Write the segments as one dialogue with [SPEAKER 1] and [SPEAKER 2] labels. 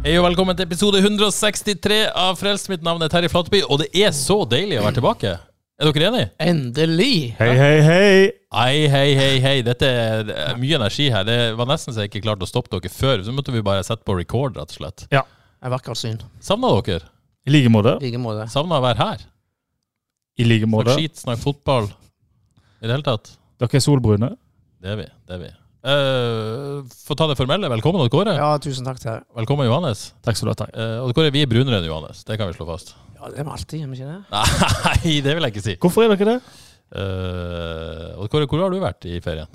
[SPEAKER 1] Hei og velkommen til episode 163 av Frelst. Mitt navn er Terje Flateby, og det er så deilig å være tilbake. Er dere enige?
[SPEAKER 2] Endelig!
[SPEAKER 3] Hei, hei, hei!
[SPEAKER 1] Hei, hei, hei, hei. Dette er det er mye energi her. Det var nesten så jeg ikke klarte å stoppe dere før. Så måtte vi bare sette på record, rett og slett.
[SPEAKER 3] Ja,
[SPEAKER 2] Jeg vakker syn.
[SPEAKER 1] Savna dere?
[SPEAKER 3] i like måte.
[SPEAKER 2] I like måte.
[SPEAKER 1] Savna å være her?
[SPEAKER 3] I like måte.
[SPEAKER 1] Snakk skit, snakk fotball. I det hele tatt.
[SPEAKER 3] Dere er solbrune.
[SPEAKER 1] Det er vi. Det er vi. Eh, Få ta det formelle. Velkommen, Odd Kåre.
[SPEAKER 2] Ja, tusen takk til deg.
[SPEAKER 1] Velkommen, Johannes.
[SPEAKER 3] Takk skal du ha. Terje.
[SPEAKER 1] Uh, Odd Kåre, vi er brunere enn Johannes. Det kan vi slå fast.
[SPEAKER 2] Ja, det er vi alltid, er vi ikke det?
[SPEAKER 1] Nei, det vil jeg ikke si.
[SPEAKER 3] Hvorfor er dere det?
[SPEAKER 1] Eh, Odd Kåre, hvor har du vært i ferien?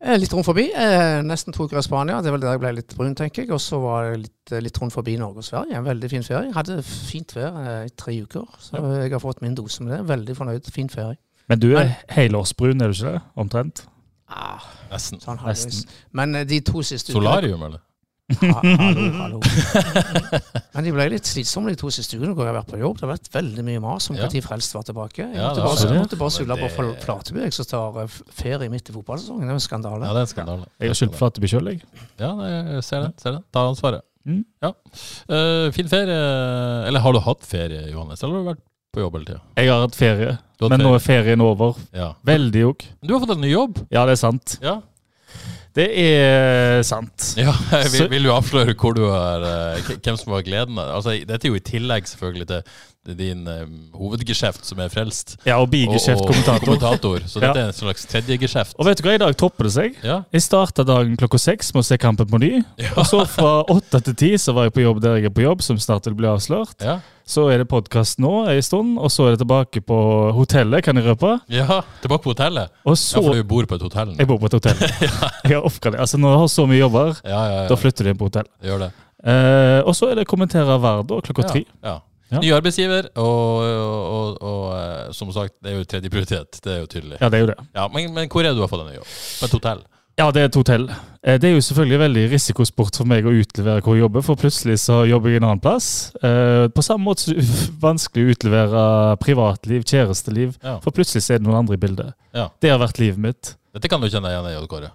[SPEAKER 2] Eh, Litt rundt forbi. Eh, nesten to uker i Spania. Det er vel der jeg ble litt brun, tenker jeg. Og så var jeg litt, eh, litt rundt forbi Norge og Sverige. En veldig fin ferie. Hadde fint vær eh, i tre uker, så jeg har fått min dose med det. Veldig fornøyd. Fin ferie.
[SPEAKER 3] Men du er helårsbrun, er du ikke det? Omtrent.
[SPEAKER 2] Ah,
[SPEAKER 1] Nesten.
[SPEAKER 2] sånn halvveis.
[SPEAKER 3] Nesten.
[SPEAKER 2] Men eh, de to siste
[SPEAKER 1] Solarium, eller?
[SPEAKER 2] Ha, hallo, hallo. Men de ble litt slitsomme de to siste ukene hvor jeg har vært på jobb. Det har vært veldig mye mas om
[SPEAKER 1] Ja.
[SPEAKER 2] når Frelst var tilbake. Jeg
[SPEAKER 1] Ja,
[SPEAKER 2] måtte
[SPEAKER 1] det har
[SPEAKER 2] bare, jeg
[SPEAKER 1] det.
[SPEAKER 2] måtte bare
[SPEAKER 1] Men
[SPEAKER 2] sule på
[SPEAKER 1] det-
[SPEAKER 2] Fl- Flateby, jeg som tar eh, f- ferie midt i fotballsesongen. Det er jo en skandale.
[SPEAKER 1] Ja, det er en skandale.
[SPEAKER 3] Jeg har skyldt Flateby sjøl, jeg.
[SPEAKER 1] Ja, nei, jeg ser det. Ser det. Ta ansvaret.
[SPEAKER 3] Mm.
[SPEAKER 1] Ja. Eh, fin ferie. Eller har du hatt ferie, Johannes? Eller har du vært på jobb hele tida?
[SPEAKER 3] Jeg har hatt ferie,
[SPEAKER 1] Du har hatt
[SPEAKER 3] men nå er ferien over.
[SPEAKER 1] Ja.
[SPEAKER 3] Veldig òg.
[SPEAKER 1] Men Du har fått en ny jobb.
[SPEAKER 3] Ja, det er sant.
[SPEAKER 1] Ja.
[SPEAKER 3] Det er sant.
[SPEAKER 1] ja jeg vil,
[SPEAKER 3] Så-
[SPEAKER 1] vil du avsløre hvor du er, eh, k- hvem som har gleden av altså, Dette er jo i tillegg selvfølgelig til til din eh, hovedgeskjeft, som er frelst.
[SPEAKER 3] Ja, og bigeskjeft
[SPEAKER 1] og, og
[SPEAKER 3] kommentator.
[SPEAKER 1] kommentator. Så
[SPEAKER 3] Ja.
[SPEAKER 1] dette er en slags tredjegeskjeft.
[SPEAKER 3] Og vet du hva, i dag topper det seg.
[SPEAKER 1] Ja.
[SPEAKER 3] Jeg starta dagen klokka seks med å se kampen på ny. Og så fra åtte til ti så var jeg på jobb der jeg er på jobb, som snart vil bli avslørt.
[SPEAKER 1] Ja.
[SPEAKER 3] Så er det podkast nå ei stund, og så er det tilbake på hotellet, kan jeg røpe.
[SPEAKER 1] ja. Tilbake på hotellet.
[SPEAKER 3] Og
[SPEAKER 1] Ja,
[SPEAKER 3] så
[SPEAKER 1] for du bor på et hotell nå.
[SPEAKER 3] Jeg bor på et hotell. Jeg har oppgradert. Altså, når du har så mye jobber,
[SPEAKER 1] Ja,
[SPEAKER 3] da
[SPEAKER 1] ja, ja.
[SPEAKER 3] flytter du inn på hotell.
[SPEAKER 1] Gjør det.
[SPEAKER 3] Eh, og så er det kommentere hver dag klokka tre.
[SPEAKER 1] Ja, ja.
[SPEAKER 3] Ja.
[SPEAKER 1] Ny arbeidsgiver, og, og, og, og eh, som sagt, det er jo tredje prioritet. Det er jo tydelig.
[SPEAKER 3] Ja, det er jo det.
[SPEAKER 1] Ja, men, men hvor er det du har fått denne jobben? På et hotell?
[SPEAKER 3] Ja, det er et hotell. Eh, det er jo selvfølgelig veldig risikosport for meg å utlevere hvor jeg jobber, for plutselig så jobber jeg en annen plass. Eh, på samme måte så er det vanskelig å utlevere privatliv, kjæresteliv,
[SPEAKER 1] Ja.
[SPEAKER 3] for plutselig så er det noen andre i bildet.
[SPEAKER 1] Ja.
[SPEAKER 3] Det har vært livet mitt.
[SPEAKER 1] Dette kan du kjenne deg igjen i, Odd Kåre.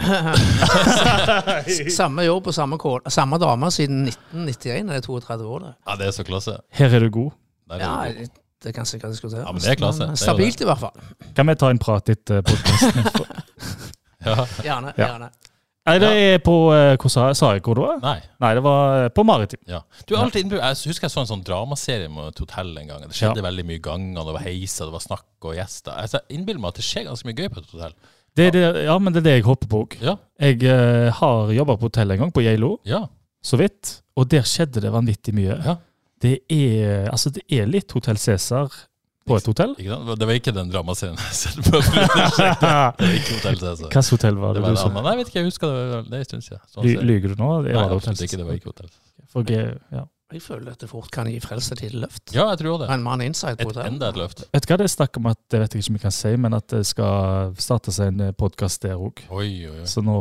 [SPEAKER 2] S- Samme jobb og samme, kål, samme dame siden 1991. Det er 32 år, det.
[SPEAKER 1] Ja, det er så klasse.
[SPEAKER 3] Her er du god.
[SPEAKER 1] Der er
[SPEAKER 2] Ja,
[SPEAKER 1] du god.
[SPEAKER 2] det kan sikkert diskuteres. eh,
[SPEAKER 1] Ja, men det er klasse. Det er jo
[SPEAKER 2] stabilt i hvert fall.
[SPEAKER 3] Kan vi ta en prat etter eh, podkasten?
[SPEAKER 1] ja.
[SPEAKER 2] Gjerne.
[SPEAKER 3] Ja.
[SPEAKER 2] gjerne.
[SPEAKER 3] Nei, det er på eh, Hvor sa jeg, sa jeg hvor det var?
[SPEAKER 1] Nei.
[SPEAKER 3] Nei, det var eh, på Maritim.
[SPEAKER 1] Ja. Du er alltid innbrukt. Jeg husker jeg så en sånn dramaserie med et hotell en gang. Det skjedde veldig mye ganger, det var heiser, det var snakk og gjester. Altså, Jeg innbiller meg at det skjer ganske mye gøy på et hotell.
[SPEAKER 3] Det er det, ja, men det er det jeg håper på òg.
[SPEAKER 1] Ja.
[SPEAKER 3] Jeg eh, har jobba på hotell en gang, på Geilo,
[SPEAKER 1] Ja.
[SPEAKER 3] så vidt. Og der skjedde det vanvittig mye.
[SPEAKER 1] Ja.
[SPEAKER 3] Det, er, altså, det er litt Hotell Cæsar på et hotell.
[SPEAKER 1] Ikke sant? Det var ikke den dramaserien jeg så på. Det
[SPEAKER 3] Hvilket
[SPEAKER 1] var ikke Hotell Cæsar.
[SPEAKER 3] hotell var
[SPEAKER 1] Det
[SPEAKER 3] det,
[SPEAKER 1] var
[SPEAKER 3] du
[SPEAKER 1] en
[SPEAKER 3] sa?
[SPEAKER 1] annen. Nei, jeg vet ikke, jeg husker det. var- Det er en stund siden. Sånn
[SPEAKER 3] Ly-
[SPEAKER 1] ser-
[SPEAKER 3] Lyver du nå? Det var
[SPEAKER 1] Nei,
[SPEAKER 3] det
[SPEAKER 1] absolutt
[SPEAKER 3] hotell
[SPEAKER 1] ikke. Det var ikke hotell.
[SPEAKER 3] For G- ja.
[SPEAKER 2] Jeg føler dette fort kan gi frelst et lite løft.
[SPEAKER 1] Ja, jeg tror det.
[SPEAKER 2] En mann inside på
[SPEAKER 1] Et,
[SPEAKER 2] hotell.
[SPEAKER 1] enda et løft.
[SPEAKER 3] Vet du hva det er snakk om at det vet jeg ikke om jeg kan si, men at det skal starte seg en podkast der òg.
[SPEAKER 1] Oi, oi, oi.
[SPEAKER 3] Så nå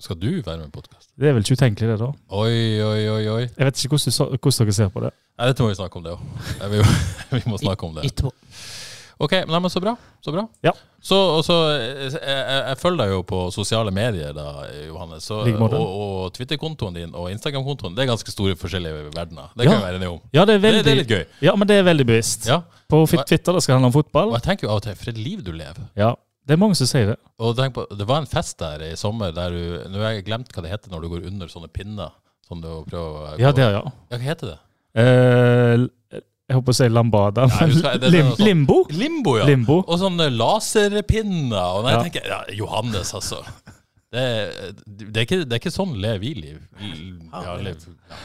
[SPEAKER 1] Skal du være med i podkast?
[SPEAKER 3] Det er vel ikke utenkelig, det, da.
[SPEAKER 1] Oi, oi, oi, oi.
[SPEAKER 3] Jeg vet ikke hvordan, du så, hvordan dere ser på det.
[SPEAKER 1] Nei, dette må vi snakke om, det òg. Vi, må- vi må snakke om det.
[SPEAKER 2] Etterpå.
[SPEAKER 1] Ok, nei, men Så bra. Så bra.
[SPEAKER 3] Ja.
[SPEAKER 1] Så, og så, eh, jeg, jeg, jeg følger deg jo på sosiale medier, da, Johannes. Så,
[SPEAKER 3] Like
[SPEAKER 1] og
[SPEAKER 3] måte.
[SPEAKER 1] og Twitter-kontoen din og Instagram-kontoen. Det er ganske store forskjellige verdener. Det kan
[SPEAKER 3] Ja.
[SPEAKER 1] vi være enige om.
[SPEAKER 3] Ja, det er
[SPEAKER 1] Det,
[SPEAKER 3] veldig,
[SPEAKER 1] det er litt gøy.
[SPEAKER 3] Ja, men det er veldig bevisst.
[SPEAKER 1] Ja.
[SPEAKER 3] På fit- Twitter det skal handle om
[SPEAKER 1] Og
[SPEAKER 3] fotball.
[SPEAKER 1] jeg tenker jo av og til for et liv du lever.
[SPEAKER 3] Ja, Det er mange som sier det.
[SPEAKER 1] Og tenk på, Det var en fest der i sommer der du Nå har jeg glemt hva det heter når du går under sånne pinner. Sånn du prøver å
[SPEAKER 3] Ja, der, ja.
[SPEAKER 1] Ja, Hva heter det?
[SPEAKER 3] Eh, jeg håper å si lambada.
[SPEAKER 1] Nei,
[SPEAKER 3] men
[SPEAKER 1] du skal- det- det er
[SPEAKER 3] lim,
[SPEAKER 1] noe sånt.
[SPEAKER 3] limbo?
[SPEAKER 1] Limbo, ja.
[SPEAKER 3] Limbo.
[SPEAKER 1] Og sånne laserpinner. Og nei,
[SPEAKER 3] Ja.
[SPEAKER 1] jeg tenker ja, Johannes, altså. Det, er- det, er ikke, det er ikke sånn lever vi liv. Vi- Ja, lev, ja.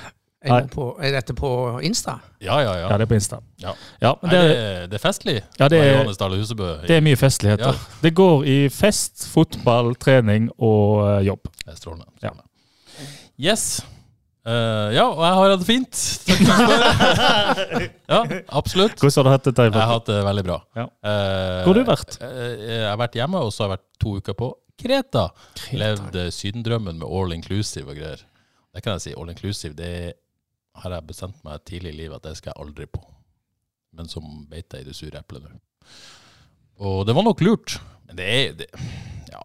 [SPEAKER 2] Er, det på, er dette på Insta?
[SPEAKER 1] Ja, ja, ja.
[SPEAKER 3] Ja, det er på Insta.
[SPEAKER 1] Ja.
[SPEAKER 3] Ja, men
[SPEAKER 1] Nei, det,
[SPEAKER 3] det,
[SPEAKER 1] er- det er festlig.
[SPEAKER 3] Ja, det er-
[SPEAKER 1] Johannes Dale Husebø.
[SPEAKER 3] det er mye festligheter.
[SPEAKER 1] Ja.
[SPEAKER 3] Det går i fest, fotball, trening og eh, jobb.
[SPEAKER 1] Det er strålende.
[SPEAKER 3] Ja.
[SPEAKER 1] strålende. Yes. Eh, ja, og jeg har hatt det fint. Takk for spørsmålet. ja, absolutt.
[SPEAKER 3] Hvordan har du hatt det?
[SPEAKER 1] Jeg har
[SPEAKER 3] Teifer?
[SPEAKER 1] hatt det veldig bra.
[SPEAKER 3] Ja.
[SPEAKER 1] Eh,
[SPEAKER 3] Hvor har du vært?
[SPEAKER 1] eh, jeg har vært hjemme, og så har jeg vært to uker på Kreta. Levd eh, sydendrømmen med all inclusive og greier. Det kan jeg si. All inclusive, det har jeg bestemt meg tidlig i livet at det skal jeg aldri på. Men som beit jeg i det sure eplet nå. Og det var nok lurt. Men det er det, Ja.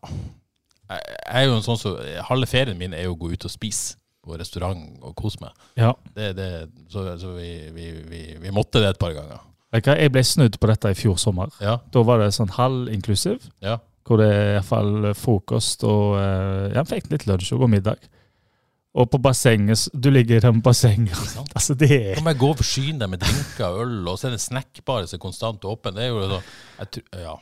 [SPEAKER 1] Jeg, jeg er jo en sånn som Halve ferien min er jo å gå ut og spise på restaurant og kose meg.
[SPEAKER 3] Ja.
[SPEAKER 1] Det, det, så så vi, vi, vi, vi måtte det et par ganger.
[SPEAKER 3] Vet du hva, Jeg ble snudd på dette i fjor sommer.
[SPEAKER 1] Ja,
[SPEAKER 3] Da var det sånn halv inklusiv,
[SPEAKER 1] ja.
[SPEAKER 3] hvor det er i hvert fall eh, frokost og eh, ja, fikk litt lunsj og god middag. Og på bassenget s- Du ligger i det bassenget.
[SPEAKER 1] sant?
[SPEAKER 3] Altså, det er
[SPEAKER 1] Kan man gå og forsyne deg med drinker og øl, og så er det en snackbar som er konstant åpen? Det er jo sånn jeg tror, Ja.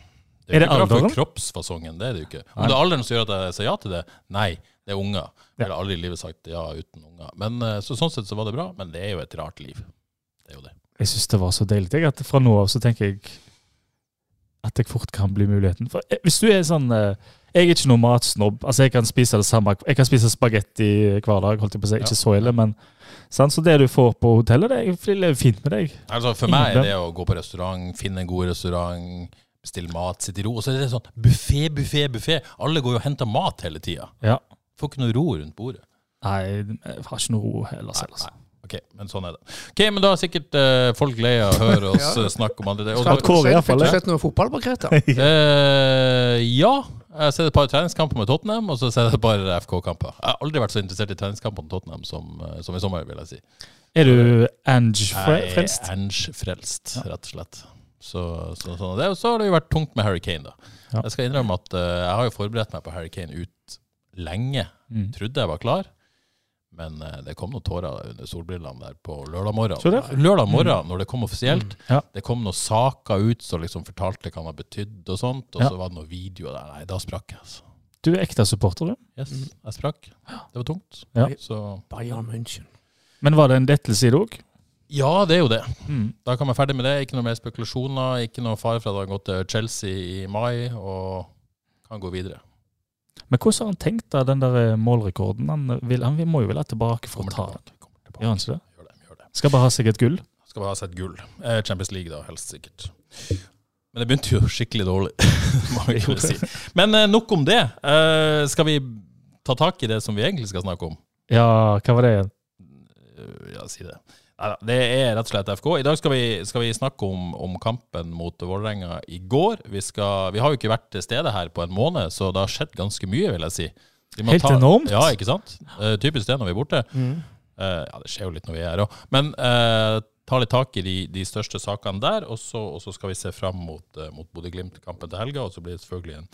[SPEAKER 3] Er
[SPEAKER 1] jo
[SPEAKER 3] det
[SPEAKER 1] ikke bra
[SPEAKER 3] alderen?
[SPEAKER 1] for kroppsfasongen, det er det jo ikke. Om det er alderen som gjør at jeg sier ja til det? Nei, det er unger. Jeg ville aldri i livet sagt ja uten unger. Men eh, så, Sånn sett så var det bra, men det er jo et rart liv. Det er jo det.
[SPEAKER 3] Jeg syns det var så deilig jeg, at fra nå av så tenker jeg at jeg fort kan bli muligheten. For eh, hvis du er sånn eh, Jeg er ikke noen matsnobb. Altså, jeg kan spise det samme. Jeg kan spise spagetti hver dag, holdt jeg på å si. Ikke så ille, men sant? Så det du får på hotellet, det er- det er fint med deg.
[SPEAKER 1] Altså For
[SPEAKER 3] Ingen
[SPEAKER 1] meg
[SPEAKER 3] problem.
[SPEAKER 1] er det å gå på restaurant, finne en god restaurant, bestille mat, sitte i ro. Og så er det sånn buffé, buffé, buffé. Alle går jo og henter mat hele tida.
[SPEAKER 3] Ja.
[SPEAKER 1] Får ikke noe ro rundt bordet.
[SPEAKER 3] Nei, jeg har ikke noe ro heller selv. Altså.
[SPEAKER 1] Sånn, Ok, men sånn er det. Ok, men da er sikkert eh, folk lei av å høre oss
[SPEAKER 2] Ja.
[SPEAKER 1] eh, snakke om andre det. Og
[SPEAKER 3] At Kåre i hvert fall
[SPEAKER 2] Fikk
[SPEAKER 3] er-
[SPEAKER 2] du sett noe fotball på Kreta? Det
[SPEAKER 1] Eh, ja, jeg har sett et par treningskamper med Tottenham, og så ser jeg et par FK-kamper. Jeg har aldri vært så interessert i treningskamper med Tottenham som, eh, som i sommer, vil jeg si.
[SPEAKER 3] Er du Ange Fre-
[SPEAKER 1] Jeg er
[SPEAKER 3] Frelst?
[SPEAKER 1] Ange-frelst, rett og slett. Så, så, sånn er det. Og så har det jo vært tungt med Harry Kane, da.
[SPEAKER 3] Ja.
[SPEAKER 1] Jeg skal innrømme at eh, jeg har jo forberedt meg på Harry Kane ut lenge.
[SPEAKER 3] Mm.
[SPEAKER 1] Trodde jeg var klar, men eh, det kom noen tårer under solbrillene der på lørdag morgen.
[SPEAKER 3] Så det? Mm.
[SPEAKER 1] Lørdag morgen, når det kom offisielt,
[SPEAKER 3] Ja.
[SPEAKER 1] det kom noen saker ut som liksom fortalte hva han har betydd og sånt, og
[SPEAKER 3] Ja.
[SPEAKER 1] så var det noen videoer der. Nei, da sprakk jeg, altså.
[SPEAKER 3] Du er ekte supporter, du.
[SPEAKER 1] Yes, jeg sprakk. Det var tungt.
[SPEAKER 3] Mm. Ja.
[SPEAKER 1] Så
[SPEAKER 2] Bayern München.
[SPEAKER 3] Men var det en lettelse i det òg?
[SPEAKER 1] ja, det er jo det.
[SPEAKER 3] Mm.
[SPEAKER 1] Da kan vi være ferdig med det. Ikke noe mer spekulasjoner, ikke noe fare for at han har gått til Chelsea i mai og kan gå videre.
[SPEAKER 3] Men hvordan har han tenkt da, den der eh, målrekorden? Han, vil, han må jo ville tilbake for å
[SPEAKER 1] Kommer
[SPEAKER 3] ta den.
[SPEAKER 1] tilbake. Kommer tilbake.
[SPEAKER 3] Gjør han ikke det?
[SPEAKER 1] Gjør det, gjør det.
[SPEAKER 3] Skal bare ha seg et gull.
[SPEAKER 1] Skal bare ha seg et gull. Eh, Champions League, da, helst sikkert. Men det begynte jo skikkelig dårlig. må vi kunne si. Men eh, nok om det. Eh, skal vi ta tak i det som vi egentlig skal snakke om?
[SPEAKER 3] Ja, hva var det igjen?
[SPEAKER 1] Eh, Ja, si det. Neida, det er rett og slett FK. I dag skal vi, skal vi snakke om, om kampen mot Vålerenga i går. Vi, skal, vi har jo ikke vært til stede her på en måned, så det har skjedd ganske mye, vil jeg si. Vi må
[SPEAKER 3] Helt enormt. Mm.
[SPEAKER 1] Ja, ikke sant? Eh, typisk det når vi er borte. Eh, ja, det skjer jo litt når vi er her òg. Men eh, ta litt tak i de, de største sakene der, og så, og så skal vi se fram mot, uh, mot Bodø-Glimt-kampen til helga. Og så blir det selvfølgelig en,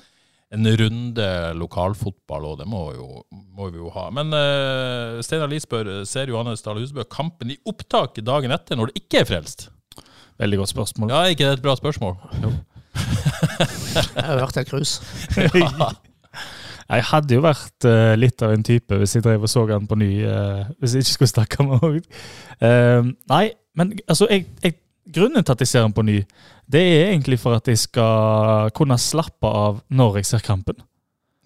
[SPEAKER 1] en runde lokalfotball, og det må, jo, må vi jo ha. Men uh, Steinar Lie spør ser Johannes Dahl Husebø kampen i opptak dagen etter når det ikke er frelst?
[SPEAKER 3] Veldig godt spørsmål.
[SPEAKER 1] Ja, er ikke det et bra spørsmål?
[SPEAKER 2] Jeg har vært et krus.
[SPEAKER 3] Jeg hadde jo vært eh, litt av en type hvis jeg drev og så han på ny eh, Hvis jeg ikke skulle snakke med han. Eh, nei, men altså jeg, jeg, Grunnen til at jeg ser han på ny, det er egentlig for at jeg skal kunne slappe av når jeg ser kampen.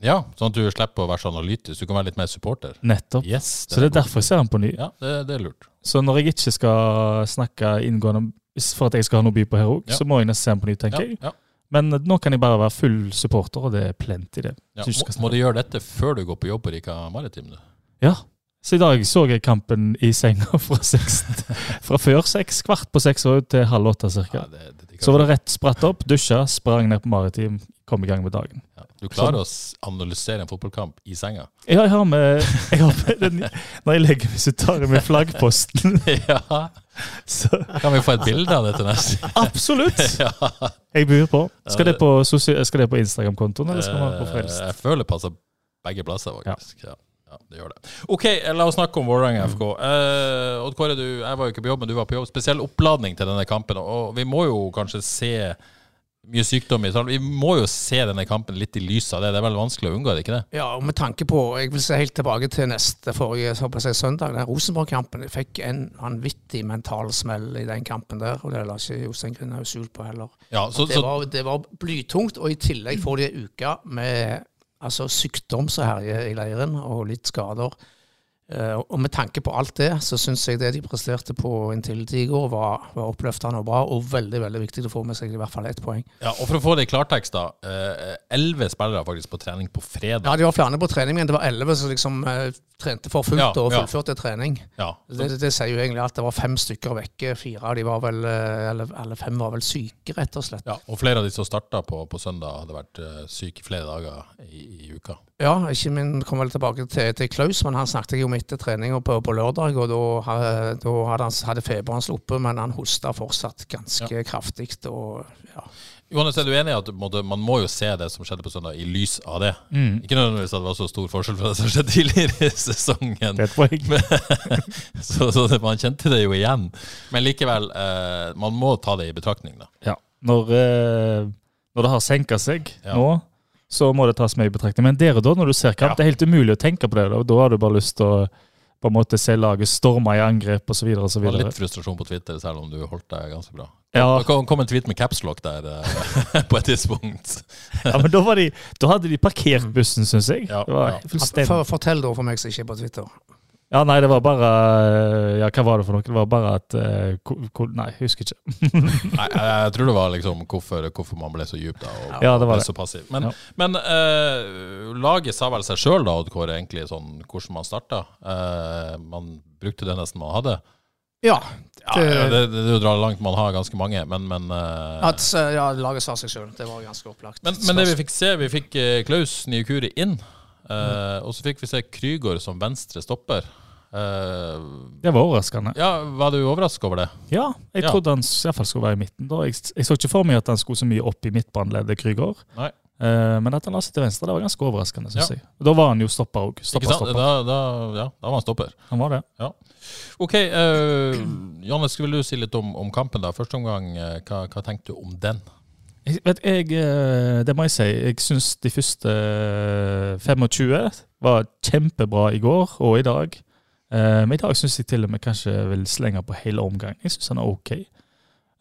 [SPEAKER 1] Ja, sånn at du slipper å være så analytisk. Du kan være litt mer supporter.
[SPEAKER 3] Nettopp.
[SPEAKER 1] Yes,
[SPEAKER 3] Så det er derfor jeg ser han på ny.
[SPEAKER 1] Ja, det, det er lurt.
[SPEAKER 3] Så når jeg ikke skal snakke inngående om- for at jeg skal ha noe å by på her òg,
[SPEAKER 1] Ja.
[SPEAKER 3] så må jeg nesten se han på ny,
[SPEAKER 1] Ja,
[SPEAKER 3] tenker jeg.
[SPEAKER 1] ja.
[SPEAKER 3] Men nå kan jeg bare være full supporter, og det er plenty, det.
[SPEAKER 1] Ja.
[SPEAKER 3] Så jeg skal
[SPEAKER 1] Må, må du gjøre dette før du går på jobb på Rika Maritim? du?
[SPEAKER 3] Ja. Så i dag så jeg kampen i senga fra, seks, fra før seks, kvart på seks og ut til halv åtte
[SPEAKER 1] Nei,
[SPEAKER 3] cirka.
[SPEAKER 1] det, det, det
[SPEAKER 3] Så var det rett spratt opp, dusja, sprang ned på Maritim, kom i gang med dagen.
[SPEAKER 1] Ja. Du klarer å s- analysere en fotballkamp i senga?
[SPEAKER 3] Ja, jeg har med, jeg har med den, Når jeg legger meg, så tar jeg med flaggposten.
[SPEAKER 1] ja.
[SPEAKER 3] Så
[SPEAKER 1] Kan vi få et bilde av det til neste?
[SPEAKER 3] absolutt! Jeg bur på. Skal det på, sosia- skal det på Instagram-kontoen, eller skal man på Frelst?
[SPEAKER 1] Eh, Jeg føler det passer begge plasser, faktisk. Ja. Ja, det gjør det. OK, eh, la oss snakke om
[SPEAKER 3] Mm.
[SPEAKER 1] Vålerenga FK. Eh, Odd Kåre, du, jeg var jo ikke på jobb, men du var på jobb. Spesiell oppladning til denne kampen. Og vi må jo kanskje se mye sykdom i salen. Vi må jo se denne kampen litt i lys av det. Det er veldig vanskelig å unngå det, ikke det?
[SPEAKER 2] Ja, og med tanke på Jeg vil se helt tilbake til neste forrige så på å si, søndag. Den Rosenborg-kampen. Jeg fikk en vanvittig mental smell i den kampen der, og det la ikke Jostein Grindhaug skjul på heller.
[SPEAKER 1] Ja, så,
[SPEAKER 2] Det
[SPEAKER 1] så
[SPEAKER 2] var, det var blytungt, og i tillegg får de ei uke med altså, sykdom som herjer i leiren, og litt skader. Eh, og med tanke på alt det, så syns jeg det de presterte på Intility i går, var, var oppløftende og bra, og veldig veldig viktig å få med seg i hvert fall ett poeng.
[SPEAKER 1] Ja, og for å få det i klartekst, da. eh, Elleve spillere faktisk på trening på fredag.
[SPEAKER 2] Ja, De var flere på trening, men det var elleve som liksom eh, trente for fullt
[SPEAKER 1] Ja,
[SPEAKER 2] og
[SPEAKER 1] ja.
[SPEAKER 2] fullførte trening.
[SPEAKER 1] Ja.
[SPEAKER 2] Det, det sier jo egentlig at det var fem stykker vekke. Fire av de var vel, eh, eller, eller fem var vel syke, rett og slett.
[SPEAKER 1] ja. Og flere av de som starta på, på søndag, hadde vært eh, syke flere dager i, i uka.
[SPEAKER 2] Ja, ikke min kom vel tilbake til, til Klaus, men han snakket jeg jo om etter treninga på, på lørdag. og Da, ha- da hadde, han, hadde feberen sluppet, men han hosta fortsatt ganske kraftig. Og, ja.
[SPEAKER 1] Johannes, er du enig i at på en måte, man må jo se det som skjedde på søndag, i lys av det? Ikke nødvendigvis at det var så stor forskjell fra det som skjedde tidligere i sesongen.
[SPEAKER 3] Det er et poeng.
[SPEAKER 1] Så, så det, man kjente det jo igjen. Men likevel, eh, man må ta det i betraktning, da.
[SPEAKER 3] Ja. Når, eh, når det har senka seg
[SPEAKER 1] Ja.
[SPEAKER 3] nå, så må det tas med i betraktning. Men der og da, når du ser kamp,
[SPEAKER 1] Ja.
[SPEAKER 3] det er helt umulig å tenke på det. Da, da har du bare lyst til å på en måte se laget storme i angrep osv.
[SPEAKER 1] Det var
[SPEAKER 3] videre
[SPEAKER 1] litt frustrasjon på Twitter, selv om du holdt deg ganske bra.
[SPEAKER 3] Ja,
[SPEAKER 1] Det kom, kom en tweet med capslock der eh, på et tidspunkt.
[SPEAKER 3] ja, men da, var de, da hadde de parkert bussen, syns jeg.
[SPEAKER 1] Mm. Ja,
[SPEAKER 3] Det var
[SPEAKER 1] ja.
[SPEAKER 3] fullstendig.
[SPEAKER 2] For, fortell da for meg som ikke er på Twitter.
[SPEAKER 3] Ja, nei, det var bare eh, Ja, hva var det for noe? Det var bare at eh, ko- ko- Nei, jeg husker ikke.
[SPEAKER 1] Nei, jeg, jeg tror det var liksom hvorfor, hvorfor man ble så djup da, og
[SPEAKER 3] Ja, det var
[SPEAKER 1] ble
[SPEAKER 3] det.
[SPEAKER 1] så passiv. Men,
[SPEAKER 3] Ja.
[SPEAKER 1] men eh, laget sa vel seg sjøl, da, Odd Kåre, egentlig sånn hvordan man starta. Eh, man brukte det nesten man hadde.
[SPEAKER 2] Ja.
[SPEAKER 1] Ja,
[SPEAKER 2] Det-
[SPEAKER 1] ja, det, det, det drar langt, man har ganske mange, men, men eh,
[SPEAKER 2] At, eh, ja, laget sa seg sjøl. Det var ganske opplagt.
[SPEAKER 1] Men, men det vi fikk se, vi fikk eh, Klaus Niukuri inn, eh, og så fikk vi se Krygård som venstre stopper. Eh,
[SPEAKER 3] Det var overraskende.
[SPEAKER 1] ja, var du overrasket over det?
[SPEAKER 3] Ja, jeg
[SPEAKER 1] Ja.
[SPEAKER 3] trodde han s- i hvert fall skulle være i midten. da. Jeg, s- jeg så ikke for meg at han skulle så mye opp i midtbaneleddet Krygård.
[SPEAKER 1] Nei.
[SPEAKER 3] Eh, men at han la seg til venstre, det var ganske overraskende, syns
[SPEAKER 1] Ja.
[SPEAKER 3] jeg. Da var han jo stopper òg. Stopper,
[SPEAKER 1] Ikke sant?
[SPEAKER 3] stopper.
[SPEAKER 1] Da, da, ja, da var han stopper.
[SPEAKER 3] Han var det.
[SPEAKER 1] Ok, uh, Jannes, vil du si litt om, om kampen da? Første omgang, eh, hva, hva tenkte du om den?
[SPEAKER 3] Jeg, vet, jeg, eh, det må jeg si. Jeg syns de første 25 var kjempebra i går og i dag. Eh, Men i dag syns jeg til og med kanskje jeg vil slenge på hele omgangen. Jeg syns han er OK.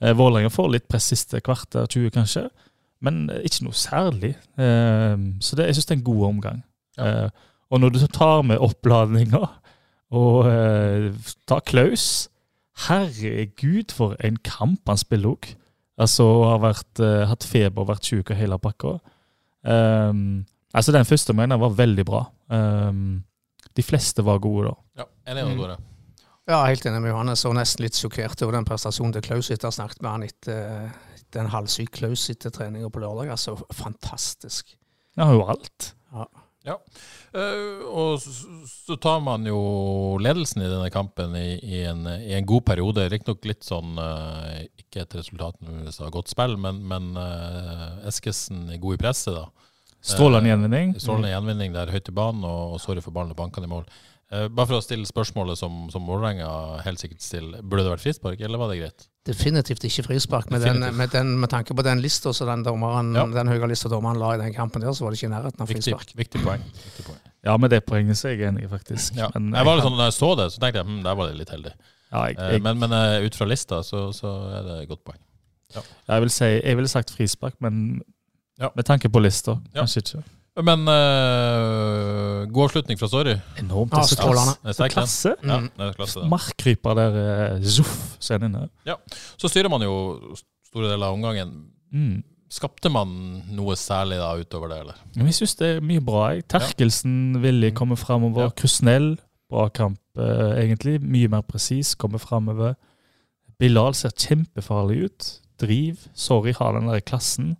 [SPEAKER 3] Eh, Vålerenga får litt press siste kvarter, 20 kanskje, men eh, ikke noe særlig. Eh, Så det, jeg syns det er en god omgang. Eh, Og når du tar med oppladninga og eh, tar Klaus Herregud, for en kamp han spiller òg. Altså har vært, eh, hatt feber, vært syk og hele pakka. Ehm, altså Den første omgangen var veldig bra. Ehm, de fleste var gode da.
[SPEAKER 1] Ja, enig med Dore.
[SPEAKER 2] Ja, helt enig med Johannes, og nesten litt sjokkert over den prestasjonen til Klaus etter å ha snakket med han etter etter en halvsyk Klaus etter treninga på lørdag. Altså, fantastisk.
[SPEAKER 3] De har jo alt.
[SPEAKER 1] Eh, og så, så tar man jo ledelsen i denne kampen i, i, en, i en god periode. Riktignok litt sånn eh, Ikke et resultat nødvendigvis av godt spill, men, men eh, Eskesen er god i presset, da.
[SPEAKER 3] Strålende
[SPEAKER 1] Eh,
[SPEAKER 3] gjenvinning.
[SPEAKER 1] Strålende gjenvinning der høyt i banen, og, og sorry for ballen og bankene i mål. Eh, bare for å stille spørsmålet som, som Vålerenga helt sikkert stiller. Burde det vært frispark, eller var det greit?
[SPEAKER 2] Definitivt ikke frispark. Med, den,
[SPEAKER 1] Definitivt.
[SPEAKER 2] med, den, med tanke på den lista som den, dommeren-
[SPEAKER 1] Ja.
[SPEAKER 2] den høye lista dommeren la i den kampen der, så var det ikke i nærheten av
[SPEAKER 1] Viktig,
[SPEAKER 2] frispark.
[SPEAKER 1] viktig poeng. Viktig poeng.
[SPEAKER 3] Ja, med det poenget så er jeg enig, i, faktisk.
[SPEAKER 1] Ja.
[SPEAKER 3] Men
[SPEAKER 1] jeg var litt sånn, når jeg så det, så tenkte jeg hm, der var det litt heldig.
[SPEAKER 3] ja, jeg,
[SPEAKER 1] Eh,
[SPEAKER 3] jeg,
[SPEAKER 1] Men, men eh, ut fra lista, så, så er det et godt poeng.
[SPEAKER 3] jeg vil si, jeg ville sagt frispark, men
[SPEAKER 1] Ja.
[SPEAKER 3] med tanke på lista,
[SPEAKER 1] Ja.
[SPEAKER 3] kanskje ikke.
[SPEAKER 1] Men eh, god avslutning fra Sorry.
[SPEAKER 3] Enormt.
[SPEAKER 2] Ja,
[SPEAKER 3] det er så
[SPEAKER 2] Ah, strålende.
[SPEAKER 3] klasse.
[SPEAKER 1] Det er
[SPEAKER 3] Så
[SPEAKER 1] sterkt, den.
[SPEAKER 3] klasse.
[SPEAKER 1] Ja,
[SPEAKER 2] Mm.
[SPEAKER 1] det er klasse, det.
[SPEAKER 3] Markkryper der eh, zoff, så er den inne.
[SPEAKER 1] Så styrer man jo store deler av omgangen.
[SPEAKER 3] Mm.
[SPEAKER 1] Skapte man noe særlig da utover det, eller?
[SPEAKER 3] Men jeg syns det er mye bra. Jeg. Terkelsen villig kommer framover.
[SPEAKER 1] Ja.
[SPEAKER 3] Krusnell, bra kamp, eh, egentlig. Mye mer presis, kommer framover. Bilal ser kjempefarlig ut. Driv. Sorry, har den der klassen.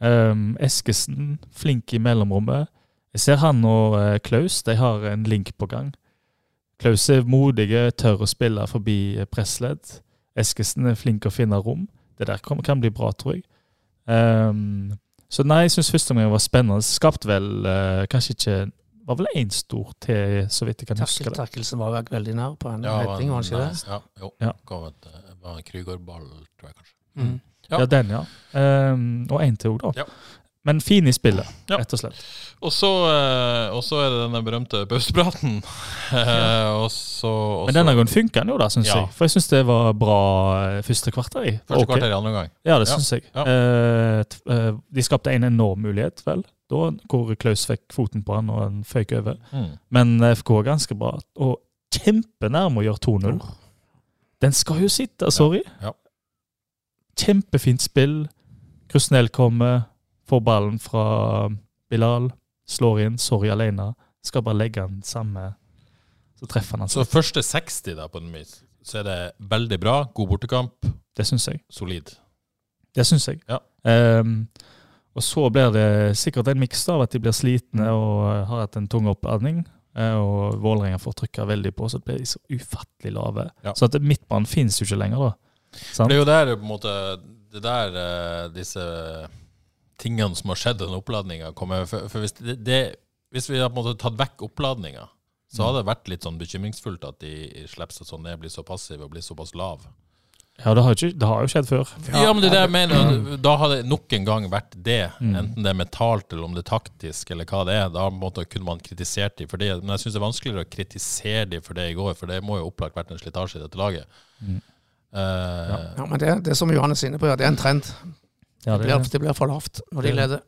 [SPEAKER 3] Um, Eskesen, flink i mellomrommet. Jeg ser han og eh, Klaus, de har en link på gang. Klaus er modige, tør å spille forbi eh, pressledd. Eskesen er flink å finne rom. Det der kom, kan bli bra, tror jeg. Um, så nei, jeg syns første omgang var spennende. Skapt vel eh, kanskje ikke Var vel én stor til, så vidt jeg kan huske.
[SPEAKER 2] Terkel,
[SPEAKER 3] det.
[SPEAKER 2] terkelsen var vel veldig nær på en heading, var han ikke det?
[SPEAKER 1] Ja, jo.
[SPEAKER 3] Ja.
[SPEAKER 1] Kom et, eh, var en Krygårdball, tror jeg kanskje. Mm. Ja.
[SPEAKER 3] Ja, den, ja. Ehm, og én til òg, da.
[SPEAKER 1] Ja.
[SPEAKER 3] Men fin i spillet,
[SPEAKER 1] Ja.
[SPEAKER 3] rett og slett.
[SPEAKER 1] Og så, eh, og så er det denne berømte pausepraten. Eh, og så og
[SPEAKER 3] Men
[SPEAKER 1] så-
[SPEAKER 3] denne gangen funker den jo, da, syns
[SPEAKER 1] Ja.
[SPEAKER 3] jeg. For jeg syns det var bra eh, første kvarter. i.
[SPEAKER 1] Første
[SPEAKER 3] Ok.
[SPEAKER 1] kvarter i andre omgang.
[SPEAKER 3] Ja, det
[SPEAKER 1] Ja,
[SPEAKER 3] syns jeg.
[SPEAKER 1] ja.
[SPEAKER 3] Eh, t- eh, de skapte en enorm mulighet, vel, da, hvor Klaus fikk foten på han og han føyk over.
[SPEAKER 1] Mm.
[SPEAKER 3] Men FK er ganske bra, og kjempenærme å gjøre 2-0. Den skal jo sitte, sorry.
[SPEAKER 1] Ja.
[SPEAKER 3] Kjempefint spill. Krusnell kommer, får ballen fra um, Bilal, slår inn, sorry alene. Skal bare legge den samme, så treffer han altså. han.
[SPEAKER 1] Så første 60 da, på den vis, så er det veldig bra. God bortekamp.
[SPEAKER 3] Det syns jeg.
[SPEAKER 1] Solid.
[SPEAKER 3] Det syns jeg.
[SPEAKER 1] Ja.
[SPEAKER 3] Ehm, og så blir det sikkert en miks av at de blir slitne og eh, har hatt en tung oppladning. eh, Og Vålerenga får trykka veldig på, så blir de så ufattelig lave.
[SPEAKER 1] Ja.
[SPEAKER 3] Så at midtbanen finnes jo ikke lenger, da. Sant?
[SPEAKER 1] Det er jo der på en måte Det der eh, disse tingene som har skjedd i den oppladninga, kommer for, for hvis, det, det, hvis vi hadde på en måte tatt vekk oppladninga, så hadde det vært litt sånn bekymringsfullt at de slipper seg sånn ned, blir så passive og blir såpass lav.
[SPEAKER 3] Ja, det har, jo ikke, det har jo skjedd før.
[SPEAKER 1] Ja, Mm. men det er det jeg mener. Da har det nok en gang vært det, enten det er mentalt eller om det er taktisk eller hva det er. Da på en måte kunne man kritisert de for det. Men jeg syns det er vanskeligere å kritisere de for det i går, for det må jo opplagt vært en slitasje i dette laget. Eh,
[SPEAKER 2] Ja, men det, det er som Johannes er inne på, ja, det er en trend.
[SPEAKER 3] Ja,
[SPEAKER 2] Det
[SPEAKER 3] det,
[SPEAKER 2] blir, det blir for lavt når de
[SPEAKER 3] Det-
[SPEAKER 2] leder.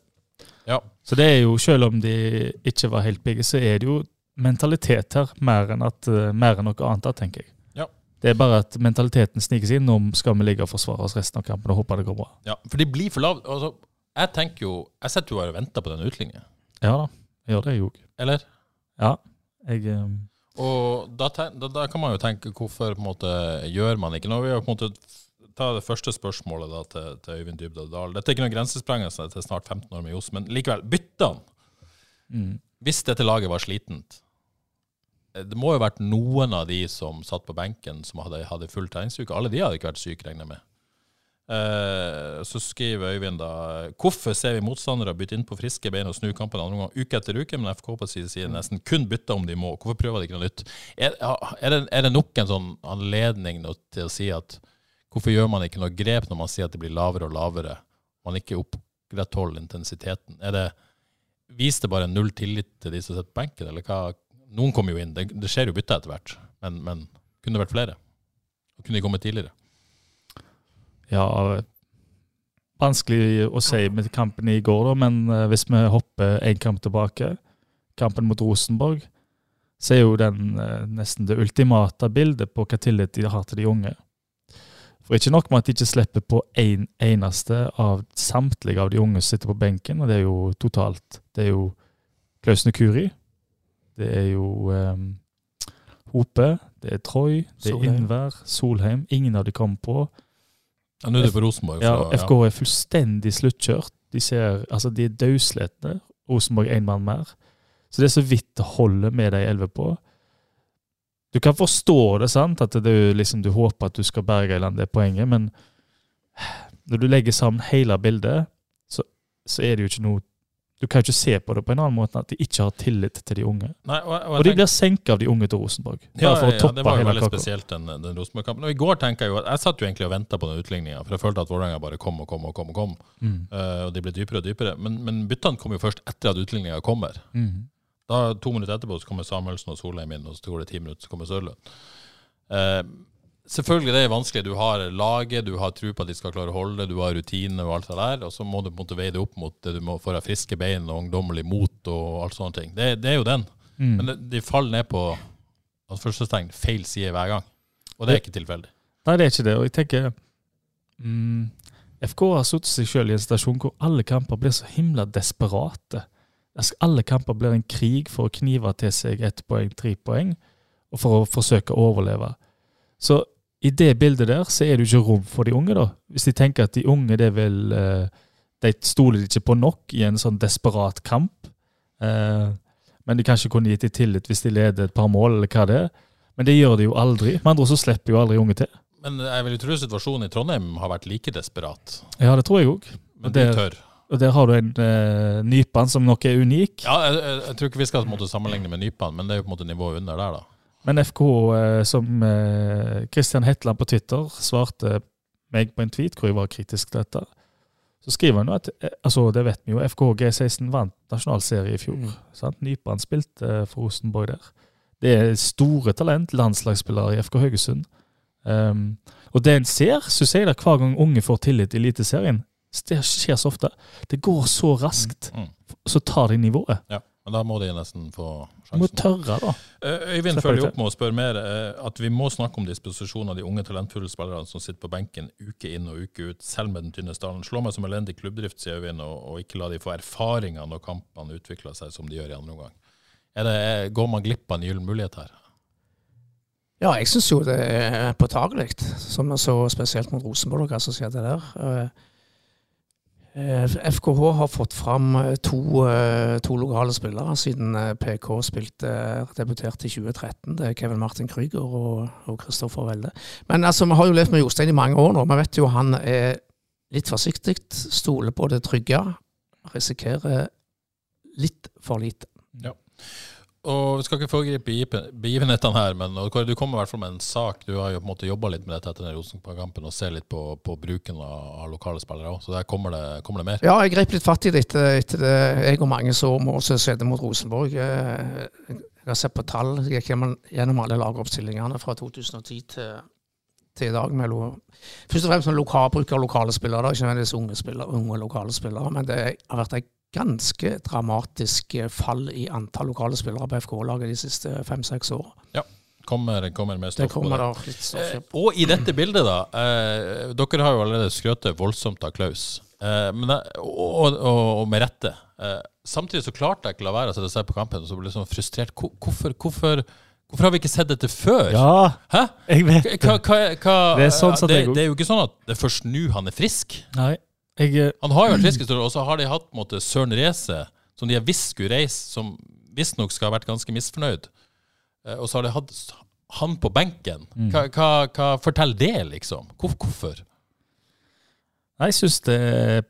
[SPEAKER 1] ja.
[SPEAKER 3] så det er jo, selv om de ikke var helt pigge, så er det jo mentalitet her mer enn, at, eh, mer enn noe annet, tenker jeg.
[SPEAKER 1] Ja.
[SPEAKER 3] Det er bare at mentaliteten snikes inn om skal vi ligge og forsvare oss resten av kampen og håpe det går bra.
[SPEAKER 1] Ja, for de blir for lave. Altså, jeg tenker jo Jeg sitter jo her og venter på den utligningen,
[SPEAKER 3] Ja da, gjør det jo.
[SPEAKER 1] eller?
[SPEAKER 3] Ja. Jeg, ehm,
[SPEAKER 1] Og da, ten- da, da kan man jo tenke hvorfor på en måte gjør man ikke noe? Vi har på en måte ta det første spørsmålet da til, til Øyvind Dybdahl Dahl. Dette er ikke noen grensesprengelse til snart 15 år med Johs, men likevel, bytte han!
[SPEAKER 3] Mm.
[SPEAKER 1] Hvis dette laget var slitent eh, Det må jo ha vært noen av de som satt på benken som hadde, hadde full treningsuke. Alle de hadde ikke vært syke, regner jeg med. Eh, så skriver Øyvind da Hvorfor ser vi motstandere bytte inn på friske bein og snu kampen andre omgang uke etter uke, men FK på sin side nesten kun bytter om de må? Hvorfor prøver de ikke noe nytt? Er, er, det, er det nok en sånn anledning nå til å si at hvorfor gjør man ikke noe grep når man sier at det blir lavere og lavere? Man ikke opprettholder intensiteten. Er det Vis det bare null tillit til de som sitter på benken, eller hva? Noen kommer jo inn. Det, det skjer jo bytte etter hvert, men, men kunne det vært flere? Og kunne de kommet tidligere?
[SPEAKER 3] ja, vanskelig å si med kampen i går, da, men eh, hvis vi hopper én kamp tilbake, kampen mot Rosenborg, så er jo den eh, nesten det ultimate bildet på hva tillit de har til de unge. For ikke nok med at de ikke slipper på en eneste av samtlige av de unge som sitter på benken, og det er jo totalt Det er jo Klaus Nekuri, det er jo eh, Hope, det er Troy, det er
[SPEAKER 2] Solheim.
[SPEAKER 3] Innvær, Solheim. Ingen av de kom på.
[SPEAKER 1] Ja, nå er det på Rosenborg.
[SPEAKER 3] Ja,
[SPEAKER 1] så-
[SPEAKER 3] FK er fullstendig sluttkjørt. De, ser, altså, de er dødsletne. Rosenborg én mann mer. Så det er så vidt det holder med de elleve på. Du kan forstå det, sant? at det er jo liksom, du håper at du skal berge i land det poenget, men når du legger sammen hele bildet, så, så er det jo ikke noe Du kan jo ikke se på det på en annen måte enn at de ikke har tillit til de unge.
[SPEAKER 1] Nei, og, og, jeg
[SPEAKER 3] Og de
[SPEAKER 1] tenker-
[SPEAKER 3] blir senka av de unge til Rosenborg. Bare for å
[SPEAKER 1] det
[SPEAKER 3] toppe
[SPEAKER 1] var jo
[SPEAKER 3] hele
[SPEAKER 1] veldig
[SPEAKER 3] kaka.
[SPEAKER 1] spesielt, den, den Rosenborg-kampen. Og i går tenker jeg jo at jeg satt jo egentlig og venta på den utligninga, for jeg følte at Vålerenga bare kom og kom og kom, og kom,
[SPEAKER 3] Mm.
[SPEAKER 1] Eh, og de ble dypere og dypere. Men, men byttene kom jo først etter at utligninga kommer.
[SPEAKER 3] Mm.
[SPEAKER 1] Da, to minutter etterpå så kommer Samuelsen og Solheim inn, og så går det ti minutter, så kommer Sørlund. Eh, selvfølgelig det er vanskelig. Du har laget, du har tro på at de skal klare å holde det, du har rutine og alt det der, og så må du på en måte veie det opp mot det du må få av friske bein og ungdommelig mot og alt sånne ting. Det, det er jo den.
[SPEAKER 3] Mm.
[SPEAKER 1] Men det- de faller ned på altså førstestegn, feil side hver gang. Og det er ikke tilfeldig.
[SPEAKER 3] Nei, det er ikke det. Og jeg tenker mm, FK har satt seg selv i en stasjon hvor alle kamper blir så himla desperate. Altså, alle kamper blir en krig for å knive til seg ett poeng, tre poeng, og for å forsøke å overleve. Så i det bildet der så er det jo ikke rom for de unge, da. Hvis de tenker at de unge det vil eh, De stoler de ikke på nok i en sånn desperat kamp. Eh, men de kanskje kunne gitt dem tillit hvis de leder et par mål, eller hva det er. Men det gjør de jo aldri. Med andre ord så slipper jo aldri unge til.
[SPEAKER 1] Men jeg vil jo tro situasjonen i Trondheim har vært like desperat.
[SPEAKER 3] Ja, det tror jeg òg.
[SPEAKER 1] Men
[SPEAKER 3] Og
[SPEAKER 1] de
[SPEAKER 3] det-
[SPEAKER 1] tør.
[SPEAKER 3] Og der har du en eh, nypan som nok er unik.
[SPEAKER 1] Ja, jeg, jeg, jeg tror ikke vi skal på en måte sammenligne med Nypan, men det er jo på en måte nivået under der, da.
[SPEAKER 3] Men FK, eh, som eh, Christian Hetland på Twitter svarte meg på en tweet hvor jeg var kritisk til dette. Så skriver han jo at eh, altså det vet vi jo, FKH G16 vant nasjonalserie i fjor. Sant? Nypan spilte eh, for Rosenborg der. Det er store talent, landslagsspillere i FK Haugesund. Um, og det en ser, syns jeg da, hver gang unge får tillit i Eliteserien, det skjer så ofte. Det går så raskt,
[SPEAKER 1] Mm.
[SPEAKER 3] så tar de nivået.
[SPEAKER 1] Ja, men da må de nesten få
[SPEAKER 3] Du må
[SPEAKER 1] sjansen.
[SPEAKER 3] tørre, da.
[SPEAKER 1] Eh, Øyvind
[SPEAKER 3] Selvfølgelig.
[SPEAKER 1] følger opp med å spørre mer eh, at vi må snakke om disposisjonen av de unge talentfulle spillerne som sitter på benken uke inn og uke ut, selv med den tynne stallen. Slå meg som elendig klubbdrift, sier Øyvind, og, og ikke la de få erfaringer når kampene utvikler seg som de gjør i andre omgang. Er det, er, går man glipp av en gyllen mulighet her?
[SPEAKER 2] Ja, jeg syns jo det er påtagelig, som vi så spesielt mot Rosenborg, hva som skjedde der. Eh, eh, FKH har fått fram eh, to, eh, to lokale spillere siden eh, PK spilte eh, debuterte i 2013. Det er Kevin Martin Krüger og og Kristoffer Welde. Men altså, vi har jo levd med Jostein i mange år nå. Vi vet jo han er litt forsiktig, stoler på det trygge, risikerer litt for lite.
[SPEAKER 1] Og Vi skal ikke foregripe begiven- begivenhetene her, men og Kåre, du kommer i hvert fall med en sak. Du har jo på en måte jobba litt med dette etter den Rosenborg-kampen og ser litt på, på bruken av, av lokale spillere òg, så der kommer det, kommer det mer.
[SPEAKER 2] Ja, jeg grep litt fatt i det etter, etter det. Jeg og mange så må også se det mot Rosenborg. Eh, Jeg har sett på tall. Jeg gikk gjennom- gjennom alle lagoppstillingene fra 2010 til, til i dag. Med lo, først og fremst med lokal, bruk av lokale spillere, da, ikke nødvendigvis unge, spillere, unge lokale spillere. Men det har vært et ganske dramatisk eh, fall i antall lokale spillere på FK-laget de siste fem-seks årene.
[SPEAKER 1] Kommer, kommer mer
[SPEAKER 2] Det
[SPEAKER 1] stoff på
[SPEAKER 2] kommer
[SPEAKER 1] det.
[SPEAKER 2] da litt stoff
[SPEAKER 1] Eh,
[SPEAKER 2] i.
[SPEAKER 1] og i dette bildet, da. Eh, dere har jo allerede skrøtet voldsomt av Klaus, eh, men, jeg- og, og, og med rette. Eh, samtidig så klarte jeg ikke la være å sette seg på kampen og så ble jeg sånn frustrert. Hvor- Hvorfor, hvorfor, hvorfor har vi ikke sett dette før?
[SPEAKER 3] Ja,
[SPEAKER 1] Hæ?
[SPEAKER 3] jeg vet det.
[SPEAKER 1] Hva, hva, hva,
[SPEAKER 3] Det er sånn som
[SPEAKER 1] det,
[SPEAKER 3] det går.
[SPEAKER 1] det er jo ikke sånn at det er først nå han er frisk.
[SPEAKER 3] Nei, jeg, eh,
[SPEAKER 1] Han har jo vært frisk en stund, og så har de hatt på en måte Søren Reise, som de har visst skulle reise, som visstnok skal ha vært ganske misfornøyd. Eh, Og så har de hatt s- han på benken.
[SPEAKER 3] Mm.
[SPEAKER 1] Hva, hva, hva Fortell det, liksom. Hvor, hvorfor?
[SPEAKER 3] Nei, jeg syns det er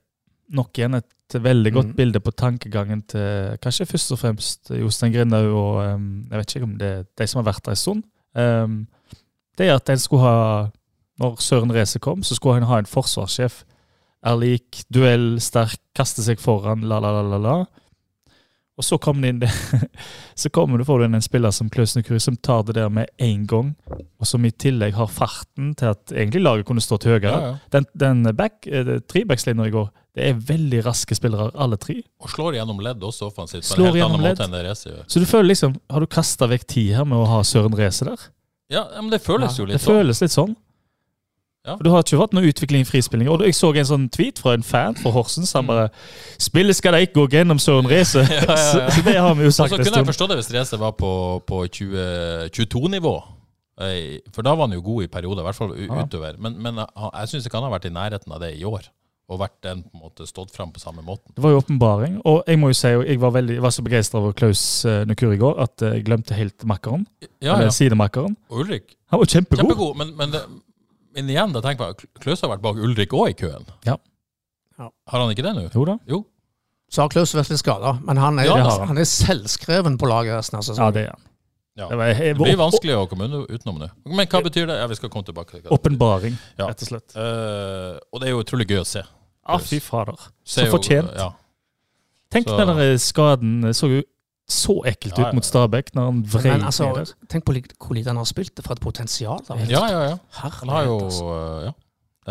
[SPEAKER 3] nok igjen et veldig godt
[SPEAKER 2] Mm.
[SPEAKER 3] bilde på tankegangen til kanskje først og fremst Jostein Grindhaug og um, jeg vet ikke om det er de som har vært der en stund. Um, det er at en skulle ha Når Søren Reise kom, så skulle han ha en forsvarssjef. Er lik, duell, sterk, kaste seg foran, la, la, la, la, la. Og så kommer det inn Så kommer du, får du inn en spiller som Klaus Nukuri, som tar det der med én gang, og som i tillegg har farten til at egentlig laget kunne stått høyere. Den, den back, eh, det- trebackslinja i går, det er veldig raske spillere, alle tre.
[SPEAKER 1] Og slår gjennom ledd også offensivt, på en
[SPEAKER 3] Slår
[SPEAKER 1] helt annen
[SPEAKER 3] gjennom ledd.
[SPEAKER 1] måte enn det Reise gjør.
[SPEAKER 3] Så du føler liksom Har du kasta vekk tid her med å ha Søren Reise der?
[SPEAKER 1] Ja, ja, men det føles jo
[SPEAKER 3] det
[SPEAKER 1] litt sånn.
[SPEAKER 3] føles litt sånn.
[SPEAKER 1] Ja.
[SPEAKER 3] For Du har ikke hatt noe utvikling i frispilling. Og jeg så en sånn tweet fra en fan fra Horsens. Han bare 'Spillet skal da ikke gå gjennom Søren Reise'. Så, så det har vi jo
[SPEAKER 1] Og
[SPEAKER 3] sagt
[SPEAKER 1] så
[SPEAKER 3] en
[SPEAKER 1] kunne
[SPEAKER 3] stund.
[SPEAKER 1] jeg forstå det hvis Reise var på, på 22-nivå. For da var han jo god i perioder, i hvert fall u-
[SPEAKER 3] Ja.
[SPEAKER 1] utover. Men, men han- jeg syns ikke han har vært i nærheten av det i år. Og vært den på en måte stått fram på samme måten.
[SPEAKER 3] Det var jo åpenbaring. Og jeg må jo si, og jeg var, veldig, jeg var så begeistra over Klaus eh, Nukur i går at eh, jeg glemte helt makkeren.
[SPEAKER 1] Ja,
[SPEAKER 3] Eller
[SPEAKER 1] ja.
[SPEAKER 3] sidemakkeren.
[SPEAKER 1] Ulrik
[SPEAKER 3] Han var kjempegod.
[SPEAKER 1] Kjempegod, men, men, det, men igjen, da tenker jeg på Klaus har vært bak Ulrik òg i køen.
[SPEAKER 3] Ja.
[SPEAKER 2] Ja.
[SPEAKER 1] Har han ikke det nå?
[SPEAKER 3] Jo da.
[SPEAKER 1] Jo.
[SPEAKER 2] Så har Klaus vært litt skada, men han er,
[SPEAKER 3] Ja, det har han.
[SPEAKER 2] han er selvskreven på laget resten av
[SPEAKER 3] Ja,
[SPEAKER 2] sesongen.
[SPEAKER 3] det er han.
[SPEAKER 1] Ja.
[SPEAKER 3] Det var- jeg-
[SPEAKER 1] Det blir vanskelig å komme unna- utenom nå. Men hva betyr det? Ja, Vi skal komme tilbake. til hva det betyr.
[SPEAKER 3] Åpenbaring,
[SPEAKER 1] Ja.
[SPEAKER 3] rett og slett.
[SPEAKER 1] Eh, og det er jo utrolig gøy å se.
[SPEAKER 3] Ja, fy fader.
[SPEAKER 1] Se
[SPEAKER 3] Så
[SPEAKER 1] jo-
[SPEAKER 3] fortjent.
[SPEAKER 1] Ja.
[SPEAKER 3] Tenk
[SPEAKER 1] Så-
[SPEAKER 3] den der eh, skaden det så jo så ekkelt
[SPEAKER 1] Ja, ja.
[SPEAKER 3] ut mot Stabæk når han vrei
[SPEAKER 2] Men
[SPEAKER 3] altså,
[SPEAKER 2] altså, tenk på lik- hvor lite han har spilt det fra et potensial. Da.
[SPEAKER 1] ja, ja, ja.
[SPEAKER 2] Herlighet,
[SPEAKER 1] Han har jo
[SPEAKER 2] altså.
[SPEAKER 1] eh, Ja.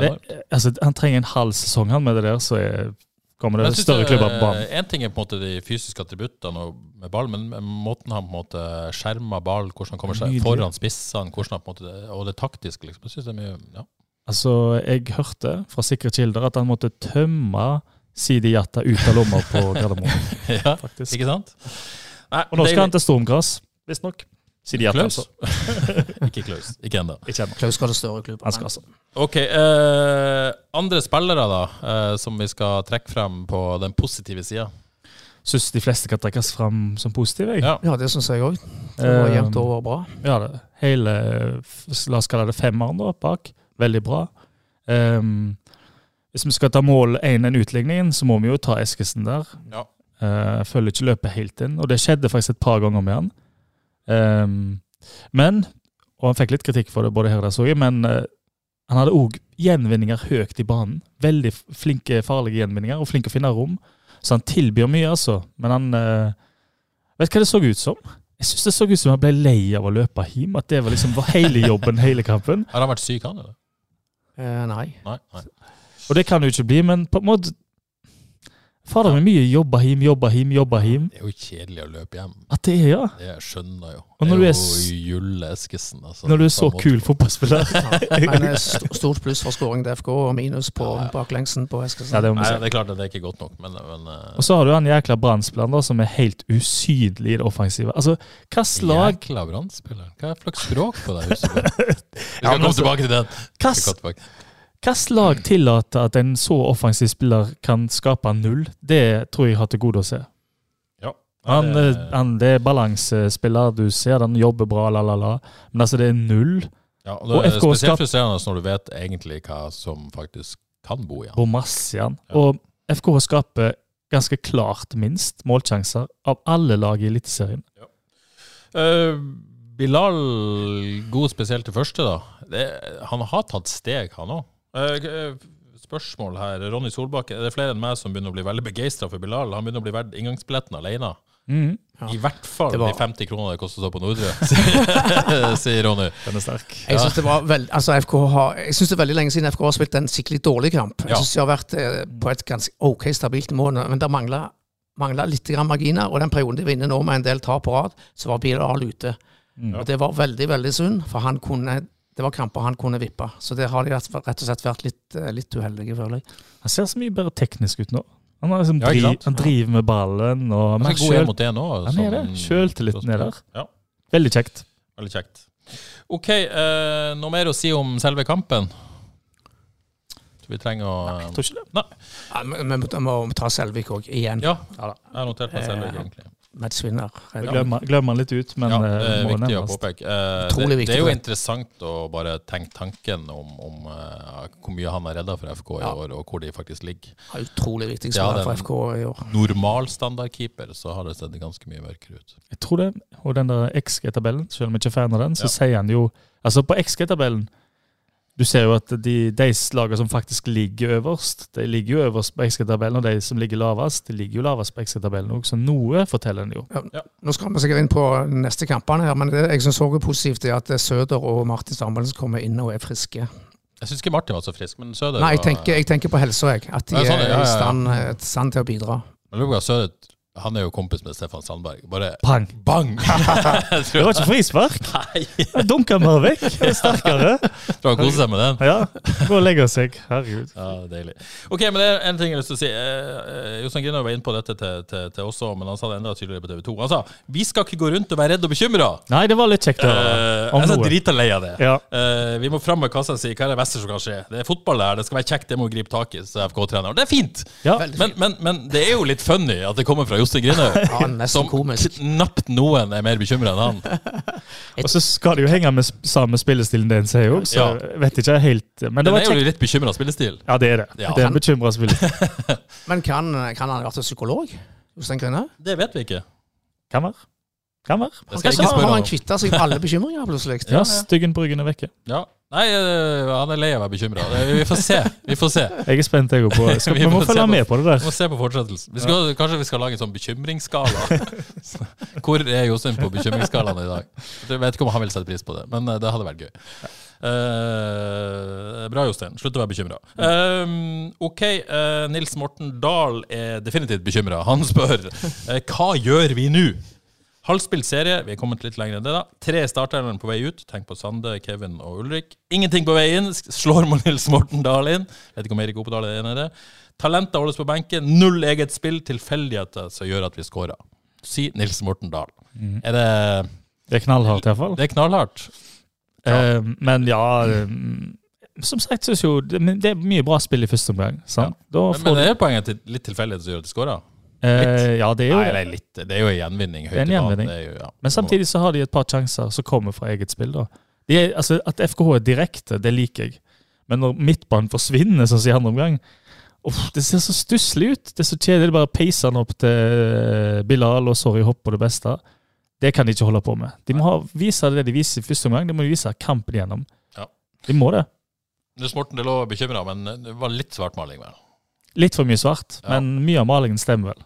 [SPEAKER 1] Det er
[SPEAKER 3] det, altså, Han trenger en halv sesong han med det der, så er, kommer
[SPEAKER 1] Men
[SPEAKER 3] det
[SPEAKER 1] jeg synes eh,
[SPEAKER 3] større
[SPEAKER 1] det-
[SPEAKER 3] klubber på banen.
[SPEAKER 1] En ting er på en måte de fysiske attributtene og med ball, men måten han på en måte skjermer ball, hvordan han kommer seg
[SPEAKER 3] Nydelig.
[SPEAKER 1] foran spissene, hvordan han på en måte, og det taktiske, liksom. Jeg synes det er mye ja.
[SPEAKER 3] Altså, Jeg hørte fra sikre kilder at han måtte tømme Sidi Jatta ut av lomma på Gardermoen.
[SPEAKER 1] ja.
[SPEAKER 3] faktisk.
[SPEAKER 1] Ikke sant? Nei,
[SPEAKER 3] Og nå
[SPEAKER 1] det-
[SPEAKER 3] skal han til Stormgras, visstnok. Sidi Jatta,
[SPEAKER 1] Klaus?
[SPEAKER 3] altså.
[SPEAKER 1] ikke Klaus. Ikke ennå.
[SPEAKER 3] Ikke ennå.
[SPEAKER 2] Klaus skal ha det større klubben.
[SPEAKER 3] Han skal altså.
[SPEAKER 1] Ok, eh, andre spillere da, eh, som vi skal trekke frem på den positive sida.
[SPEAKER 3] Syns de fleste kan trekkes fram som positive. jeg.
[SPEAKER 1] Ja.
[SPEAKER 2] Ja, det syns jeg òg. Det var
[SPEAKER 3] Eh,
[SPEAKER 2] jevnt over bra.
[SPEAKER 3] Ja, det. hele f- La oss kalle det femmeren da, bak. Veldig bra. Ehm, hvis vi skal ta mål 1-1 utligningen, så må vi jo ta Eskesen der.
[SPEAKER 1] Ja.
[SPEAKER 3] Eh, følger ikke løpet helt inn, og det skjedde faktisk et par ganger med han. Ehm, men, og han fikk litt kritikk for det både her og der, så jeg, men eh, Han hadde òg gjenvinninger høyt i banen. Veldig f- flinke, farlige gjenvinninger, og flink å finne rom. Så han tilbyr mye, altså. Men han eh, Vet du hva det så ut som? Jeg syns det så ut som han ble lei av å løpe hjem. At det var liksom var hele jobben, hele kampen.
[SPEAKER 1] Har han vært syk, han? eller?
[SPEAKER 2] Eh, nei.
[SPEAKER 1] Nei. nei.
[SPEAKER 3] Og det kan det jo ikke bli, men på en måte Fader, det er mye jobba hjem, jobba hjem, jobba hjem.
[SPEAKER 1] Det er jo kjedelig å løpe hjem.
[SPEAKER 3] At det er, ja.
[SPEAKER 1] Det skjønner jeg jo.
[SPEAKER 3] Og når
[SPEAKER 1] det
[SPEAKER 3] du er
[SPEAKER 1] er
[SPEAKER 3] s-
[SPEAKER 1] jo Julle Eskesen. Altså,
[SPEAKER 3] Når du er
[SPEAKER 1] På
[SPEAKER 3] så
[SPEAKER 1] en måte.
[SPEAKER 3] kul fotballspiller.
[SPEAKER 2] Men eh, st stort pluss for skåring til FK, og minus på baklengsen på Eskesen.
[SPEAKER 3] Ja, det må vi
[SPEAKER 1] Nei,
[SPEAKER 3] si.
[SPEAKER 1] det er klart at det er ikke godt nok, men, men eh,
[SPEAKER 3] Og så har du han jækla Brann-spilleren da, som er helt usynlig i det offensive. Altså, hvilket lag,
[SPEAKER 1] Jækla brannspiller. Hva er flaks språk på deg, husker du? Vi skal
[SPEAKER 3] Ja, men
[SPEAKER 1] komme
[SPEAKER 3] altså-
[SPEAKER 1] tilbake til den. Vi
[SPEAKER 3] hva
[SPEAKER 1] skal
[SPEAKER 3] s-
[SPEAKER 1] komme tilbake.
[SPEAKER 3] hva s- lag tillater at en så offensiv spiller kan skape null? Det tror jeg har til gode å se.
[SPEAKER 1] Ja.
[SPEAKER 3] Han,
[SPEAKER 1] Nei,
[SPEAKER 3] eh, han, det er balansespiller, du ser den jobber bra, la, la, la. Men altså, det er null.
[SPEAKER 1] ja, og
[SPEAKER 3] og
[SPEAKER 1] det er
[SPEAKER 3] FK
[SPEAKER 1] spesielt
[SPEAKER 3] skap-
[SPEAKER 1] frustrerende når du vet egentlig hva som faktisk kan bo i han.
[SPEAKER 3] Hvor masse i han.
[SPEAKER 1] Ja.
[SPEAKER 3] Og FK skaper ganske klart minst målsjanser av alle lag i Eliteserien.
[SPEAKER 1] Eh, Bilal, god spesielt til første, da. Det, han har tatt steg, han òg. Eh, spørsmål her. Ronny Solbakken, er det flere enn meg som begynner å bli veldig begeistra for Bilal? Han begynner å bli verdt inngangsbilletten alene.
[SPEAKER 3] Mm.
[SPEAKER 1] I hvert fall
[SPEAKER 2] Det var-
[SPEAKER 1] de 50 kronene Mhm. det koster å stå på Nordre, sier Ronny.
[SPEAKER 3] Den er sterk.
[SPEAKER 2] Jeg synes det var veld, altså FK har, jeg synes det er veldig lenge siden FK har spilt en skikkelig dårlig kamp. Jeg
[SPEAKER 1] Ja.
[SPEAKER 2] synes de har vært eh, på et ganske ok stabilt mål, men det manglet manglet litt grann marginer. Og den perioden de var inne nå med en del tap på rad, så var Bilal ute.
[SPEAKER 3] Mm.
[SPEAKER 2] Og det var veldig, veldig synd, for han kunne, det var kamper han kunne vippe. Så det har de rett rett og slett vært litt, eh, litt uheldige, føler jeg.
[SPEAKER 3] Han ser så mye bedre teknisk ut nå. Han, har liksom
[SPEAKER 1] Ja, ikke
[SPEAKER 3] dri,
[SPEAKER 1] sant?
[SPEAKER 3] han driver med ballen og
[SPEAKER 1] Han
[SPEAKER 3] men
[SPEAKER 1] er god
[SPEAKER 3] selv-
[SPEAKER 1] inn mot det nå.
[SPEAKER 3] Han er det. Sjøltilliten er der.
[SPEAKER 1] Ja,
[SPEAKER 3] Veldig kjekt.
[SPEAKER 1] veldig kjekt. OK, eh, noe mer å si om selve kampen? Tror vi trenger å
[SPEAKER 3] Jeg tror ikke det.
[SPEAKER 2] Ja, men men vi må ta Selvik òg, igjen.
[SPEAKER 1] Ja,
[SPEAKER 2] Ja da. eh,
[SPEAKER 1] jeg har notert meg selv, egentlig.
[SPEAKER 2] Mats vinner.
[SPEAKER 3] Jeg Glemmer, glemmer han litt ut, Eh, men
[SPEAKER 1] Ja,
[SPEAKER 3] eh,
[SPEAKER 1] det er
[SPEAKER 3] må
[SPEAKER 1] viktig å
[SPEAKER 3] nevnes.
[SPEAKER 1] påpeke. Eh,
[SPEAKER 2] Utrolig
[SPEAKER 1] det,
[SPEAKER 2] viktig
[SPEAKER 1] det er jo
[SPEAKER 2] for dem.
[SPEAKER 1] interessant å bare tenke tanken om, om eh, hvor mye han har redda for FK i
[SPEAKER 2] Ja.
[SPEAKER 1] år, og hvor de faktisk ligger.
[SPEAKER 2] Ja, Utrolig viktig
[SPEAKER 1] Ja, den-
[SPEAKER 2] spiller for FK i år.
[SPEAKER 1] Normalstandardkeeper, så har det sett ganske mye mørkere ut.
[SPEAKER 3] Jeg tror det. Og den der XG-tabellen, selv om jeg ikke er fan av den, så
[SPEAKER 1] Ja.
[SPEAKER 3] sier han jo Altså, på XG-tabellen Du ser jo at de, de lagene som faktisk ligger øverst, de ligger jo øverst på XG-tabellen, og de som ligger lavest, de ligger jo lavest på XG-tabellen òg, så noe forteller en jo.
[SPEAKER 2] Nå skal vi sikkert inn på neste kampene her, men det jeg syns også er positivt er at eh, Søder og Martin Samuelsen kommer inn og er friske.
[SPEAKER 1] Jeg syns ikke Martin var så frisk, men Søder
[SPEAKER 2] Nei, jeg
[SPEAKER 1] var-
[SPEAKER 2] tenker, jeg tenker på helsa, jeg. At de
[SPEAKER 1] Ja, sånn, ja, ja, ja.
[SPEAKER 2] er i stand, i stand til å bidra.
[SPEAKER 1] Jeg lurer på hva Søder Han er jo kompis med Stefan Sandberg. Bare
[SPEAKER 3] Pang!
[SPEAKER 1] bang! Jeg
[SPEAKER 3] Det
[SPEAKER 1] tror
[SPEAKER 3] var ikke frispark!
[SPEAKER 1] Nei.
[SPEAKER 3] Jeg dunka den bare vekk. Det er Sterkere.
[SPEAKER 1] Tror han koser seg med den.
[SPEAKER 3] Ja, gå og legge seg. Herregud.
[SPEAKER 1] Ja, deilig. Ok, men det er en ting jeg har lyst til å si. Eh, eh, Jostein Grinhaug var inne på dette til, til, til oss også, men han sa det enda tydeligere på TV 2. Han sa vi skal ikke gå rundt og være redd og bekymra.
[SPEAKER 3] Nei, det var litt kjekt å høre.
[SPEAKER 1] Eh,
[SPEAKER 3] Om
[SPEAKER 1] jeg er
[SPEAKER 3] noe.
[SPEAKER 1] drita lei av det.
[SPEAKER 3] Ja.
[SPEAKER 1] Eh, vi må fram med kassa og si hva er det beste som kan skje. Det er fotball det her, det skal være kjekt, det må vi gripe tak i, sa FK-treneren. Det er fint!
[SPEAKER 3] Ja.
[SPEAKER 1] Men, men, men det er jo litt funny at det kommer fra Jostein Grinhaug,
[SPEAKER 2] Ja, nesten
[SPEAKER 1] som
[SPEAKER 2] komisk.
[SPEAKER 1] knapt noen er mer bekymra enn han.
[SPEAKER 3] Og så skal det jo henge med s- samme spillestilen det en sier òg, så
[SPEAKER 1] Ja.
[SPEAKER 3] jeg vet ikke helt Men det
[SPEAKER 1] Den
[SPEAKER 3] var
[SPEAKER 1] er jo
[SPEAKER 3] kjekt.
[SPEAKER 1] litt bekymra spillestil.
[SPEAKER 3] Ja, det er det.
[SPEAKER 1] Ja.
[SPEAKER 3] Det er en bekymra spillestil.
[SPEAKER 2] Men kan, kan han ha vært en psykolog? Jostein Grine?
[SPEAKER 1] Det vet vi ikke.
[SPEAKER 3] Kan være. Kan være.
[SPEAKER 1] Det skal jeg ikke
[SPEAKER 2] Har
[SPEAKER 1] spørre
[SPEAKER 2] har han
[SPEAKER 1] han om.
[SPEAKER 2] kvittet seg med alle bekymringer, plutselig?
[SPEAKER 3] Ja, Styggen Bryggen er vekke.
[SPEAKER 1] Ja. Nei, eh, han er lei av å være bekymra. Vi får se. Vi får se.
[SPEAKER 3] Jeg er spent, jeg òg. på- skal-
[SPEAKER 1] Vi
[SPEAKER 3] Vi må
[SPEAKER 1] får se
[SPEAKER 3] følge
[SPEAKER 1] på-
[SPEAKER 3] med på det
[SPEAKER 1] Vi
[SPEAKER 3] der.
[SPEAKER 1] må se på fortsettelsen. Vi skal, Kanskje vi skal lage en sånn bekymringsskala. Hvor er Jostein på bekymringsskalaen i dag? Jeg vet ikke om han vil sette pris på det, men eh, det hadde vært gøy. Eh, bra, Jostein. Slutt å være bekymra. ok, eh, Nils Morten Dahl er definitivt bekymra. Han spør eh, hva gjør vi nå? Halvspilt serie, vi er kommet litt lenger enn det, da. Tre startelveren på vei ut. Tenk på Sande, Kevin og Ulrik. Ingenting på vei inn. S- Slår mot Nils Morten Dahl inn. Vet ikke om Erik Opedal er enig i det. Talenter holdes på benken. Null eget spill. Tilfeldigheter som gjør at vi scorer. Si Nils Morten Dahl.
[SPEAKER 3] Mm.
[SPEAKER 1] Er det
[SPEAKER 3] Det er knallhardt, iallfall.
[SPEAKER 1] Det er knallhardt.
[SPEAKER 3] Eh, men ja eh, Som sagt syns jo det, men det er mye bra spill i første omgang. Sant? Da
[SPEAKER 1] Men, men
[SPEAKER 3] får
[SPEAKER 1] det
[SPEAKER 3] du
[SPEAKER 1] er poenget til litt tilfeldigheter som gjør at de scorer.
[SPEAKER 3] eh, Ja, det er jo
[SPEAKER 1] Nei,
[SPEAKER 3] det.
[SPEAKER 1] eller litt. Det er jo en gjenvinning høyt
[SPEAKER 3] Det er en
[SPEAKER 1] i banen.
[SPEAKER 3] gjenvinning.
[SPEAKER 1] Det er jo- ja.
[SPEAKER 3] Men samtidig så har de et par sjanser som kommer fra eget spill. da. De er, altså, at FKH er direkte, det liker jeg. Men når midtbanen forsvinner, sånn som i andre omgang uff, Det ser så stusslig ut. Det er så kjedelig. Bare peiser han opp til eh, Bilal og sorry, hopp på det beste. Det kan de ikke holde på med. De må ha, vise det de viser i første omgang. De må vise kampen igjennom.
[SPEAKER 1] Ja.
[SPEAKER 3] De må det.
[SPEAKER 1] Nils Morten, det lå bekymra, men det var litt svartmaling. Vel?
[SPEAKER 3] Litt for mye svart,
[SPEAKER 1] Ja.
[SPEAKER 3] men mye av malingen stemmer vel.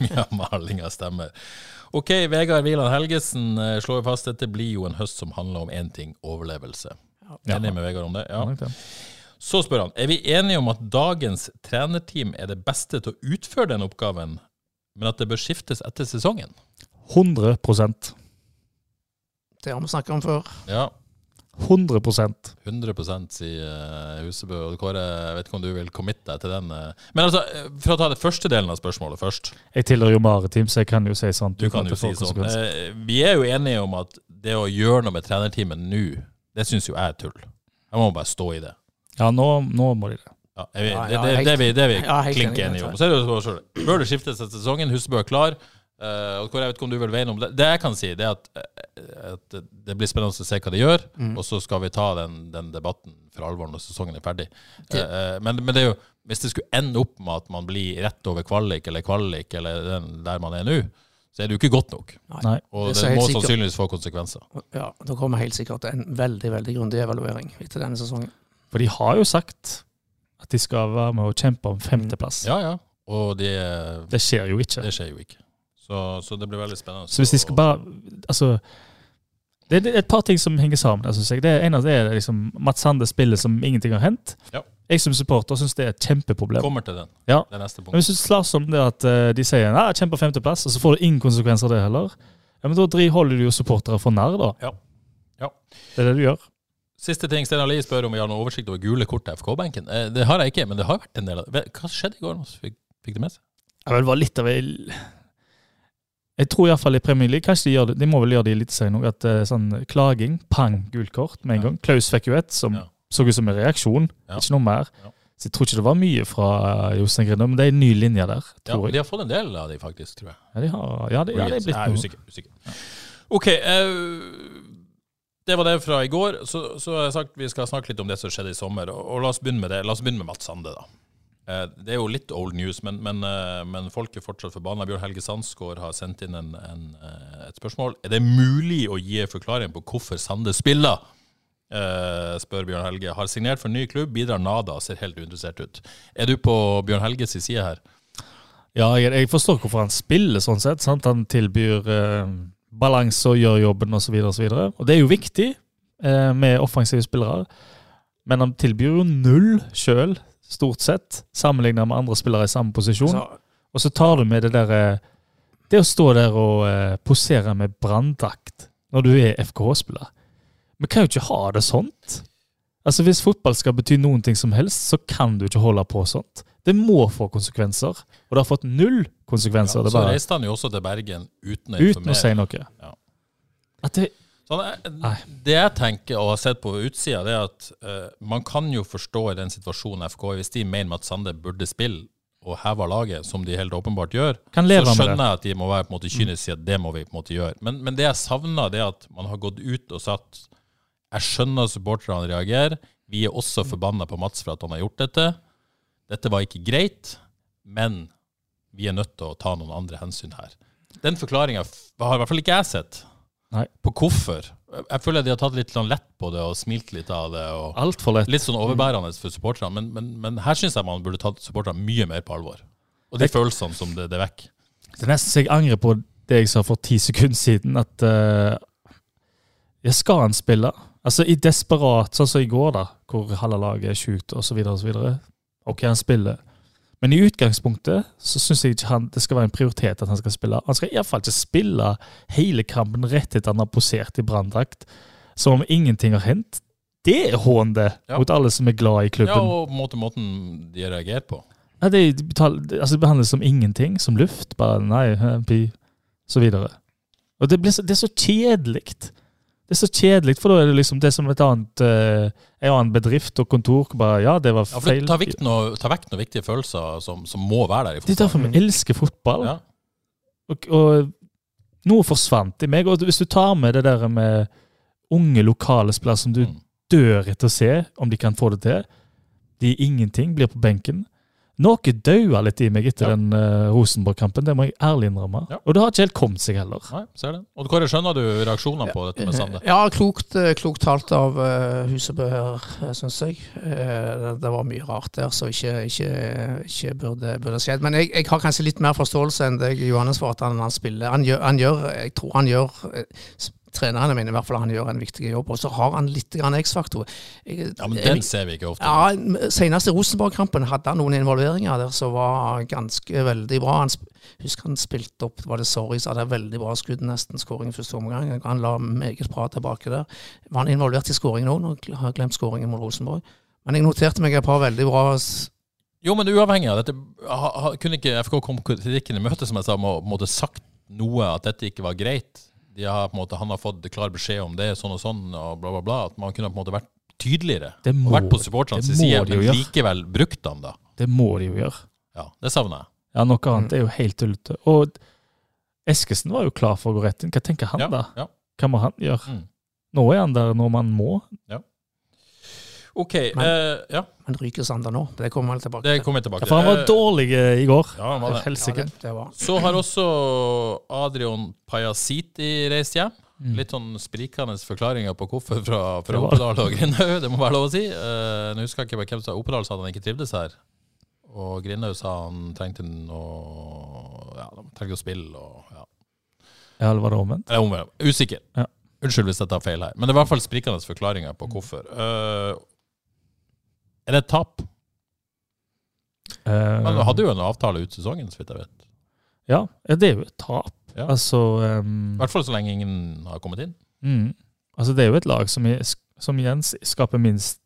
[SPEAKER 1] Mye av malinga stemmer. OK, Vegard Wieland Helgesen eh, slår fast at dette blir jo en høst som handler om én ting overlevelse.
[SPEAKER 3] Ja.
[SPEAKER 1] Enig med Vegard om det? Ja.
[SPEAKER 3] Ja, nok det.
[SPEAKER 1] Så spør han er vi enige om at dagens trenerteam er det beste til å utføre den oppgaven, men at det bør skiftes etter sesongen.
[SPEAKER 3] 100
[SPEAKER 2] Det har vi snakket om før.
[SPEAKER 1] Ja,
[SPEAKER 3] 100
[SPEAKER 1] 100 sier eh, Husebø. Og Kåre, jeg vet ikke om du vil committe deg til den. eh. Men altså, eh, for å ta det første delen av spørsmålet først.
[SPEAKER 3] Jeg tilhører jo maritim, så jeg kan jo si sånt.
[SPEAKER 1] Du
[SPEAKER 3] uten
[SPEAKER 1] kan
[SPEAKER 3] at
[SPEAKER 1] jo
[SPEAKER 3] det
[SPEAKER 1] si
[SPEAKER 3] får
[SPEAKER 1] sånn.
[SPEAKER 3] konsekvenser.
[SPEAKER 1] eh, Vi er jo enige om at det å gjøre noe med trenerteamet nå, det syns jo jeg er tull. Jeg må bare stå i det.
[SPEAKER 3] Ja, nå, nå må de det.
[SPEAKER 1] Ja, er vi,
[SPEAKER 2] Ja,
[SPEAKER 1] det,
[SPEAKER 2] ja,
[SPEAKER 1] det,
[SPEAKER 2] helt-
[SPEAKER 1] det er vi, det er vi
[SPEAKER 2] ja, helt
[SPEAKER 1] klink
[SPEAKER 2] enig,
[SPEAKER 1] enige
[SPEAKER 2] helt
[SPEAKER 1] om. Så er det jo spørsmål. Bør det skiftes etter sesongen? Husebø er klar. Eh, og hvor jeg vet ikke om du vil veie noe om det. Det jeg kan si, det er at, eh, at det blir spennende å se hva de gjør,
[SPEAKER 2] Mm.
[SPEAKER 1] og så skal vi ta den, den debatten for alvor når sesongen er ferdig. Eh, men, men det er jo, hvis det skulle ende opp med at man blir rett over kvalik eller kvalik eller den der man er nå, så er det jo ikke godt nok.
[SPEAKER 3] Nei.
[SPEAKER 1] Og det,
[SPEAKER 2] Det er så helt
[SPEAKER 1] må
[SPEAKER 2] sikkert.
[SPEAKER 1] sannsynligvis få konsekvenser.
[SPEAKER 2] Ja, Da kommer helt sikkert en veldig veldig grundig evaluering etter denne sesongen.
[SPEAKER 3] For de har jo sagt at de skal være med og kjempe om
[SPEAKER 2] Altså.
[SPEAKER 3] femteplass.
[SPEAKER 1] Ja, ja. Og det,
[SPEAKER 3] Det skjer jo ikke.
[SPEAKER 1] det skjer jo ikke. Så, så det blir veldig spennende.
[SPEAKER 3] Så hvis de skal bare Altså det er et par ting som henger sammen. Altså, synes jeg. Det ene er liksom Mats Sander spiller som ingenting har hendt.
[SPEAKER 1] Ja.
[SPEAKER 3] Jeg som supporter syns det er et kjempeproblem.
[SPEAKER 1] Kommer til den.
[SPEAKER 3] Ja.
[SPEAKER 1] Det er neste punkt.
[SPEAKER 3] Men hvis du slåss om det at eh, de sier nei, kjemp på femteplass, og så får du ingen konsekvenser av det heller, ja, men da dri- holder du jo supportere for narr, da.
[SPEAKER 1] Ja. Ja.
[SPEAKER 3] Det er det du gjør.
[SPEAKER 1] Siste ting, Steinar Lie spør om vi har noen oversikt over gule kort til FK-benken. Eh, Det har jeg ikke, men det har vært en del av det. Hva skjedde i går? Mons? Fikk, fikk det med seg?
[SPEAKER 3] Ja, men det var litt av ei Jeg tror iallfall i Premier League Kanskje de gjør det, de må vel gjøre det i Eliteserien òg, at eh, sånn klaging, pang, gult kort med en
[SPEAKER 1] Ja.
[SPEAKER 3] gang. Klaus fikk jo et som
[SPEAKER 1] Ja.
[SPEAKER 3] så ut som en reaksjon,
[SPEAKER 1] Ja.
[SPEAKER 3] ikke noe mer.
[SPEAKER 1] Ja.
[SPEAKER 3] Så jeg tror ikke det var mye fra eh, Jostein Grinde, men det er en ny linje der,
[SPEAKER 1] Ja,
[SPEAKER 3] tror
[SPEAKER 1] de
[SPEAKER 3] jeg.
[SPEAKER 1] har fått en del av de, faktisk, tror jeg.
[SPEAKER 3] Ja, de har, ja, det, ja, det er blitt
[SPEAKER 1] Jeg er
[SPEAKER 3] noe.
[SPEAKER 1] usikker. usikker. OK. eh, det var det fra i går. Så, så har jeg sagt vi skal snakke litt om det som skjedde i sommer. Og, og la oss begynne med det. La oss begynne med Mats Sande, da. Eh, Det er jo litt old news, men, men, eh, men folk er fortsatt forbanna. Bjørn Helge Sandsgaard har sendt inn en, en, eh, et spørsmål. Er det mulig å gi en forklaring på hvorfor Sande spiller? Eh, spør Bjørn Helge. Har signert for ny klubb, bidrar nada, ser helt uinteressert ut. Er du på Bjørn Helges side her?
[SPEAKER 3] Ja, jeg, jeg forstår hvorfor han spiller sånn sett. Sant? Han tilbyr eh, balanse og gjør jobben osv. Og, så videre, og, så videre. og det er jo viktig eh, med offensive spillere, men han tilbyr jo null sjøl, stort sett, sammenligna med andre spillere i samme posisjon.
[SPEAKER 2] Så,
[SPEAKER 3] og så tar du med det derre Det å stå der og eh, posere med branndrakt når du er FKH-spiller. Vi kan jo ikke ha det sånt. Altså Hvis fotball skal bety noen ting som helst, så kan du ikke holde på sånt. Det må få konsekvenser. Og det har fått null konsekvenser. det
[SPEAKER 1] så
[SPEAKER 3] er bare
[SPEAKER 1] reiste han jo også til Bergen uten å
[SPEAKER 3] Uten å
[SPEAKER 1] informere.
[SPEAKER 3] si noe.
[SPEAKER 1] Ja.
[SPEAKER 3] At det,
[SPEAKER 1] Sånn, jeg,
[SPEAKER 3] Nei.
[SPEAKER 1] det jeg tenker og har sett på utsida, det er at eh, man kan jo forstå i den situasjonen FK er, hvis de mener Mats Sande burde spille og heve laget, som de helt åpenbart gjør,
[SPEAKER 3] Kan leve
[SPEAKER 1] så
[SPEAKER 3] med
[SPEAKER 1] skjønner
[SPEAKER 3] det. Mm.
[SPEAKER 1] jeg at de må være på en måte kyniske og si at det må vi på en måte gjøre. Men, men det jeg savner, det er at man har gått ut og sagt jeg skjønner at supporterne reagerer, vi er også
[SPEAKER 3] Mm.
[SPEAKER 1] forbanna på Mats for at han har gjort dette. Dette var ikke greit, men vi er nødt til å ta noen andre hensyn her. Den forklaringa har i hvert fall ikke jeg sett på hvorfor. Jeg jeg føler de har tatt litt sånn lett på det og smilt litt av det. og
[SPEAKER 3] Altfor lett.
[SPEAKER 1] Litt sånn overbærende for supporterne, men, men, men her syns jeg man burde tatt supporterne mye mer på alvor. Og de følelsene som det, det vekker.
[SPEAKER 3] Det er nesten så jeg angrer på det jeg sa for ti sekunder siden, at eh, jeg skal han spille? Altså i desperat, sånn som i går da, hvor halve laget er sjukt og så videre og så videre. Ok, han spiller. Men i utgangspunktet så syns jeg ikke han, det skal være en prioritet at han skal spille. Han skal iallfall ikke spille hele kampen rett etter han har posert i branndrakt, som om ingenting har hendt. Det er hån, det,
[SPEAKER 1] Ja.
[SPEAKER 3] mot alle som er glad i klubben.
[SPEAKER 1] Ja, og måten, måten de reagerer på.
[SPEAKER 3] Nei, det, de betal- det- altså det behandles som ingenting, som luft. Bare nei, eh, pi, så videre. Og det, blir så, det er så kjedelig. Det er så kjedelig, for da er det liksom det er som et annet eh, en annen bedrift og kontor. hvor Bare, ja, det var
[SPEAKER 1] Ja, for
[SPEAKER 3] feil.
[SPEAKER 1] det tar, vekt noe, tar vekk noen viktige følelser som, som må være der
[SPEAKER 3] det
[SPEAKER 1] i
[SPEAKER 3] er
[SPEAKER 1] fotballen.
[SPEAKER 3] derfor vi elsker fotball.
[SPEAKER 1] Mm. Ja.
[SPEAKER 3] Og, og noe forsvant i meg. Og hvis du tar med det der med unge lokale spillere som du
[SPEAKER 1] Mm.
[SPEAKER 3] dør etter å se om de kan få det til De er ingenting, blir på benken. Noe daua litt i meg etter
[SPEAKER 1] Ja.
[SPEAKER 3] den eh, Rosenborg-kampen, det må jeg ærlig innrømme.
[SPEAKER 1] Ja.
[SPEAKER 3] Og det har ikke helt kommet seg heller.
[SPEAKER 1] Nei, ser det. Og Kåre, skjønner du reaksjonene på dette med Sande?
[SPEAKER 2] Ja, klokt, eh, klokt talt av eh, Husebø her, syns jeg. Eh, Det det var mye rart der som ikke, ikke, ikke burde, burde skjedd. Men jeg, jeg har kanskje litt mer forståelse enn deg, Johannes, for at han, han spiller. Han gjør, han gjør, jeg tror han gjør eh, s- Trenerne mine i hvert fall, han gjør en viktig jobb. Og så har han litt grann X-faktor. Jeg-
[SPEAKER 1] Ja, men
[SPEAKER 2] jeg-
[SPEAKER 1] Den ser vi ikke ofte.
[SPEAKER 2] ja, Senest i Rosenborg-kampen hadde han noen involveringer der som var ganske veldig bra. Han sp husker han spilte opp var det Sorry, så hadde han veldig bra skudd, nesten skåring i første omgang. Han la meget bra tilbake der. Var han involvert i skåringen òg? Nå har jeg glemt skåringen mot Rosenborg. Men jeg noterte meg et par veldig bra s-
[SPEAKER 1] Jo, men uavhengig av dette, ha, ha, kunne ikke FK komme kritikken i møte, som jeg sa, må, måtte sagt noe at dette ikke var greit? De har, på en måte, han har fått klar beskjed om det, sånn og sånn, og bla, bla, bla. At man kunne på en måte vært tydeligere.
[SPEAKER 3] Det
[SPEAKER 1] Og
[SPEAKER 3] må,
[SPEAKER 1] vært på supporternes
[SPEAKER 3] det må
[SPEAKER 1] side,
[SPEAKER 3] de jo
[SPEAKER 1] men
[SPEAKER 3] gjøre.
[SPEAKER 1] likevel brukt han, da.
[SPEAKER 3] det må de jo gjøre.
[SPEAKER 1] Ja, Det savner jeg.
[SPEAKER 3] Ja, Noe annet er jo helt tullete. Og Eskesen var jo klar for å gå rett inn. Hva tenker han
[SPEAKER 1] Ja,
[SPEAKER 3] da?
[SPEAKER 1] ja.
[SPEAKER 3] Hva må han gjøre?
[SPEAKER 1] Mm.
[SPEAKER 3] Nå er han der når man må.
[SPEAKER 1] OK.
[SPEAKER 2] Men-
[SPEAKER 1] eh, ja,
[SPEAKER 2] Men ryker Sander nå? Det kommer vel tilbake
[SPEAKER 1] det kommer jeg tilbake
[SPEAKER 3] Ja, for han var dårlig eh, i går.
[SPEAKER 1] Ja, han var det.
[SPEAKER 2] Ja,
[SPEAKER 3] Helsike.
[SPEAKER 2] det, det var.
[SPEAKER 1] Så har også Adrian Pajasiti reist hjem.
[SPEAKER 3] Mm.
[SPEAKER 1] Litt sånn sprikende forklaringer på hvorfor fra, fra
[SPEAKER 3] Det var-
[SPEAKER 1] Oppedal og Grindhaug, det må være lov å si. Eh, nå husker jeg ikke hvem som sa Oppedal sa at han ikke trivdes her. Og Grindhaug sa han trengte noe Ja, de trengte å spille og ja.
[SPEAKER 3] Ja, eller var det omvendt?
[SPEAKER 1] Eller omvendt. Usikker.
[SPEAKER 3] Ja.
[SPEAKER 1] Unnskyld hvis jeg tar feil her. Men det er i hvert fall sprikende forklaringer på hvorfor. Eh, er det et tap?
[SPEAKER 3] Eh,
[SPEAKER 1] Han hadde jo en avtale ut sesongen, så vidt jeg vet.
[SPEAKER 3] Ja, ja, det er jo et tap.
[SPEAKER 1] Ja.
[SPEAKER 3] Altså, ehm,
[SPEAKER 1] I hvert fall så lenge ingen har kommet inn.
[SPEAKER 3] mm. altså Det er jo et lag som, i- som igjen skaper minst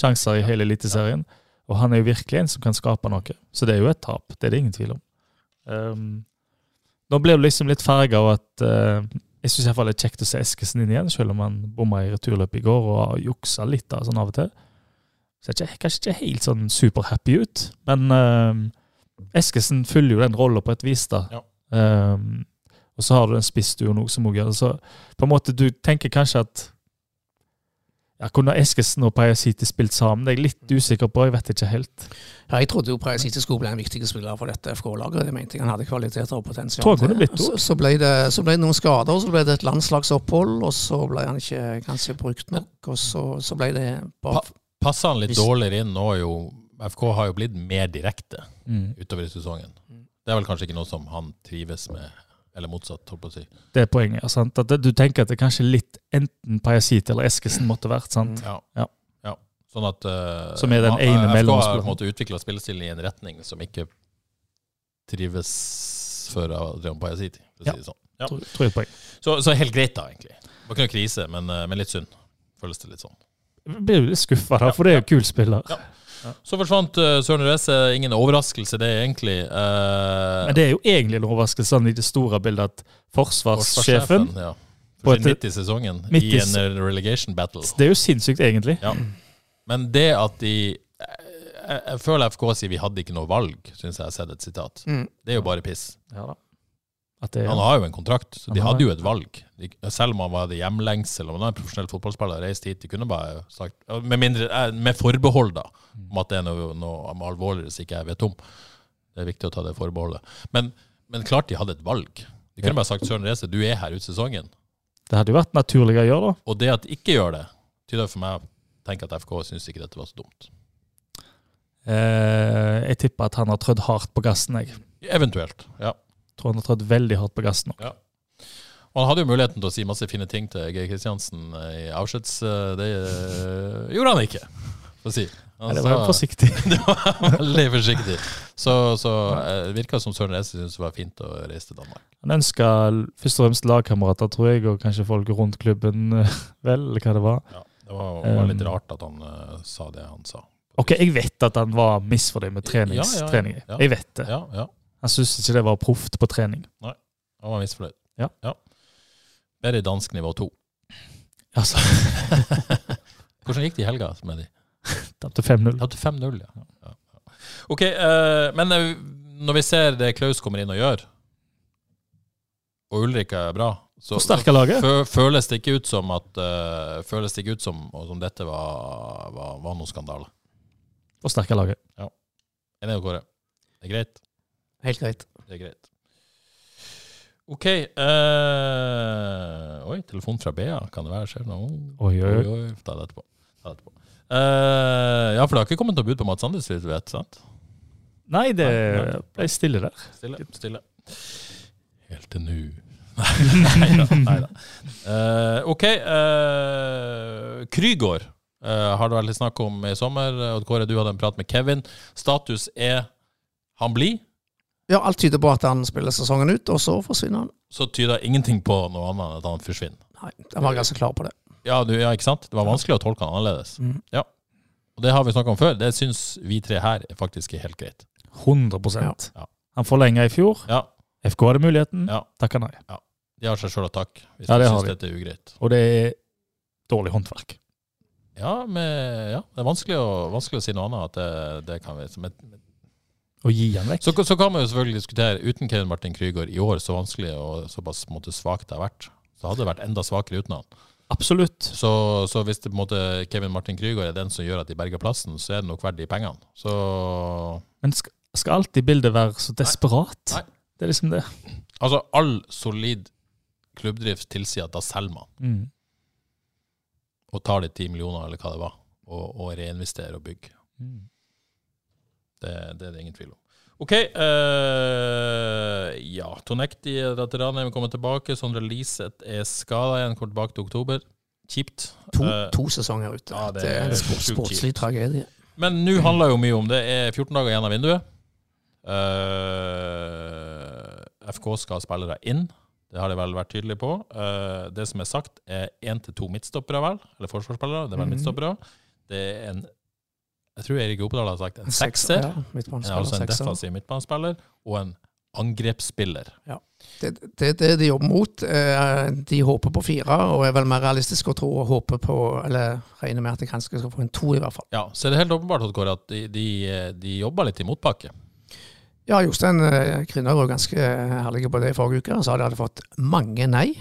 [SPEAKER 3] sjanser i hele Eliteserien. Og han er jo virkelig en som kan skape noe. Så det er jo et tap. Det er det ingen tvil om. Ehm, nå ble det liksom litt farga av at eh, Jeg syns iallfall det er kjekt å se Eskesen inn igjen, selv om han bomma i returløpet i går og har juksa litt av, sånn av og til. Ser ikke, kanskje ikke helt sånn superhappy ut, men ehm, Eskesen fyller jo den rolla på et vis, da.
[SPEAKER 1] Ja.
[SPEAKER 3] Ehm, og så har du den spissduen òg, som òg gjør det. Så på en måte, du tenker kanskje at ja, Kunne Eskesen og Pajasiti spilt sammen? Det er jeg litt usikker på. Jeg vet ikke helt.
[SPEAKER 2] Ja, jeg trodde jo Preis ikke skulle bli en viktig spiller for dette FK-laget. Jeg mente jeg han hadde kvaliteter og potensial.
[SPEAKER 3] Tror jeg kunne
[SPEAKER 2] til.
[SPEAKER 3] blitt det
[SPEAKER 2] så, så, ble det, så ble det noen skader, og så ble det et landslagsopphold, og så ble han ikke kanskje brukt nok, og så, så ble det bare
[SPEAKER 1] passer han litt
[SPEAKER 2] Hvis-
[SPEAKER 1] dårligere inn nå er jo FK har jo blitt mer direkte
[SPEAKER 3] Mm.
[SPEAKER 1] utover i sesongen. Det er vel kanskje ikke noe som han trives med, eller motsatt, holdt på å si.
[SPEAKER 3] Det er poenget. sant? At det, du tenker at det kanskje litt enten Pajasiti eller Eskesen måtte vært. sant?
[SPEAKER 1] Ja.
[SPEAKER 3] Ja.
[SPEAKER 1] Ja. Sånn at eh,
[SPEAKER 3] Som er den ene
[SPEAKER 1] FK har på
[SPEAKER 3] mellomspilleren.
[SPEAKER 1] en måte utvikla spillestilen i en retning som ikke trives for Adrian Pajasiti, for å
[SPEAKER 3] Ja.
[SPEAKER 1] si det sånn. Ja.
[SPEAKER 3] Tror, tror jeg er poeng.
[SPEAKER 1] Så, så helt greit, da, egentlig. Det var ikke noe krise, men, eh, men litt synd. Føles det litt sånn.
[SPEAKER 3] Jeg Blir jo litt skuffa, da, for det er jo kul spiller.
[SPEAKER 1] Ja. Så forsvant eh, Søren Reze. Ingen overraskelse, det, egentlig. Eh,
[SPEAKER 3] Men det er jo egentlig en overraskelse sånn i det store bildet at forsvarssjefen
[SPEAKER 1] Forsvarssjefen, ja.
[SPEAKER 3] På
[SPEAKER 1] Forsvinner
[SPEAKER 3] et-
[SPEAKER 1] midt i sesongen
[SPEAKER 3] midt
[SPEAKER 1] i
[SPEAKER 3] i s-
[SPEAKER 1] en relegation battle.
[SPEAKER 3] Det er jo sinnssykt, egentlig.
[SPEAKER 1] Ja. Men det at de jeg, jeg føler FK sier vi hadde ikke noe valg, syns jeg har sett et sitat.
[SPEAKER 2] Mm.
[SPEAKER 1] Det er jo bare piss.
[SPEAKER 3] Ja da. At det er,
[SPEAKER 1] Han har jo en kontrakt, så
[SPEAKER 3] Han
[SPEAKER 1] de
[SPEAKER 3] har
[SPEAKER 1] hadde
[SPEAKER 3] det.
[SPEAKER 1] jo et valg. De, selv om han var det hjemlengsel, om han er en profesjonell fotballspiller og reist hit, de kunne bare sagt Med, mindre, eh, med forbehold, da, om at det er noe, noe alvorligere som ikke jeg vet om. Det er viktig å ta det forbeholdet. Men, men klart de hadde et valg. De kunne bare sagt Søren Reze, du er her ut sesongen.
[SPEAKER 3] det hadde jo vært naturlig å gjøre, da.
[SPEAKER 1] Og det at de ikke gjør det, tyder for meg å tenke at FK syns ikke dette var så dumt.
[SPEAKER 3] Eh, jeg tipper at han har trødd hardt på gassen. Jeg
[SPEAKER 1] Eventuelt, ja.
[SPEAKER 3] tror han har trødd veldig hardt på gassen. nå.
[SPEAKER 1] Ja. Og han hadde jo muligheten til å si masse fine ting til Geir Kristiansen eh, i avskjeds... eh, Det eh, gjorde han ikke, for å si.
[SPEAKER 3] Nei,
[SPEAKER 1] Han
[SPEAKER 3] det var
[SPEAKER 1] sa-
[SPEAKER 3] jo forsiktig.
[SPEAKER 1] det var veldig forsiktig. Så, så eh, det virka som Søren Reise syntes det var fint å reise til Danmark.
[SPEAKER 3] Han ønska først og fremst lagkamerater, tror jeg, og kanskje folk rundt klubben, eh, vel, eller hva det var.
[SPEAKER 1] Ja, det var, var litt
[SPEAKER 3] Um,
[SPEAKER 1] rart at han eh, sa det han sa.
[SPEAKER 3] Ok, jeg vet at han var misfornøyd med trenings,
[SPEAKER 1] Ja, ja, ja.
[SPEAKER 3] treningen.
[SPEAKER 1] Ja.
[SPEAKER 3] Jeg vet det.
[SPEAKER 1] Ja, ja.
[SPEAKER 3] Han syntes ikke det var proft på trening.
[SPEAKER 1] Han var misfornøyd.
[SPEAKER 3] Ja.
[SPEAKER 1] Bedre i dansk nivå to.
[SPEAKER 3] Altså,
[SPEAKER 1] Hvordan gikk det i helga med de?
[SPEAKER 3] tapte 5-0.
[SPEAKER 1] Tapte 5-0, ja. ja. ja. Ok, eh, men eh, når vi ser det Klaus kommer inn og gjør, og Ulrik er bra, så, så
[SPEAKER 3] Forsterker laget.
[SPEAKER 1] fø- føles det ikke ut som at eh, føles det ikke ut som, og som dette var, var, var noen skandale.
[SPEAKER 3] Forsterker laget.
[SPEAKER 1] Enig med Kåre. Det er greit.
[SPEAKER 2] Helt greit.
[SPEAKER 1] Det er greit. OK eh, Oi, telefon fra Bea. Kan det være? Skjer det noe?
[SPEAKER 3] Oi, oi, oi.
[SPEAKER 1] Ta det etterpå. Ta det etterpå. Eh, ja, for det har ikke kommet noe bud på Mads Anders, hvis du vet, sant?
[SPEAKER 3] Nei, det
[SPEAKER 1] Nei, nei.
[SPEAKER 3] ble stille der.
[SPEAKER 1] Stille. stille. Helt til nå. nei da. Nei da. Eh, OK. eh, Krygård eh, har det vært litt snakk om i sommer. Odd Kåre, du hadde en prat med Kevin. Status er han blir.
[SPEAKER 2] Ja, alt tyder på at han spiller sesongen ut, og så forsvinner han.
[SPEAKER 1] Så tyder ingenting på noe annet enn at han forsvinner.
[SPEAKER 2] Nei, jeg var ganske klar på det.
[SPEAKER 1] Ja, du, ja, ikke sant? Det var vanskelig å tolke han annerledes.
[SPEAKER 2] Mhm.
[SPEAKER 1] Ja. Og det har vi snakka om før. Det syns vi tre her er faktisk helt greit.
[SPEAKER 3] 100
[SPEAKER 1] Ja.
[SPEAKER 3] Han forlenga i fjor.
[SPEAKER 1] Ja.
[SPEAKER 3] FK hadde muligheten.
[SPEAKER 1] Ja.
[SPEAKER 3] Takka nei.
[SPEAKER 1] De har seg sjøl å takke hvis
[SPEAKER 3] Ja,
[SPEAKER 1] de
[SPEAKER 3] det har
[SPEAKER 1] syns
[SPEAKER 3] de.
[SPEAKER 1] dette er ugreit.
[SPEAKER 3] Og det er dårlig håndverk.
[SPEAKER 1] Ja, men, ja det er vanskelig å, vanskelig å si noe annet. At det, det kan vi, men,
[SPEAKER 3] Å gi han vekk.
[SPEAKER 1] så, så kan man jo selvfølgelig diskutere uten Kevin Martin Krygård i år, så vanskelig og såpass på en måte, svakt det har vært. Så hadde det vært enda svakere uten han.
[SPEAKER 3] Absolutt.
[SPEAKER 1] Så, så hvis det, på en måte, Kevin Martin Krygård er den som gjør at de berger plassen, så er det nok verdt de pengene. Så
[SPEAKER 3] Men skal, skal alltid bildet være så desperat?
[SPEAKER 1] Nei.
[SPEAKER 3] Det er liksom det.
[SPEAKER 1] altså, all solid klubbdrift tilsier at da selger man.
[SPEAKER 3] Mm.
[SPEAKER 1] og tar de ti millioner, eller hva det var, og, og reinvesterer og bygger.
[SPEAKER 3] Mm.
[SPEAKER 1] Det, det er det ingen tvil om. OK. eh, ja, Tonekti Raterane er kommet tilbake. Sondre Liseth er skada igjen, kommer tilbake til oktober. Kjipt.
[SPEAKER 2] To,
[SPEAKER 1] Eh,
[SPEAKER 2] to sesonger ute.
[SPEAKER 1] ja, det
[SPEAKER 2] det, er
[SPEAKER 1] er
[SPEAKER 2] en sport,
[SPEAKER 1] sjukt
[SPEAKER 2] sportslig
[SPEAKER 1] kjipt.
[SPEAKER 2] tragedie.
[SPEAKER 1] Men nå handler jo mye om det. er 14 dager igjen av vinduet. Eh, FK skal ha spillere inn. Det har de vel vært tydelige på. Eh, det som er sagt, er én til to midtstoppere, vel. Eller forsvarsspillere. Det er vel
[SPEAKER 2] Mhm.
[SPEAKER 1] midtstoppere. Det er en Jeg tror Erik Opedal har sagt en
[SPEAKER 2] En seks-
[SPEAKER 1] sekser.
[SPEAKER 2] Ja, midtbanespiller,
[SPEAKER 1] Ja, altså en
[SPEAKER 2] sekser.
[SPEAKER 1] defensiv midtbanespiller og en angrepsspiller.
[SPEAKER 2] det, det, det de jobber mot. eh, De håper på fire, og er vel mer realistiske å tro og håper på, eller regner med at de kanskje skal få en to, i hvert fall.
[SPEAKER 1] Ja, Så er det helt åpenbart Odd Kåre, at de, de, de jobber litt i motbakke.
[SPEAKER 2] Ja, Jostein eh, Krinner var ganske eh, herlig på det i forrige uke. Han sa de hadde fått mange nei,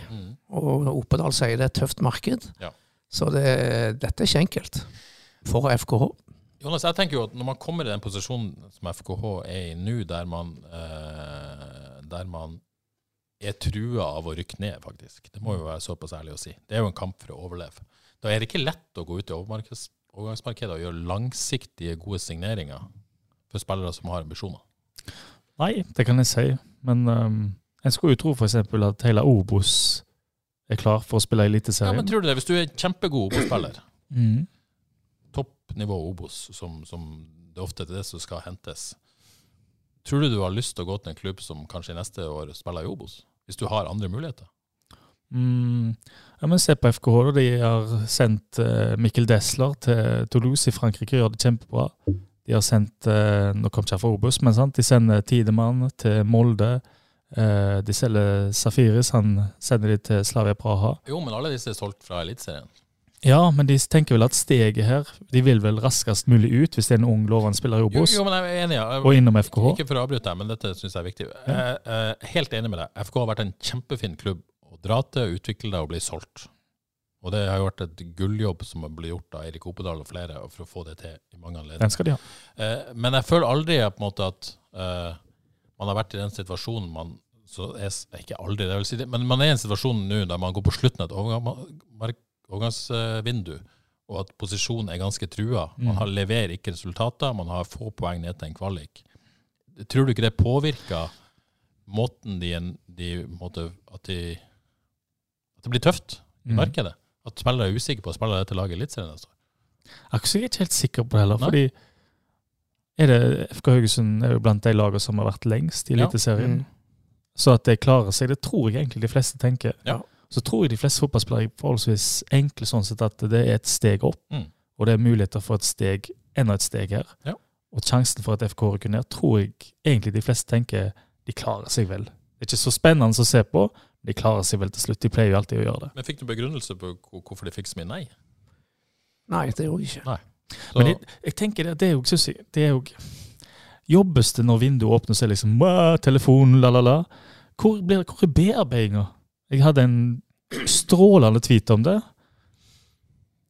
[SPEAKER 2] og Opedal sier det er et tøft marked.
[SPEAKER 1] Ja.
[SPEAKER 2] Så det, dette er ikke enkelt for FKH.
[SPEAKER 1] Jonas, jeg tenker jo at når man kommer i den posisjonen som FKH er i nå, der man, eh, der man er trua av å rykke ned, faktisk. Det må jo være såpass ærlig å si. Det er jo en kamp for å overleve. Da er det ikke lett å gå ut i overmarkeds- overgangsmarkedet og gjøre langsiktige, gode signeringer for spillere som har ambisjoner.
[SPEAKER 3] Nei, det kan jeg si. Men um, en skulle jo tro f.eks. at hele Obos er klar for å spille
[SPEAKER 1] Ja,
[SPEAKER 3] Eliteserien.
[SPEAKER 1] men tror du det? Hvis du er en kjempegod Obos-spiller,
[SPEAKER 3] mm.
[SPEAKER 1] toppnivå Obos, som, som det ofte er det som skal hentes, tror du du har lyst til å gå til en klubb som kanskje i neste år spiller i Obos? Hvis du har andre muligheter?
[SPEAKER 3] Mm. Ja, men Se på FKH. da. De har sendt eh, Mikkel Desler til Toulouse i Frankrike. Gjør det kjempebra. De har sendt eh, Nå kom ikke jeg fra Obos, men sant? de sender Tidemann til Molde. Eh, de selger Safiris. Han sender de til Slavia Praha.
[SPEAKER 1] Jo, men alle disse er solgt fra Eliteserien.
[SPEAKER 3] Ja, men de tenker vel at steget her De vil vel raskest mulig ut hvis det er en ung, lovende spiller i
[SPEAKER 1] Jo,
[SPEAKER 3] Obos,
[SPEAKER 1] jo, men jeg er enig. ja.
[SPEAKER 3] og innom FKH.
[SPEAKER 1] Ikke for å avbryte deg, men dette syns jeg er viktig. Jeg er helt enig med deg. FK har vært en kjempefin klubb å dra til, utvikle deg og bli solgt. Og det har jo vært et gulljobb som har blitt gjort av Eirik Opedal og flere for å få det til i mange anledninger.
[SPEAKER 3] Den skal de ha.
[SPEAKER 1] Eh, men jeg føler aldri eh, på en måte at eh, man har vært i den situasjonen man så er, s- Ikke aldri, det vil si det, men man er i en situasjon nå der man går på slutten av et overgang- overgangsvindu, og at posisjonen er ganske trua. Man
[SPEAKER 3] Mm.
[SPEAKER 1] har, leverer ikke resultater, man har få poeng ned til en kvalik. Tror du ikke det påvirker måten de, en- de på en måte, at, de, at det blir tøft i
[SPEAKER 3] Mm.
[SPEAKER 1] markedet? At spillere er usikre på å spille dette laget i Eliteserien altså. neste år?
[SPEAKER 3] Akkurat er jeg ikke helt sikker på det heller,
[SPEAKER 1] Nei.
[SPEAKER 3] fordi er det FK Haugesund er jo blant de lagene som har vært lengst i
[SPEAKER 1] Ja.
[SPEAKER 3] Eliteserien.
[SPEAKER 2] Mm.
[SPEAKER 3] Så at de klarer seg, det tror jeg egentlig de fleste tenker.
[SPEAKER 1] Ja.
[SPEAKER 3] Så tror jeg de fleste fotballspillere er forholdsvis enkle sånn sett at det er et steg opp,
[SPEAKER 1] Mm.
[SPEAKER 3] og det er muligheter for et steg, enda et steg her.
[SPEAKER 1] Ja.
[SPEAKER 3] Og sjansen for at FK rykker ned, tror jeg egentlig de fleste tenker de klarer seg vel. Det er ikke så spennende å se på, men de klarer seg vel til slutt. De pleier jo alltid å gjøre det.
[SPEAKER 1] Men fikk du begrunnelse på hvor- hvorfor de fikk så mye nei?
[SPEAKER 2] Nei, det gjorde jeg ikke.
[SPEAKER 1] Så,
[SPEAKER 3] Men jeg, jeg tenker det, det er jo, synes jeg, det er jo Jobbes det når vinduet åpner, så er det liksom «Mæ, telefonen, la, la, la. Hvor, blir, hvor er bearbeidinga? Jeg hadde en strålende tweet om det.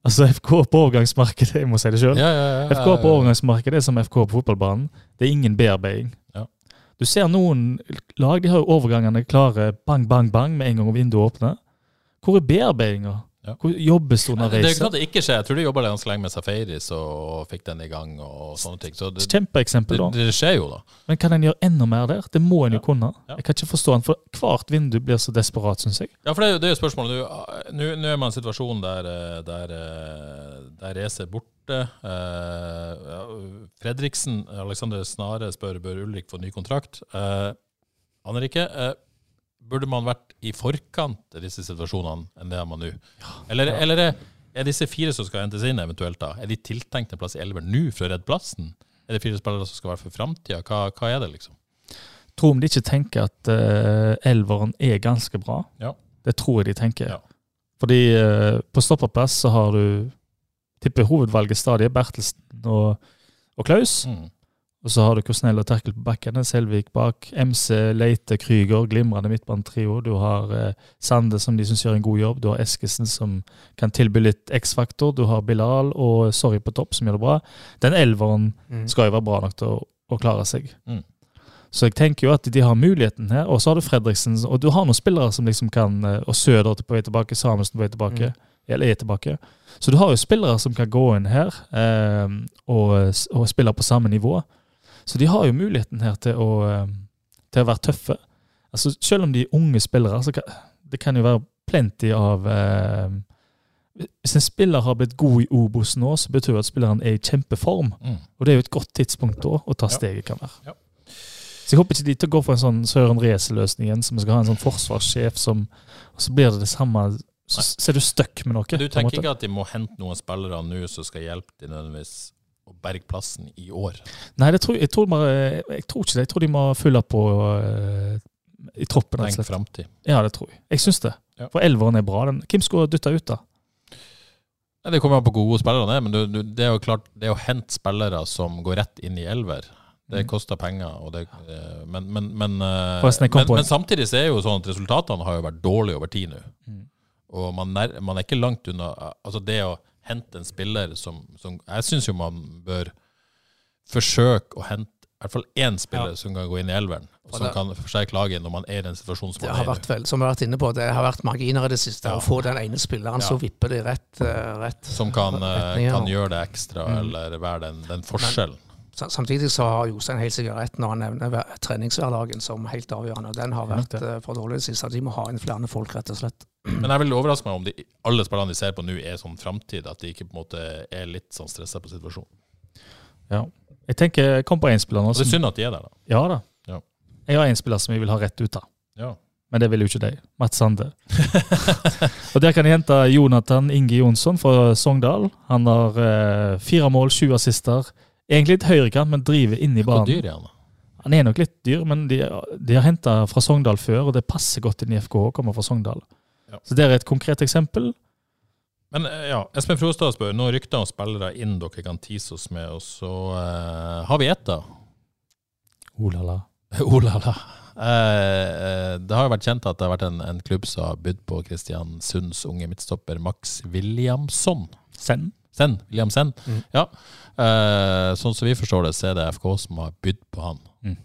[SPEAKER 3] Altså, FK på overgangsmarkedet, jeg må si det sjøl.
[SPEAKER 1] Ja, ja, ja,
[SPEAKER 3] FK på overgangsmarkedet er som FK på fotballbanen. Det er ingen bearbeiding.
[SPEAKER 1] Ja.
[SPEAKER 3] Du ser noen lag de har jo overgangene klare bang, bang, bang med en gang vinduet åpner. Hvor er bearbeidinga?
[SPEAKER 1] Ja.
[SPEAKER 3] Hvor jobbes det
[SPEAKER 1] Det er jo
[SPEAKER 3] underveis?
[SPEAKER 1] ikke sånn at det ikke skjer. Jeg tror de jobba ganske lenge med Safaris og fikk den i gang og sånne ting. Så det,
[SPEAKER 3] Kjempeeksempel,
[SPEAKER 1] det,
[SPEAKER 3] da.
[SPEAKER 1] det skjer jo, da.
[SPEAKER 3] Men kan en gjøre enda mer der? Det må en jo
[SPEAKER 1] Ja.
[SPEAKER 3] kunne.
[SPEAKER 1] Ja.
[SPEAKER 3] Jeg kan ikke forstå den, for hvert vindu blir så desperat, syns jeg.
[SPEAKER 1] Ja, for det, er jo- det er jo spørsmålet. Nå- Ah, Nå nå er man i en situasjon der, eh, der, eh, der Race er borte. Eh, ja, Fredriksen, Alexander Snare, spør bør Ulrik få ny kontrakt. Eh, Aner ikke. Eh, burde man vært i forkant i disse situasjonene enn det er man nå? Eller, eller er, er disse fire som skal hentes inn eventuelt, da, er de tiltenkt en plass i elveren nå for å redde plassen? Er det fire spillere som skal være for framtida? Hva, hva er det, liksom?
[SPEAKER 3] Tror om de ikke tenker at eh, elveren er ganske bra.
[SPEAKER 1] Ja.
[SPEAKER 3] Det tror jeg de tenker.
[SPEAKER 1] Ja.
[SPEAKER 3] Fordi eh, på stopperplass så har du tipper hovedvalget stadig Bertelsen og, og Klaus.
[SPEAKER 1] Mm.
[SPEAKER 3] Og så har du Korsnell og Terkel på bakkene, Selvik bak. MC, Leite, Krüger, glimrende midtbanetrio. Du har eh, Sande, som de syns gjør en god jobb. Du har Eskesen, som kan tilby litt X-faktor. Du har Bilal og Sorry på topp, som gjør det bra. Den elveren
[SPEAKER 2] Mm.
[SPEAKER 3] skal jo være bra nok til å, å klare seg.
[SPEAKER 1] Mm.
[SPEAKER 3] Så jeg tenker jo at de har muligheten her. Og så har du Fredriksen, og du har noen spillere som liksom kan eh, Og Søder på vei tilbake, Samuelsen på vei
[SPEAKER 2] Mm.
[SPEAKER 3] tilbake. Eller er tilbake. Så du har jo spillere som kan gå inn her eh, og, og spille på samme nivå. Så de har jo muligheten her til å, eh, til å være tøffe. Altså, selv om de er unge spillere, så kan det kan jo være plenty av eh, Hvis en spiller har blitt god i Obos nå, så betyr det at spilleren er i kjempeform.
[SPEAKER 1] Mm.
[SPEAKER 3] Og det er jo et godt tidspunkt da å ta
[SPEAKER 1] Ja.
[SPEAKER 3] steget, kan være.
[SPEAKER 1] Ja.
[SPEAKER 3] Så jeg håper ikke de til å gå for en sånn Søren Reese-løsning igjen, som skal ha en sånn forsvarssjef som Og så blir det det samme. Så, så er du stuck med noe.
[SPEAKER 1] Men du
[SPEAKER 3] på en
[SPEAKER 1] tenker
[SPEAKER 3] måte.
[SPEAKER 1] ikke at de må hente noen spillere nå som skal hjelpe de nødvendigvis å berge plassen i år?
[SPEAKER 3] Nei, det tror, jeg, tror bare, jeg tror ikke det. Jeg tror de må fylle på eh, i troppen. rett og
[SPEAKER 1] Tenk
[SPEAKER 3] slett.
[SPEAKER 1] framtid.
[SPEAKER 3] Ja, det tror jeg. Jeg syns det.
[SPEAKER 1] Ja.
[SPEAKER 3] For elveren er bra. Den. Hvem skulle dytta ut, da?
[SPEAKER 1] Ja, det kommer an på hvor gode spillere, det, men du, du, det er jo klart, det å hente spillere som går rett inn i elver, det
[SPEAKER 3] Mm.
[SPEAKER 1] koster penger. Og det, eh, men, men, men, eh,
[SPEAKER 3] Forresten, jeg kom
[SPEAKER 1] men,
[SPEAKER 3] på en-
[SPEAKER 1] men samtidig så er jo sånn at resultatene har jo vært dårlige over tid nå.
[SPEAKER 3] Mm.
[SPEAKER 1] Og man, nær, man er ikke langt unna Altså, det å hente en spiller som, som Jeg syns jo man bør forsøke å hente i hvert fall én spiller som kan gå inn i elveren, og som
[SPEAKER 2] det-
[SPEAKER 1] kan forsterke laget når man er i den situasjonen som
[SPEAKER 2] Det
[SPEAKER 1] man
[SPEAKER 2] har
[SPEAKER 1] er i.
[SPEAKER 2] vært vel, som vi har vært inne på, det har vært marginer i det siste.
[SPEAKER 1] Ja.
[SPEAKER 2] Å få den ene spilleren,
[SPEAKER 1] Ja.
[SPEAKER 2] så vipper de rett. eh, rett.
[SPEAKER 1] nå. Som kan, eh,
[SPEAKER 2] Retninger,
[SPEAKER 1] kan
[SPEAKER 2] ja.
[SPEAKER 1] gjøre det ekstra,
[SPEAKER 3] Mm.
[SPEAKER 1] eller være den, den forskjellen.
[SPEAKER 2] Sa- Samtidig så har Jostein helt sikkert rett når han nevner hver- treningshverdagen som helt avgjørende. og Den har
[SPEAKER 3] Det er nok
[SPEAKER 2] vært eh, for dårlig i det siste. De må ha inn flere folk, rett og slett.
[SPEAKER 1] Men jeg vil overraske meg om de, alle spillerne de ser på nå, er sånn framtid. At de ikke på en måte er litt sånn stressa på situasjonen.
[SPEAKER 3] Jeg tenker, jeg kom på én spiller nå.
[SPEAKER 1] Og det er
[SPEAKER 3] Som,
[SPEAKER 1] synd at de er der, da.
[SPEAKER 3] ja da.
[SPEAKER 1] Ja.
[SPEAKER 3] Jeg har én spiller som jeg vil ha rett ut av.
[SPEAKER 1] Ja.
[SPEAKER 3] Men det vil jo ikke de. Mats Sande. og Der kan jeg hente Jonathan Inge Jonsson fra Sogndal. Han har eh, fire mål, sju assister. Egentlig litt høyrekant, men driver inn i
[SPEAKER 1] Hvor
[SPEAKER 3] banen.
[SPEAKER 1] dyr er han? da?
[SPEAKER 3] Han er nok litt dyr, men de, de har henta fra Sogndal før, og det passer godt inn i FK å komme fra Sogndal.
[SPEAKER 1] Ja.
[SPEAKER 3] Så der er et konkret eksempel.
[SPEAKER 1] Men eh, ja, Espen Frostad spør nå rykter om spillere inn dere kan tease oss med, og så eh, har vi ett, da.
[SPEAKER 3] Oh la la.
[SPEAKER 1] Olala. Eh, eh, det har jo vært kjent at det har vært en, en klubb som har budt på Kristiansunds unge midtstopper Max Williamson.
[SPEAKER 3] Send.
[SPEAKER 1] Sen, William Sen.
[SPEAKER 2] Mm.
[SPEAKER 1] Ja. Eh, sånn som vi forstår det, så er det FK som har bydd på han.
[SPEAKER 3] Mm.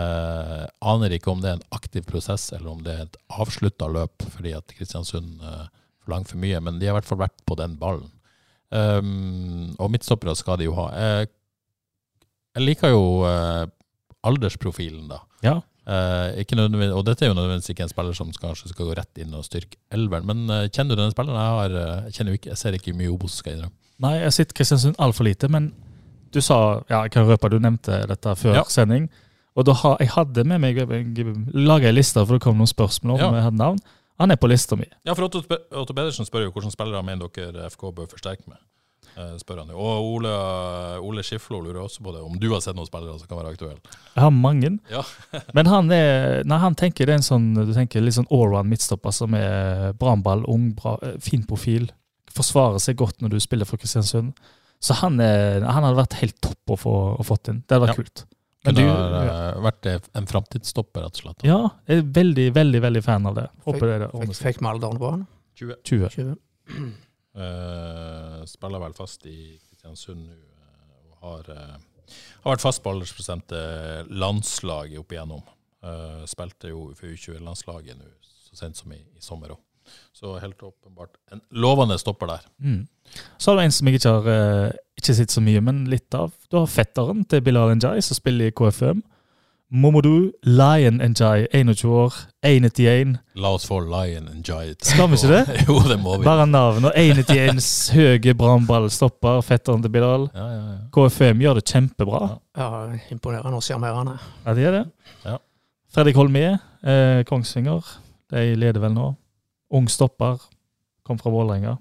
[SPEAKER 1] Eh, aner ikke om det er en aktiv prosess, eller om det er et avslutta løp, fordi at Kristiansund eh, forlanger for mye, men de har i hvert fall vært på den ballen. Um, og midtstoppere skal de jo ha. Eh, jeg liker jo eh, aldersprofilen, da.
[SPEAKER 3] Ja.
[SPEAKER 1] Eh, ikke nødvendigvis, og dette er jo nødvendigvis ikke en spiller som kanskje skal gå rett inn og styrke elveren, men eh, kjenner du denne spilleren? Jeg, har, eh, jeg, kjenner jo ikke, jeg ser ikke mye Obos, skal jeg innrømme.
[SPEAKER 3] Nei, jeg har sett Kristiansund altfor lite, men du sa Ja, jeg kan røpe, du nevnte dette før
[SPEAKER 1] Ja.
[SPEAKER 3] sending. Og da har, jeg hadde med meg Jeg laga ei liste, for det kom noen spørsmål om
[SPEAKER 1] Ja.
[SPEAKER 3] jeg hadde navn. Han er på lista mi.
[SPEAKER 1] Ja, for Otto, Spe- Otto Pedersen spør jo hvilke spillere mener dere FK bør forsterke med. Eh, spør han jo. Og Ole, Ole Skiflo lurer også på det, om du har sett noen spillere som kan være aktuelle.
[SPEAKER 3] Jeg har mange.
[SPEAKER 1] Ja.
[SPEAKER 3] men han er Nei, han tenker det er en sånn Du tenker litt sånn allround midtstopper som er bra med ball, ung, bra, eh, fin profil. Forsvarer seg godt når du spiller for Kristiansund. Så han, er, han hadde vært helt topp å få å fått inn. Det hadde vært kult. Men
[SPEAKER 1] Kunne
[SPEAKER 3] du-
[SPEAKER 1] ha eh, vært eh, en framtidsstopper, rett og slett.
[SPEAKER 3] Ja, jeg er veldig, veldig veldig fan av det. Håper det
[SPEAKER 2] Fikk,
[SPEAKER 3] ordner seg.
[SPEAKER 2] fikk vi alderen på han?
[SPEAKER 1] 20.
[SPEAKER 3] 20.
[SPEAKER 2] 20.
[SPEAKER 1] Eh, spiller vel fast i Kristiansund nå, eh, og har, eh, har vært fast på aldersbestemte landslag opp igjennom. Eh, spilte jo for U20-landslaget nå så sent som i, i sommer òg. Så helt åpenbart en lovende stopper der.
[SPEAKER 3] Mm. Så har du en som jeg ikke har eh, ikke sett så mye, men litt av. Du har fetteren til Bilal Njai, som spiller i KFM. Momodou Lion Njai, 21 år, 1,91.
[SPEAKER 1] La oss få Lion and Giant.
[SPEAKER 3] Skal vi ikke det?
[SPEAKER 1] jo, det må vi.
[SPEAKER 3] Bare navnet. og 1,91 høye brannballstopper, fetteren til Bilal.
[SPEAKER 1] Ja, ja, ja.
[SPEAKER 3] KFM gjør det kjempebra.
[SPEAKER 2] Ja, Imponerende og sjarmerende.
[SPEAKER 3] Ja, de er det.
[SPEAKER 1] Ja.
[SPEAKER 3] Fredrik Holmé, eh, Kongsvinger. De leder vel nå. Ung stopper. Kom fra Vålerenga.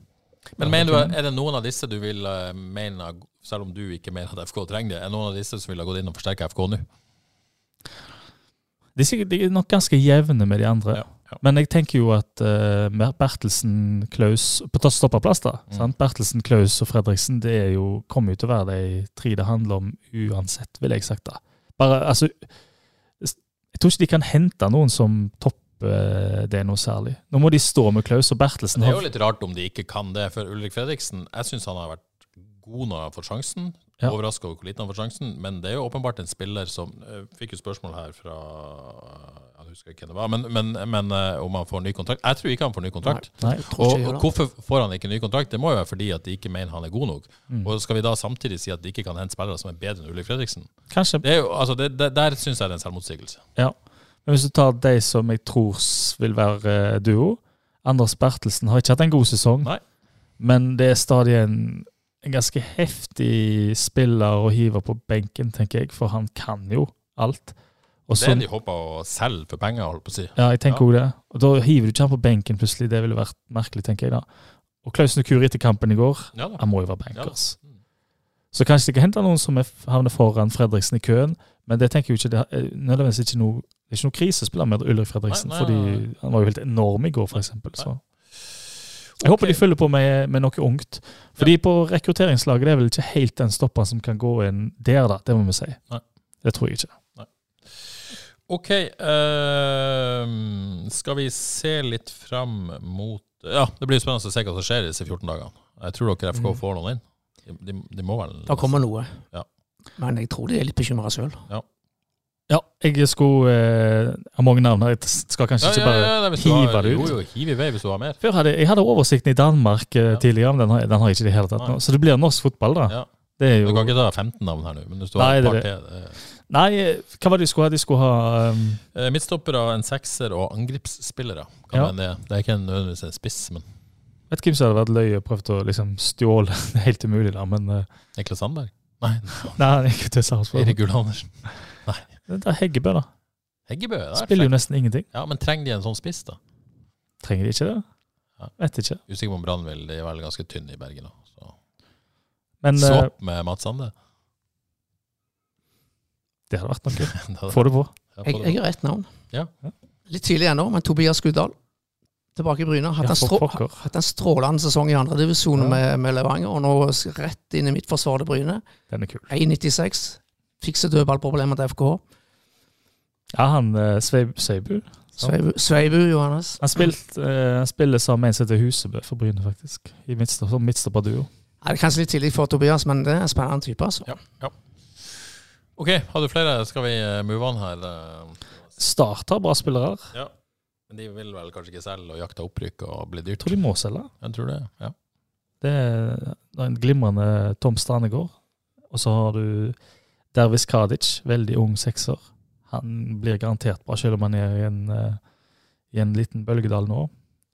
[SPEAKER 1] Men mener du, er det noen av disse du vil eh, mene, selv om du ikke mener at FK trenger det, er det noen av disse som ville ha gått inn og forsterket FK nå?
[SPEAKER 3] De er, sikkert, de er nok ganske jevne med de andre.
[SPEAKER 1] ja.
[SPEAKER 3] Men jeg tenker jo at eh, Mer- Bertelsen, Klaus På tatt stopperplass, da.
[SPEAKER 1] Mm.
[SPEAKER 3] Sant? Bertelsen, Klaus og Fredriksen det er jo, kommer jo til å være de tre det handler om uansett, vil jeg sagt. da. Bare, altså, Jeg tror ikke de kan hente noen som topper det noe særlig. Nå må de stå med Klaus og Bertelsen.
[SPEAKER 1] Det er
[SPEAKER 3] har-
[SPEAKER 1] jo litt rart om de ikke kan det, for Ulrik Fredriksen, jeg synes han har vært god når han har fått sjansen.
[SPEAKER 3] Ja.
[SPEAKER 1] Overrasket over hvor liten han har fått sjansen, men det er jo åpenbart en spiller som eh, Fikk jo spørsmål her fra Jeg husker ikke hvem det var, men, men, men eh, om han får ny kontrakt. Jeg tror ikke han får ny kontrakt.
[SPEAKER 3] Nei.
[SPEAKER 2] Tror ikke
[SPEAKER 1] Og,
[SPEAKER 2] jeg
[SPEAKER 1] og
[SPEAKER 2] gjør det.
[SPEAKER 1] hvorfor får han ikke ny kontrakt? Det må jo være fordi at de ikke mener han er god nok.
[SPEAKER 3] Mm.
[SPEAKER 1] Og skal vi da samtidig si at de ikke kan hente spillere som er bedre enn Ulrik Fredriksen?
[SPEAKER 3] Kanskje
[SPEAKER 1] Det er jo, altså det, det, der syns jeg det er en selvmotsigelse.
[SPEAKER 3] Men hvis du tar de som jeg tror s- vil være eh, duo Anders Bertelsen har ikke hatt en god sesong,
[SPEAKER 1] Nei.
[SPEAKER 3] men det er stadig en, en ganske heftig spiller å hive på benken, tenker jeg, for han kan jo alt. Og
[SPEAKER 1] Det
[SPEAKER 3] så,
[SPEAKER 1] er de håper å selge for penger, holdt på å si.
[SPEAKER 3] ja, jeg tenker også det. Og da hiver du ikke han på benken plutselig, det ville vært merkelig, tenker jeg da. Og Klaus Nukuri etter kampen i går,
[SPEAKER 1] Ja da.
[SPEAKER 3] han må jo være
[SPEAKER 1] Ja da.
[SPEAKER 3] bankers. Så kanskje det kan hente noen som er, havner foran Fredriksen i køen, men det tenker jeg jo ikke, det er nødvendigvis ikke noe, det er ikke noe krise å spille med Ulrik Fredriksen,
[SPEAKER 1] Nei, nei, nei, nei.
[SPEAKER 3] fordi han var jo helt enorm i går, for eksempel. Så. Jeg
[SPEAKER 1] Ok.
[SPEAKER 3] håper de følger på med, med noe ungt. Fordi på rekrutteringslaget det er vel ikke helt den stopperen som kan gå inn der, da. Det må vi si.
[SPEAKER 1] Nei.
[SPEAKER 3] Det tror jeg ikke.
[SPEAKER 1] OK. ehm, skal vi se litt fram mot Ja, det blir spennende å se hva som skjer i disse 14 dagene. Jeg tror dere FK
[SPEAKER 2] Mm.
[SPEAKER 1] får noen inn. De, de, de må vel
[SPEAKER 2] Det kommer noe.
[SPEAKER 1] Ja.
[SPEAKER 2] Men jeg tror de er litt bekymra sjøl.
[SPEAKER 3] Ja, jeg skulle eh, ha mange navn her. Jeg skal kanskje
[SPEAKER 1] ja, ja,
[SPEAKER 3] ikke bare
[SPEAKER 1] ja, hvis du har-
[SPEAKER 3] hive det ut.
[SPEAKER 1] Jo, jo, hiv i vei hvis du har mer.
[SPEAKER 3] Før hadde jeg hadde oversikten i Danmark eh,
[SPEAKER 1] Ja.
[SPEAKER 3] tidligere, men den har, den har jeg ikke i det hele tatt nå.
[SPEAKER 1] Nei.
[SPEAKER 3] Så det blir norsk fotball, da.
[SPEAKER 1] Ja.
[SPEAKER 3] Det er
[SPEAKER 1] Du
[SPEAKER 3] jo
[SPEAKER 1] kan ikke ta 15 navn her nå, men hvis du
[SPEAKER 3] Nei,
[SPEAKER 1] har et
[SPEAKER 3] det
[SPEAKER 1] par
[SPEAKER 3] er
[SPEAKER 1] til det er-
[SPEAKER 3] Nei, eh, hva var det de skulle ha? De skulle ha um,
[SPEAKER 1] Eh, Midtstoppere, en sekser og angripsspillere. Kan
[SPEAKER 3] Ja.
[SPEAKER 1] hende det, det er ikke nødvendigvis en spiss, men
[SPEAKER 3] Vet ikke hvem som hadde vært løye og prøvd å liksom stjåle. Det er helt umulig, da, men eh,
[SPEAKER 1] Niklas Sandberg? Nei,
[SPEAKER 3] Nei, han gikk jo til Sarpsborg.
[SPEAKER 1] Erik Ull Andersen.
[SPEAKER 3] Det er Heggebø, da.
[SPEAKER 1] Heggebø? det er
[SPEAKER 3] Spiller
[SPEAKER 1] fett.
[SPEAKER 3] jo nesten ingenting.
[SPEAKER 1] Ja, men trenger de en sånn spiss, da?
[SPEAKER 3] Trenger de ikke det?
[SPEAKER 1] Ja.
[SPEAKER 3] Vet ikke.
[SPEAKER 1] Usikker på om Brann vil. De er vel ganske tynne i Bergen òg. Så.
[SPEAKER 3] Men eh,
[SPEAKER 1] Swap med Mats Sande.
[SPEAKER 3] det hadde vært noe.
[SPEAKER 1] Da- da-
[SPEAKER 3] Få det på.
[SPEAKER 1] da-
[SPEAKER 2] Jeg, jeg har ett navn.
[SPEAKER 1] Ja.
[SPEAKER 2] Litt tidlig ennå, men Tobias Guddal. Tilbake i Bryne. Hatt
[SPEAKER 3] Ja,
[SPEAKER 2] en,
[SPEAKER 3] for
[SPEAKER 2] strå,
[SPEAKER 3] pokker.
[SPEAKER 2] hatt en strålende sesong i andredivisjon
[SPEAKER 3] Ja.
[SPEAKER 2] med, med Levanger, og nå s- rett inn i midtforsvaret til Bryne.
[SPEAKER 3] Den er kul.
[SPEAKER 2] 1,96. Fikser dødballproblemer til FK.
[SPEAKER 3] Ja, han eh, Sveib- Sveibu Sant.
[SPEAKER 2] Sveibu- Sveibu, Johannes.
[SPEAKER 3] Han, spilt, eh, han spiller sammen med en som heter Husebø for Bryne, faktisk. I midtstop- Som midtstopperduo.
[SPEAKER 2] Ja, det er kanskje litt tidlig for Tobias, men det er en spennende type. altså.
[SPEAKER 1] Ja, ja. OK, har du flere? Skal vi eh, move on her? eh?
[SPEAKER 3] Start har bra spillere.
[SPEAKER 1] Ja. Men de vil vel kanskje ikke selge og jakte opprykk og bli
[SPEAKER 3] Jeg
[SPEAKER 1] dyrt?
[SPEAKER 3] tror de må selge.
[SPEAKER 1] Jeg tror det. ja.
[SPEAKER 3] Det er en glimrende Tom Stranegård. Og så har du Dervis Kadic, veldig ung sekser. Han blir garantert bra, selv om han er i en, eh, i en liten bølgedal nå.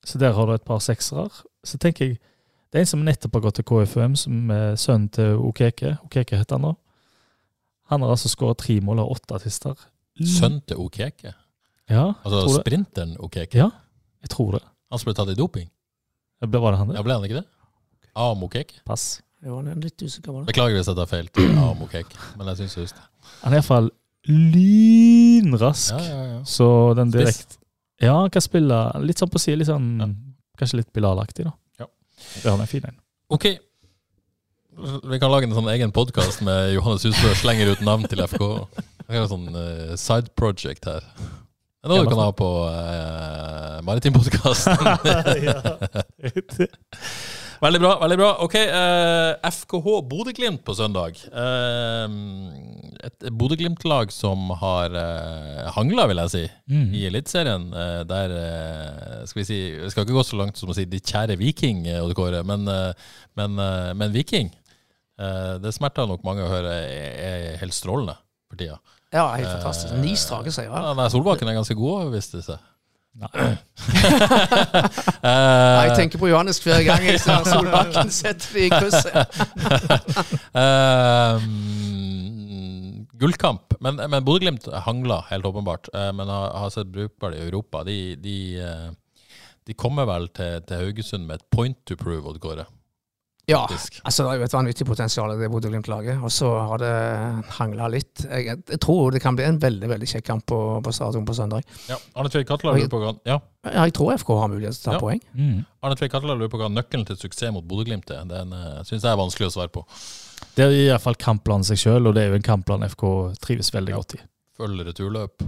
[SPEAKER 3] Så der har du et par seksere. Så tenker jeg Det er en som nettopp har gått til KFUM, som er sønnen til Okeke. Okeke heter han nå. Han har altså skåra tre mål og har åtte attister.
[SPEAKER 1] Sønn til Okeke?
[SPEAKER 3] Ja,
[SPEAKER 1] Altså
[SPEAKER 3] Mm. Tror det.
[SPEAKER 1] sprinteren Okeke?
[SPEAKER 3] Ja. jeg tror det.
[SPEAKER 1] Han som ble tatt i doping?
[SPEAKER 3] Det ble bare han det.
[SPEAKER 1] Ja, ble han ikke det? Am Okeke?
[SPEAKER 3] Pass.
[SPEAKER 2] Jo, han er litt usikker på det.
[SPEAKER 1] Beklager hvis jeg tar feil til Am Okeke, men jeg syns jeg husker det.
[SPEAKER 3] Han er iallfall lynrask.
[SPEAKER 1] Ja, ja, ja.
[SPEAKER 3] Så den
[SPEAKER 1] Spiss.
[SPEAKER 3] direkte Ja, han kan spille litt sånn på siden, litt sånn,
[SPEAKER 1] Ja.
[SPEAKER 3] Kanskje litt Bilal-aktig, da.
[SPEAKER 1] Ja.
[SPEAKER 3] Det har han en fin en.
[SPEAKER 1] Ok. Vi kan lage en sånn egen podkast med Johannes Husbø slenger ut navn til FK. Vi kan ha en sånn eh, side project her. Det er noe du kan ha på eh, uh, maritim
[SPEAKER 3] ja.
[SPEAKER 1] Veldig bra. veldig bra. Ok, eh, FKH Bodø-Glimt på søndag. Eh, et Bodø-Glimt-lag som har uh, hangla, vil jeg si, i Eliteserien. Eh, der eh, skal vi si Jeg skal ikke gå så langt som å si de kjære Viking, eh, Odd Kåre, men, eh, men, eh, men Viking. eh, det smerter nok mange å høre er, er helt strålende for tida.
[SPEAKER 2] Ja, helt fantastisk. Ni strake seiere.
[SPEAKER 1] Ja, nei, Solbakken er ganske god, viste det Eh, seg.
[SPEAKER 2] Ja, jeg tenker på Johannes hver gang jeg ser Solbakken setter de i krysset.
[SPEAKER 1] Ehm, eh, gullkamp. Men, men Bodø-Glimt hangla, helt åpenbart. Eh, men har, har sett brukbart i Europa. De, de, eh, de kommer vel til, til Haugesund med et point to prove, Odd Kåre.
[SPEAKER 2] Ja,
[SPEAKER 1] Faktisk.
[SPEAKER 2] altså det er jo et vanvittig potensial i det Bodø-Glimt-laget. Og så har det hangla litt. Jeg, jeg tror det kan bli en veldig veldig kjekk kamp på, på stadion på søndag.
[SPEAKER 1] Ja. Arne Tveit Katla lurer på hva ja.
[SPEAKER 2] Ja, jeg tror FK har mulighet til å ta
[SPEAKER 1] Ja.
[SPEAKER 2] poeng.
[SPEAKER 3] Mm.
[SPEAKER 1] Arne Tveit Katla lurer på hva nøkkelen til suksess mot Bodø-Glimt er. Den uh, syns jeg er vanskelig å svare på.
[SPEAKER 3] Det er i hvert fall kampplanen seg sjøl, og det er jo en kampplan FK trives veldig
[SPEAKER 1] Ja.
[SPEAKER 3] godt i.
[SPEAKER 1] Følg returløp.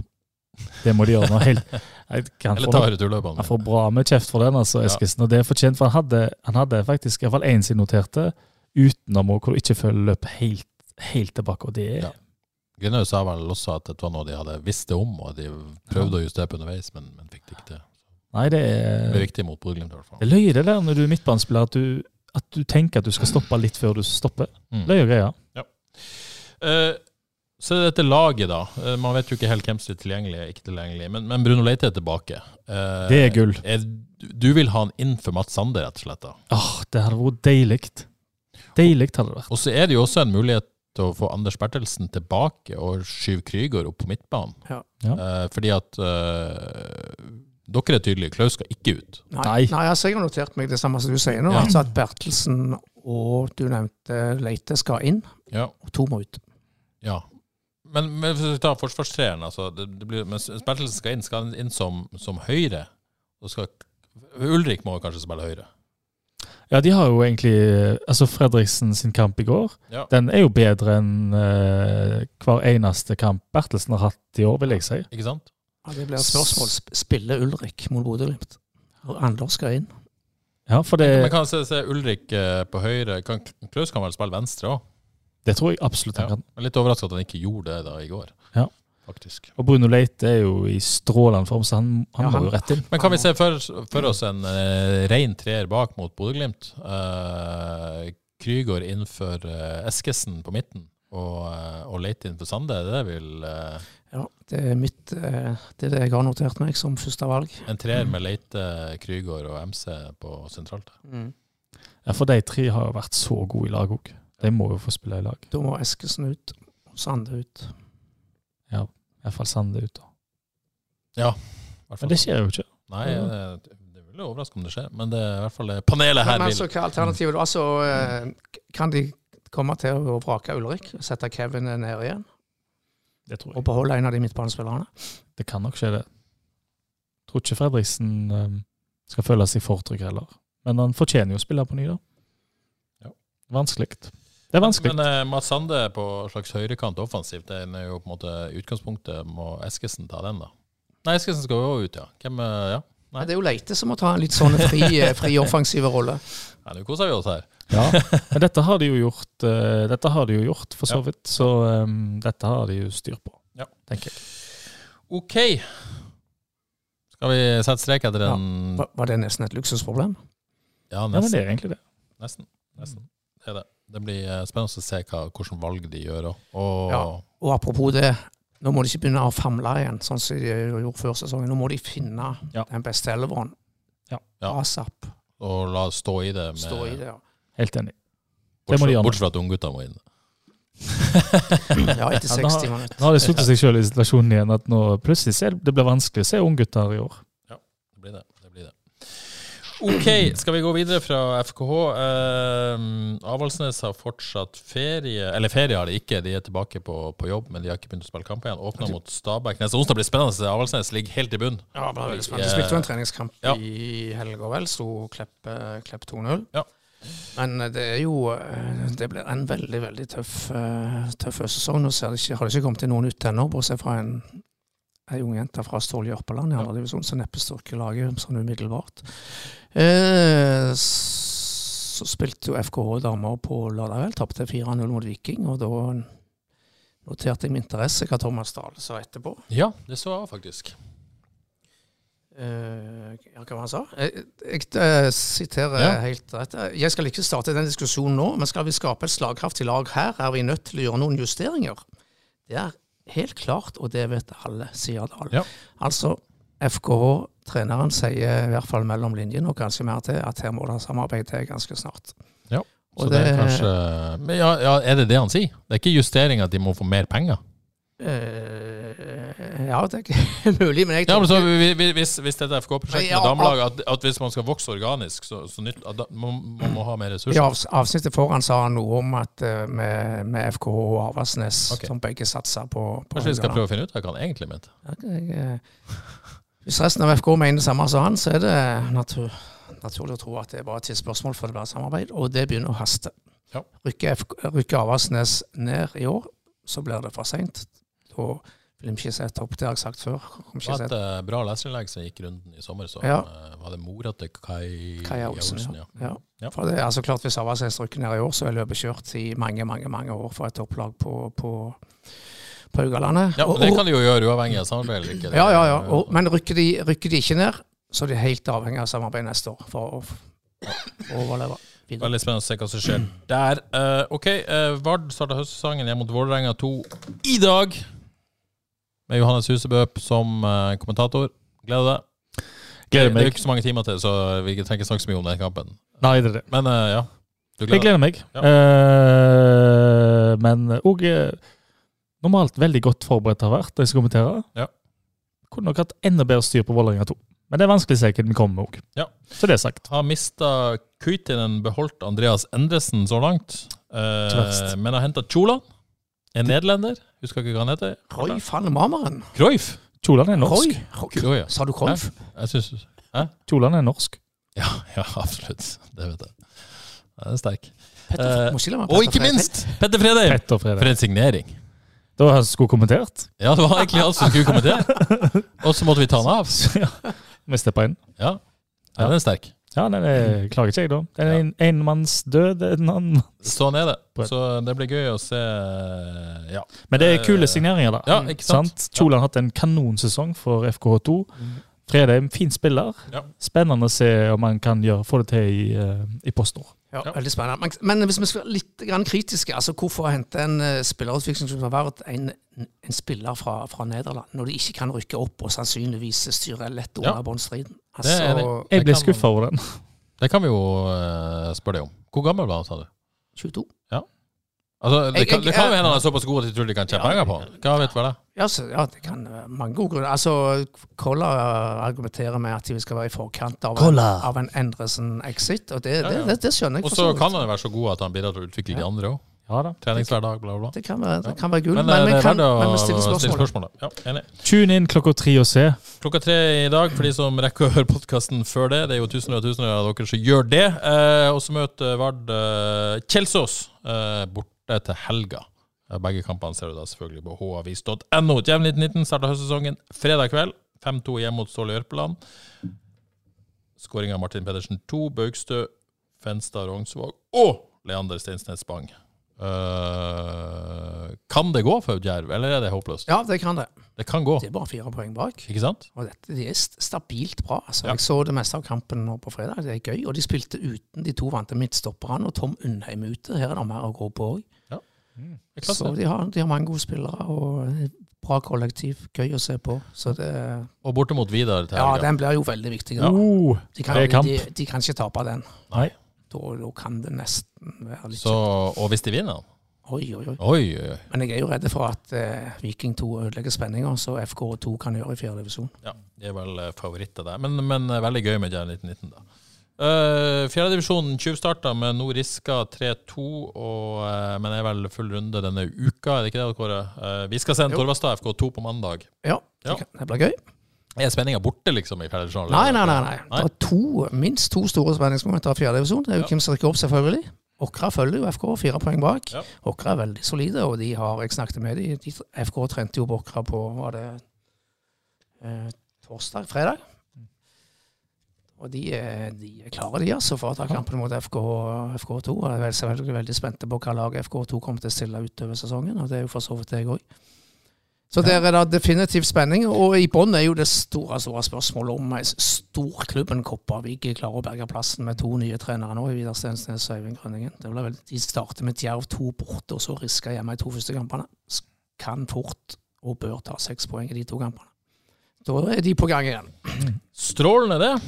[SPEAKER 3] Det må de gjøre nå. Helt, jeg kan
[SPEAKER 1] Eller
[SPEAKER 3] få
[SPEAKER 1] ta
[SPEAKER 3] noe-
[SPEAKER 1] returløpene.
[SPEAKER 3] Han får bra med kjeft for den, altså,
[SPEAKER 1] Ja.
[SPEAKER 3] Eskilsen. Og det er fortjent, for han hadde, han hadde faktisk i hvert fall én sin noterte utenom og hvor du ikke følger løpet helt, helt tilbake. Og det er
[SPEAKER 1] Ja. Grinhaug sa vel også at dette var noe de hadde visst det om, og de prøvde å justere på underveis, men, men fikk det ikke til.
[SPEAKER 3] Nei, det
[SPEAKER 1] Det
[SPEAKER 3] er
[SPEAKER 1] ble viktig mot Bodø-Glimt, i hvert fall.
[SPEAKER 3] Det er løye det der når du er midtbanespiller, at du, at du tenker at du skal stoppe litt før du stopper.
[SPEAKER 1] Mm.
[SPEAKER 3] Løye greia.
[SPEAKER 1] Eh, Så er det dette laget, da. Eh, Man vet jo ikke helt hvem som er tilgjengelig og ikke tilgjengelig, men, men Bruno Leite er tilbake. Eh,
[SPEAKER 3] Det er gull.
[SPEAKER 1] er- du vil ha han inn for Mats Sander, rett og slett. da.
[SPEAKER 3] Eh, Åh, det hadde vært deilig. Deilig hadde det vært.
[SPEAKER 1] Og så er det jo også en mulighet til å få Anders Bertelsen tilbake og skyve Krygård opp på midtbanen.
[SPEAKER 2] Ja.
[SPEAKER 1] Eh, fordi at eh, Dere er tydelige, Klaus skal ikke ut.
[SPEAKER 3] Nei.
[SPEAKER 2] Nei, altså jeg har notert meg det samme som du sier nå.
[SPEAKER 1] Ja.
[SPEAKER 2] Altså at Bertelsen og du nevnte Leite skal inn,
[SPEAKER 1] Ja.
[SPEAKER 2] og to må ut.
[SPEAKER 1] ja. Men, men hvis vi tar forsvarstreeren, altså. Det, det blir, men Bertelsen skal inn, skal han inn som, som høyre. Og skal, Ulrik må kanskje spille høyre.
[SPEAKER 3] Ja, de har jo egentlig Altså, Fredriksen sin kamp i går,
[SPEAKER 1] Ja.
[SPEAKER 3] den er jo bedre enn eh, hver eneste kamp Bertelsen har hatt i år, vil jeg si.
[SPEAKER 1] Ikke sant?
[SPEAKER 2] Ja, det blir et spørsmål. Sp- Spiller Ulrik mot Bodø-Glimt? Og Anders skal inn.
[SPEAKER 3] Ja, for
[SPEAKER 1] Men
[SPEAKER 3] det,
[SPEAKER 1] kan se, se Ulrik eh, på høyre kan, Klaus kan vel spille venstre òg?
[SPEAKER 3] det tror jeg absolutt han
[SPEAKER 1] Ja.
[SPEAKER 3] kan.
[SPEAKER 1] Jeg er Litt overraska at han ikke gjorde det da i går.
[SPEAKER 3] Ja.
[SPEAKER 1] Faktisk.
[SPEAKER 3] Og Bruno Leite er jo i strålende form, så han, han
[SPEAKER 2] Ja,
[SPEAKER 3] må
[SPEAKER 2] han-
[SPEAKER 3] jo rett inn.
[SPEAKER 1] Men kan vi se for, for oss en eh, ren treer bak mot Bodø-Glimt? Eh, Krygård innenfor eh, Eskesen på midten og, eh, og Leite innenfor Sande. Det er vel eh,
[SPEAKER 2] Ja, det er mitt eh, Det er det jeg har notert meg som første valg.
[SPEAKER 1] en treer med Leite, Krygård og MC på sentralt.
[SPEAKER 3] Ja, For de tre har jo vært så gode i lag òg. De må jo få spille i lag.
[SPEAKER 2] Da må Eskesen ut. og Sande ut.
[SPEAKER 3] Iallfall Sande ut. da.
[SPEAKER 1] I hvert
[SPEAKER 3] Men
[SPEAKER 1] fall.
[SPEAKER 3] det skjer jo ikke.
[SPEAKER 1] Nei, eh, det vil jo overraske om det skjer, men det er i hvert fall det panelet
[SPEAKER 2] Men,
[SPEAKER 1] her
[SPEAKER 2] men
[SPEAKER 1] vil.
[SPEAKER 2] så hva er alternativet? da? Altså, eh, kan de komme til å vrake Ulrik? Sette Kevin ned igjen?
[SPEAKER 3] Det tror
[SPEAKER 2] Og beholde en av de midtbanespillerne?
[SPEAKER 3] Det kan nok skje, det. Tror ikke Fredriksen eh, skal føle seg for trygg heller. Men han fortjener jo å spille på ny, da.
[SPEAKER 1] Ja.
[SPEAKER 3] Vanskelig. Det er vanskelig.
[SPEAKER 1] Men eh, Mats Sande på slags høyrekant offensivt, den er jo på en måte utgangspunktet. Må Eskesen ta den, da? Nei, Eskesen skal jo ut, ja. Hvem, eh, ja. Nei.
[SPEAKER 2] Men det er jo Leite som må ta en litt sånn fri, eh, fri offensive rolle.
[SPEAKER 1] Nei, nå koser vi oss her.
[SPEAKER 3] Ja. Men dette har de jo gjort, eh, dette har de jo gjort for så
[SPEAKER 1] Ja.
[SPEAKER 3] vidt, så eh, dette har de jo styr på,
[SPEAKER 1] Ja.
[SPEAKER 3] tenker jeg.
[SPEAKER 1] OK. Skal vi sette strek etter den?
[SPEAKER 2] Var, var det nesten et luksusproblem?
[SPEAKER 1] Ja,
[SPEAKER 3] Ja, men det
[SPEAKER 1] nesten.
[SPEAKER 3] er egentlig det.
[SPEAKER 1] Nesten. nesten. Det er det. Det blir eh, spennende å se hva, hvilke valg de gjør òg. Og
[SPEAKER 2] Ja. Og apropos det, nå må de ikke begynne å famle igjen, sånn som de gjorde før sesongen. Nå må de finne
[SPEAKER 3] Ja.
[SPEAKER 2] den beste elveren.
[SPEAKER 3] Ja.
[SPEAKER 1] Ja.
[SPEAKER 2] ASAP.
[SPEAKER 1] og la oss stå i det. Med,
[SPEAKER 2] Stå i det. ja.
[SPEAKER 3] Helt enig. Det må
[SPEAKER 1] Bortsett,
[SPEAKER 3] de gjøre nå.
[SPEAKER 1] bortsett fra at unggutta må inn.
[SPEAKER 2] Ja, etter
[SPEAKER 3] Ja, da-
[SPEAKER 2] 60 minutter.
[SPEAKER 3] Nå har de satt seg sjøl i situasjonen igjen at nå plutselig ser det blir vanskelig å se unggutter i år.
[SPEAKER 1] Det blir det. det blir det. OK, skal vi gå videre fra FKH? Eh, Avaldsnes har fortsatt ferie. Eller ferie har de ikke, de er tilbake på, på jobb, men de har ikke begynt å spille kamp igjen. Åpner mot Stabæk neste onsdag. blir spennende. så Avaldsnes ligger helt i bunn.
[SPEAKER 2] Ja, det var veldig
[SPEAKER 1] Eh,
[SPEAKER 2] spennende. De spilte jo en treningskamp
[SPEAKER 1] ja.
[SPEAKER 2] i helga, vel. Sto Klepp, eh, Klepp 2-0.
[SPEAKER 1] Ja.
[SPEAKER 2] Men eh, det er jo eh, Det blir en veldig, veldig tøff, eh, tøff høstsesong. Nå ser det ikke, har det ikke kommet inn noen ut ennå, bortsett fra en ei ung jente fra Stål Jørpeland i andredivisjon som neppe styrker laget sånn umiddelbart. Eh, s- så spilte jo FKH damer på lørdag kveld. Tapte 4-0 mot Viking, og da noterte jeg med interesse hva Thomas Dahl sa etterpå.
[SPEAKER 1] Ja, det så jeg faktisk.
[SPEAKER 2] Eh, ja, hva var det han sa? Jeg, jeg eh, siterer
[SPEAKER 1] Ja.
[SPEAKER 2] helt rett. Jeg skal ikke starte den diskusjonen nå, men skal vi skape et slagkraftig lag her, er vi nødt til å gjøre noen justeringer. Det er helt klart, og det vet alle, sier Dahl.
[SPEAKER 1] Ja.
[SPEAKER 2] Altså, FKH-treneren sier i hvert fall mellom linjene, og kanskje mer til, at her må det samarbeid til ganske snart.
[SPEAKER 1] Ja, Så
[SPEAKER 2] Og
[SPEAKER 1] det, er
[SPEAKER 2] det-
[SPEAKER 1] kanskje Men ja, ja, er det det han sier? Det er ikke justering at de må få mer penger?
[SPEAKER 2] Eh, ja, det er ikke mulig, men jeg
[SPEAKER 1] Ja, men så,
[SPEAKER 2] tolker-
[SPEAKER 1] vi- vi- hvis, hvis dette FK-prosjektet
[SPEAKER 2] Ja,
[SPEAKER 1] med damelaget, at, at hvis man skal vokse organisk, så, så nytt, at da, man, man må ha mer ressurser?
[SPEAKER 2] I avs- avsnittet foran sa han noe om at eh, med, med FKH og Avaldsnes,
[SPEAKER 1] Ok.
[SPEAKER 2] som begge satser på, på
[SPEAKER 1] Kanskje vi skal
[SPEAKER 2] Haugaland.
[SPEAKER 1] prøve å finne ut hva han egentlig mente?
[SPEAKER 2] Ja, jeg, eh, Hvis resten av FK mener det samme som han, så er det natur, naturlig å tro at det er bare et tidsspørsmål før det blir samarbeid, og det begynner å haste.
[SPEAKER 1] Ja.
[SPEAKER 2] Rykker, FK rykker Avaldsnes ned i år, så blir det for seint. Da vil de ikke sette opp, det har jeg sagt før.
[SPEAKER 1] Det
[SPEAKER 2] Kommer ikke
[SPEAKER 1] var et
[SPEAKER 2] sette.
[SPEAKER 1] eh, bra leserinnlegg som gikk runden i sommer. Så
[SPEAKER 2] Ja.
[SPEAKER 1] eh, var det mora til Kai,
[SPEAKER 2] Kaja Olsen,
[SPEAKER 1] ja.
[SPEAKER 2] Ja.
[SPEAKER 1] Ja.
[SPEAKER 2] For det er altså klart Hvis Avaldsnes rykker ned i år, så er løpet kjørt i mange mange, mange år for et topplag på, på, på Haugalandet.
[SPEAKER 1] Ja,
[SPEAKER 2] Og-
[SPEAKER 1] men Det
[SPEAKER 2] og-
[SPEAKER 1] kan de jo gjøre uavhengig av samarbeid eller ikke.
[SPEAKER 2] Ja, ja, ja. Og, men rykker de, rykker de ikke ned, så er de helt avhengig av samarbeid neste år for å for å overleve. videre.
[SPEAKER 1] Veldig spennende å se hva som skjer der. Eh, OK, eh, Vard starta høstsesongen hjemme mot Vålerenga 2 i dag. Med Johannes Husebø som eh, kommentator. Gleder deg.
[SPEAKER 3] Gleder
[SPEAKER 1] Det er jo
[SPEAKER 3] meg.
[SPEAKER 1] ikke så mange timer til, så vi trenger ikke snakke så mye om den kampen.
[SPEAKER 3] Nei, det er det.
[SPEAKER 1] Men eh, ja. Du
[SPEAKER 3] Jeg
[SPEAKER 1] gleder deg.
[SPEAKER 3] gleder meg.
[SPEAKER 1] Ja.
[SPEAKER 3] Eh, men òg normalt veldig godt forberedt har vært, det jeg skal kommentere.
[SPEAKER 1] Ja.
[SPEAKER 3] Kunne nok hatt enda bedre styr på Vålerenga 2. Men det er vanskelig å se hva vi kommer med òg.
[SPEAKER 1] Ja.
[SPEAKER 3] Så det er sagt.
[SPEAKER 1] Har mista Kuitinen, beholdt Andreas Endresen så langt. Eh,
[SPEAKER 3] Ikke verst.
[SPEAKER 1] men har henta Tjolan, en nederlender. Husker ikke hva han heter.
[SPEAKER 2] Roy van Marmaren.
[SPEAKER 1] Cruyff.
[SPEAKER 3] Kjolan er norsk.
[SPEAKER 2] Roy. Roy.
[SPEAKER 1] Cruyff, ja.
[SPEAKER 2] Sa du Rolf?
[SPEAKER 1] Jeg synes,
[SPEAKER 3] Kjolan er norsk.
[SPEAKER 1] ja, ja, absolutt. Det vet jeg. Den er sterk.
[SPEAKER 2] Petter-
[SPEAKER 1] Eh,
[SPEAKER 2] må la meg
[SPEAKER 1] Og
[SPEAKER 2] Petter
[SPEAKER 1] ikke
[SPEAKER 2] Fredheim.
[SPEAKER 1] minst Petter Fredheim!
[SPEAKER 3] Petter Fredrik.
[SPEAKER 1] For en signering.
[SPEAKER 3] Da har han skulle kommentert.
[SPEAKER 1] Ja, det var egentlig alt som skulle komme til. Og så måtte vi ta den av.
[SPEAKER 3] Vi steppa inn.
[SPEAKER 1] Ja, ja den er sterk.
[SPEAKER 3] Ja, den er, klager ikke jeg, da. Den er en enmannsdød. En annen.
[SPEAKER 1] Sånn er det. Så det blir gøy å se eh, Ja.
[SPEAKER 3] Men det er kule signeringer, da.
[SPEAKER 1] Ja, ikke sant? Mm.
[SPEAKER 3] Kjolan har hatt en kanonsesong for FKH2. Fredheim, fin spiller.
[SPEAKER 1] Ja.
[SPEAKER 3] Spennende å se om han kan gjøre, få det til i, eh, i postnord.
[SPEAKER 2] Ja, Veldig spennende. Men, men hvis vi skal være litt grann kritiske, altså hvorfor hente en eh, spillerutvikling som har vært en, en spiller fra, fra Nederland, når de ikke kan rykke opp og sannsynligvis styre lett
[SPEAKER 1] Ja.
[SPEAKER 2] under båndstriden?
[SPEAKER 1] Det
[SPEAKER 2] Altså,
[SPEAKER 1] er det.
[SPEAKER 3] Jeg ble
[SPEAKER 1] kan-
[SPEAKER 3] skuffa over den.
[SPEAKER 1] Det kan vi jo eh, spørre deg om. Hvor gammel var han, sa du?
[SPEAKER 2] 22.
[SPEAKER 1] Altså, det,
[SPEAKER 2] Jeg-
[SPEAKER 1] kan,
[SPEAKER 2] jeg-
[SPEAKER 1] det kan jo
[SPEAKER 2] jeg-
[SPEAKER 1] hende han er såpass god at de tror de kan tjene penger på han. Hva vet vi det?
[SPEAKER 2] Ja, så, ja, det kan være mange gode grunner. Altså, Kolla eh, argumenterer med at vi skal være i forkant av, en-
[SPEAKER 3] Kolla.
[SPEAKER 2] av en Endresen-exit, og det,
[SPEAKER 1] Ja,
[SPEAKER 2] det,
[SPEAKER 1] ja.
[SPEAKER 2] det, det skjønner jeg
[SPEAKER 1] Og
[SPEAKER 2] for
[SPEAKER 1] så
[SPEAKER 2] vidt.
[SPEAKER 1] kan han være så god at han bidrar til å utvikle de andre òg.
[SPEAKER 3] Ja da.
[SPEAKER 1] Treningshverdag, bla, bla. bla.
[SPEAKER 2] Det kan være, det kan være gull,
[SPEAKER 1] Men,
[SPEAKER 2] men,
[SPEAKER 1] eh,
[SPEAKER 2] vi
[SPEAKER 1] det er
[SPEAKER 2] kan,
[SPEAKER 1] verdt
[SPEAKER 2] men
[SPEAKER 1] å
[SPEAKER 2] vi
[SPEAKER 1] stille
[SPEAKER 2] stiller spørsmål.
[SPEAKER 1] spørsmål. da. Ja, enig.
[SPEAKER 3] Tune inn klokka tre og se.
[SPEAKER 1] Klokka tre i dag, for de som rekker å høre podkasten før det. Det er jo tusener og tusener av dere som gjør det. Eh, og så møter Vard eh, Kjelsås eh, borte til helga. Eh, Begge kampene ser du da selvfølgelig på havis.no. Jevn 1919 starter høstsesongen fredag kveld. 5-2 hjemme mot Ståle Jørpeland. Skåring av Martin Pedersen 2, Baugstø, Fenstad Rognsvåg og Leander Steinsnes Bang. Eh, kan det gå for Djerv, eller er det håpløst?
[SPEAKER 2] Ja, det kan det.
[SPEAKER 1] Det kan gå,
[SPEAKER 2] Det er bare fire poeng bak.
[SPEAKER 1] ikke sant?
[SPEAKER 2] Og dette, de er st- stabilt bra. Altså,
[SPEAKER 1] Ja.
[SPEAKER 2] Jeg så det meste av kampen nå på fredag. Det er gøy. Og de spilte uten de to vante midtstopperne og Tom Undheim ute. Her er det mer å gå på òg.
[SPEAKER 1] Mm. Det er klasse.
[SPEAKER 2] Så de har, de har mange gode spillere og bra kollektiv. Gøy å se på. Så det,
[SPEAKER 1] Og borte mot Vidar til
[SPEAKER 2] ja,
[SPEAKER 1] helga.
[SPEAKER 2] den blir jo veldig viktig. da.
[SPEAKER 3] Oh,
[SPEAKER 2] De kan,
[SPEAKER 3] det er kamp.
[SPEAKER 2] de, de kan ikke tape den.
[SPEAKER 3] Nei.
[SPEAKER 2] Da, da kan det nesten være litt
[SPEAKER 1] Så, og hvis de vinner den?
[SPEAKER 2] Oi, oi, oi.
[SPEAKER 1] Oi, oi, oi.
[SPEAKER 2] Men jeg er jo redd for at eh, Viking 2 ødelegger spenninga, så FK2 kan gjøre i fjerde divisjon.
[SPEAKER 1] Ja, de er vel eh, favoritter der. Men, men eh, veldig gøy med Jern 1919, da. Uh, Fjerdedivisjonen tjuvstarta med Nord Riska 3-2, og, eh, men er vel full runde denne uka, er det ikke det, Kåre? Eh, vi skal sende
[SPEAKER 2] Jo.
[SPEAKER 1] Torvastad FK2 på mandag.
[SPEAKER 2] Ja, det
[SPEAKER 1] Ja.
[SPEAKER 2] kan- det blir gøy.
[SPEAKER 1] Er spenninga borte, liksom, i fjerdedivisjonen?
[SPEAKER 2] Nei, nei, nei. nei.
[SPEAKER 1] Nei.
[SPEAKER 2] Det er to, minst to store spenningsmomenter av fjerde divisjon. Det er jo
[SPEAKER 1] Ja.
[SPEAKER 2] hvem som rykker opp, selvfølgelig. Åkra følger jo FK, fire poeng bak.
[SPEAKER 1] Ja.
[SPEAKER 2] Åkra er veldig solide, og de har Jeg snakket med de, de FK trente jo på Åkra på Var det eh, torsdag? Fredag? Og de er, de er klare, de, altså, for å ta kampen mot FK, FK2. Og jeg er vel- selvfølgelig veldig spente på hva laget FK2 kommer til å stille utover sesongen, og det er jo for så vidt jeg òg. Så der er det definitivt spenning. Og i bånn er jo det store store spørsmålet om eh, storklubben Kopervik klarer å berge plassen med to nye trenere nå, i Vidar Stensnes og Øyvind Grønningen. Det blir vel, de starter med Djerv to borte, og så risker hjemme i to første kampene. S- Kan fort og bør ta seks poeng i de to kampene. Da er de på gang igjen.
[SPEAKER 1] Strålende, det.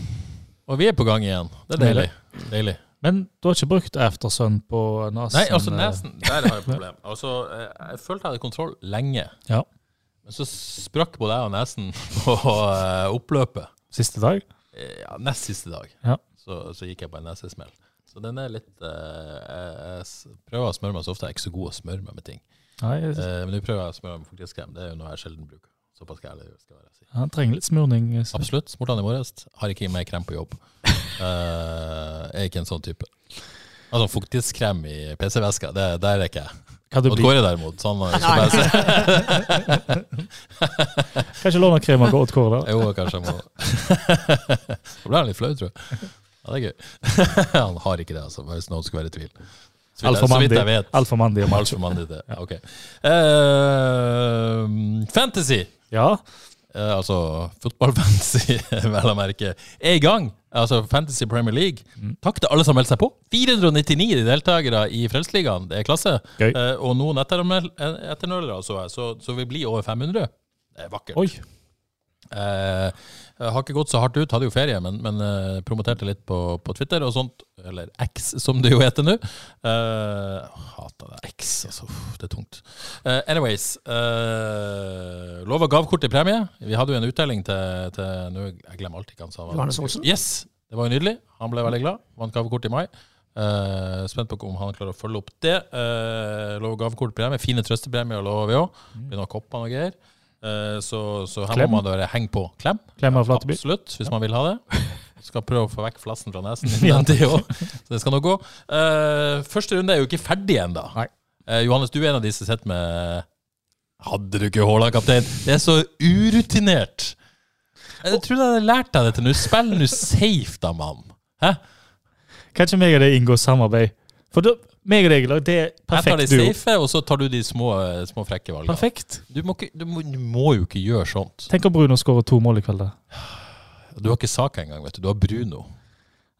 [SPEAKER 1] Og vi er på gang igjen. Det er deilig. deilig.
[SPEAKER 3] Men du har ikke brukt Aftersun på nesen?
[SPEAKER 1] Nei, altså
[SPEAKER 3] eh,
[SPEAKER 1] nesen, der har jeg et problem. Altså, jeg, jeg følte jeg hadde kontroll lenge.
[SPEAKER 3] Ja.
[SPEAKER 1] Men så sprakk både jeg og nesen på eh, oppløpet.
[SPEAKER 3] Siste dag?
[SPEAKER 1] Eh, Ja, nest siste dag.
[SPEAKER 3] Ja.
[SPEAKER 1] Så, så gikk jeg på en nesesmell. Så den er litt eh, jeg, jeg s- prøver å smøre meg så ofte. Jeg er ikke så god å smøre meg med ting.
[SPEAKER 3] Nei, jeg-
[SPEAKER 1] Eh, men nå prøver jeg å smøre meg med fuktighetskrem. Det er jo noe jeg sjelden bruker. Såpass skal jeg skal være. Si.
[SPEAKER 3] han trenger litt smurning. eh, så-
[SPEAKER 1] Eh. Absolutt. Smurte han i morges. Har ikke mer krem på jobb. Eh, jeg er ikke en sånn type. Altså fuktighetskrem i PC-veska, det, der er ikke jeg.
[SPEAKER 3] Kan du
[SPEAKER 1] Og
[SPEAKER 3] bli?
[SPEAKER 1] Kåre derimot, så han har ikke bare sett.
[SPEAKER 3] Kan ikke låne krem av Odd Kåre der?
[SPEAKER 1] Jo, kanskje jeg må Da ble han litt flau, tror jeg. Ja, det er gøy. Han har ikke det, altså, hvis noen skulle være i tvil. Så vidt,
[SPEAKER 3] Altfor
[SPEAKER 1] jeg- så vidt jeg
[SPEAKER 3] mandig.
[SPEAKER 1] vet.
[SPEAKER 3] Altfor mandig og macho.
[SPEAKER 1] Altfor mandig det. Ok. Eh, fantasy,
[SPEAKER 3] Ja.
[SPEAKER 1] eh, altså fotballfantasy, vel å merke, er i gang. Altså Fantasy Premier League.
[SPEAKER 3] Mm.
[SPEAKER 1] Takk til alle som meldte seg på. 499 deltakere i Frelsesligaen, det er klasse.
[SPEAKER 3] Gøy.
[SPEAKER 1] Eh, og noen ettermel- etternølere, så jeg, så, så vi blir over 500. Det er vakkert.
[SPEAKER 3] Oi.
[SPEAKER 1] Eh, jeg har ikke gått så hardt ut, hadde jo ferie, men, men eh, promoterte litt på, på Twitter og sånt. Eller X, som det jo heter nå. Eh, Hater det. X, altså. uff, Det er tungt. Eh, anyways. Uh, Lova gavkort i premie. Vi hadde jo en uttelling til, til nå, Jeg glemmer alltid hva han sa.
[SPEAKER 2] Johannes Olsen?
[SPEAKER 1] Yes! Det var jo nydelig. Han ble veldig glad. Vant gavekort i mai. Eh, spent på om han klarer å følge opp det. Uh, lov og gavekortpremie. Fine trøstepremier lover vi òg. Blir noen kopper og greier. Eh, så, så her
[SPEAKER 3] Klem.
[SPEAKER 1] må man bare henge på. Klem.
[SPEAKER 3] Klem av Flateby.
[SPEAKER 1] Absolutt, hvis man vil ha det. Skal prøve å få vekk flassen fra nesen. ja. det også. Så det skal nå gå. Eh, første runde er jo ikke ferdig ennå.
[SPEAKER 3] Nei.
[SPEAKER 1] Eh, Johannes, du er en av de som sitter med Hadde du ikke håla, kaptein? Det er så urutinert. Eh, Jeg tror jeg hadde lært deg dette nå. Spill nå safe, da, mann. Hæ?
[SPEAKER 3] Kan ikke meg og deg inngå samarbeid? For da, meg og deg, Lag, det er
[SPEAKER 1] Jeg tar de
[SPEAKER 3] perfekt duo.
[SPEAKER 1] safe, og så tar du de små, eh, små frekke valgene.
[SPEAKER 3] Perfekt.
[SPEAKER 1] Du må, ikke, du, må, du må jo ikke gjøre sånt.
[SPEAKER 3] Tenk om Bruno skårer to mål i kveld, da.
[SPEAKER 1] Du har ikke saka engang, vet du. Du har Bruno.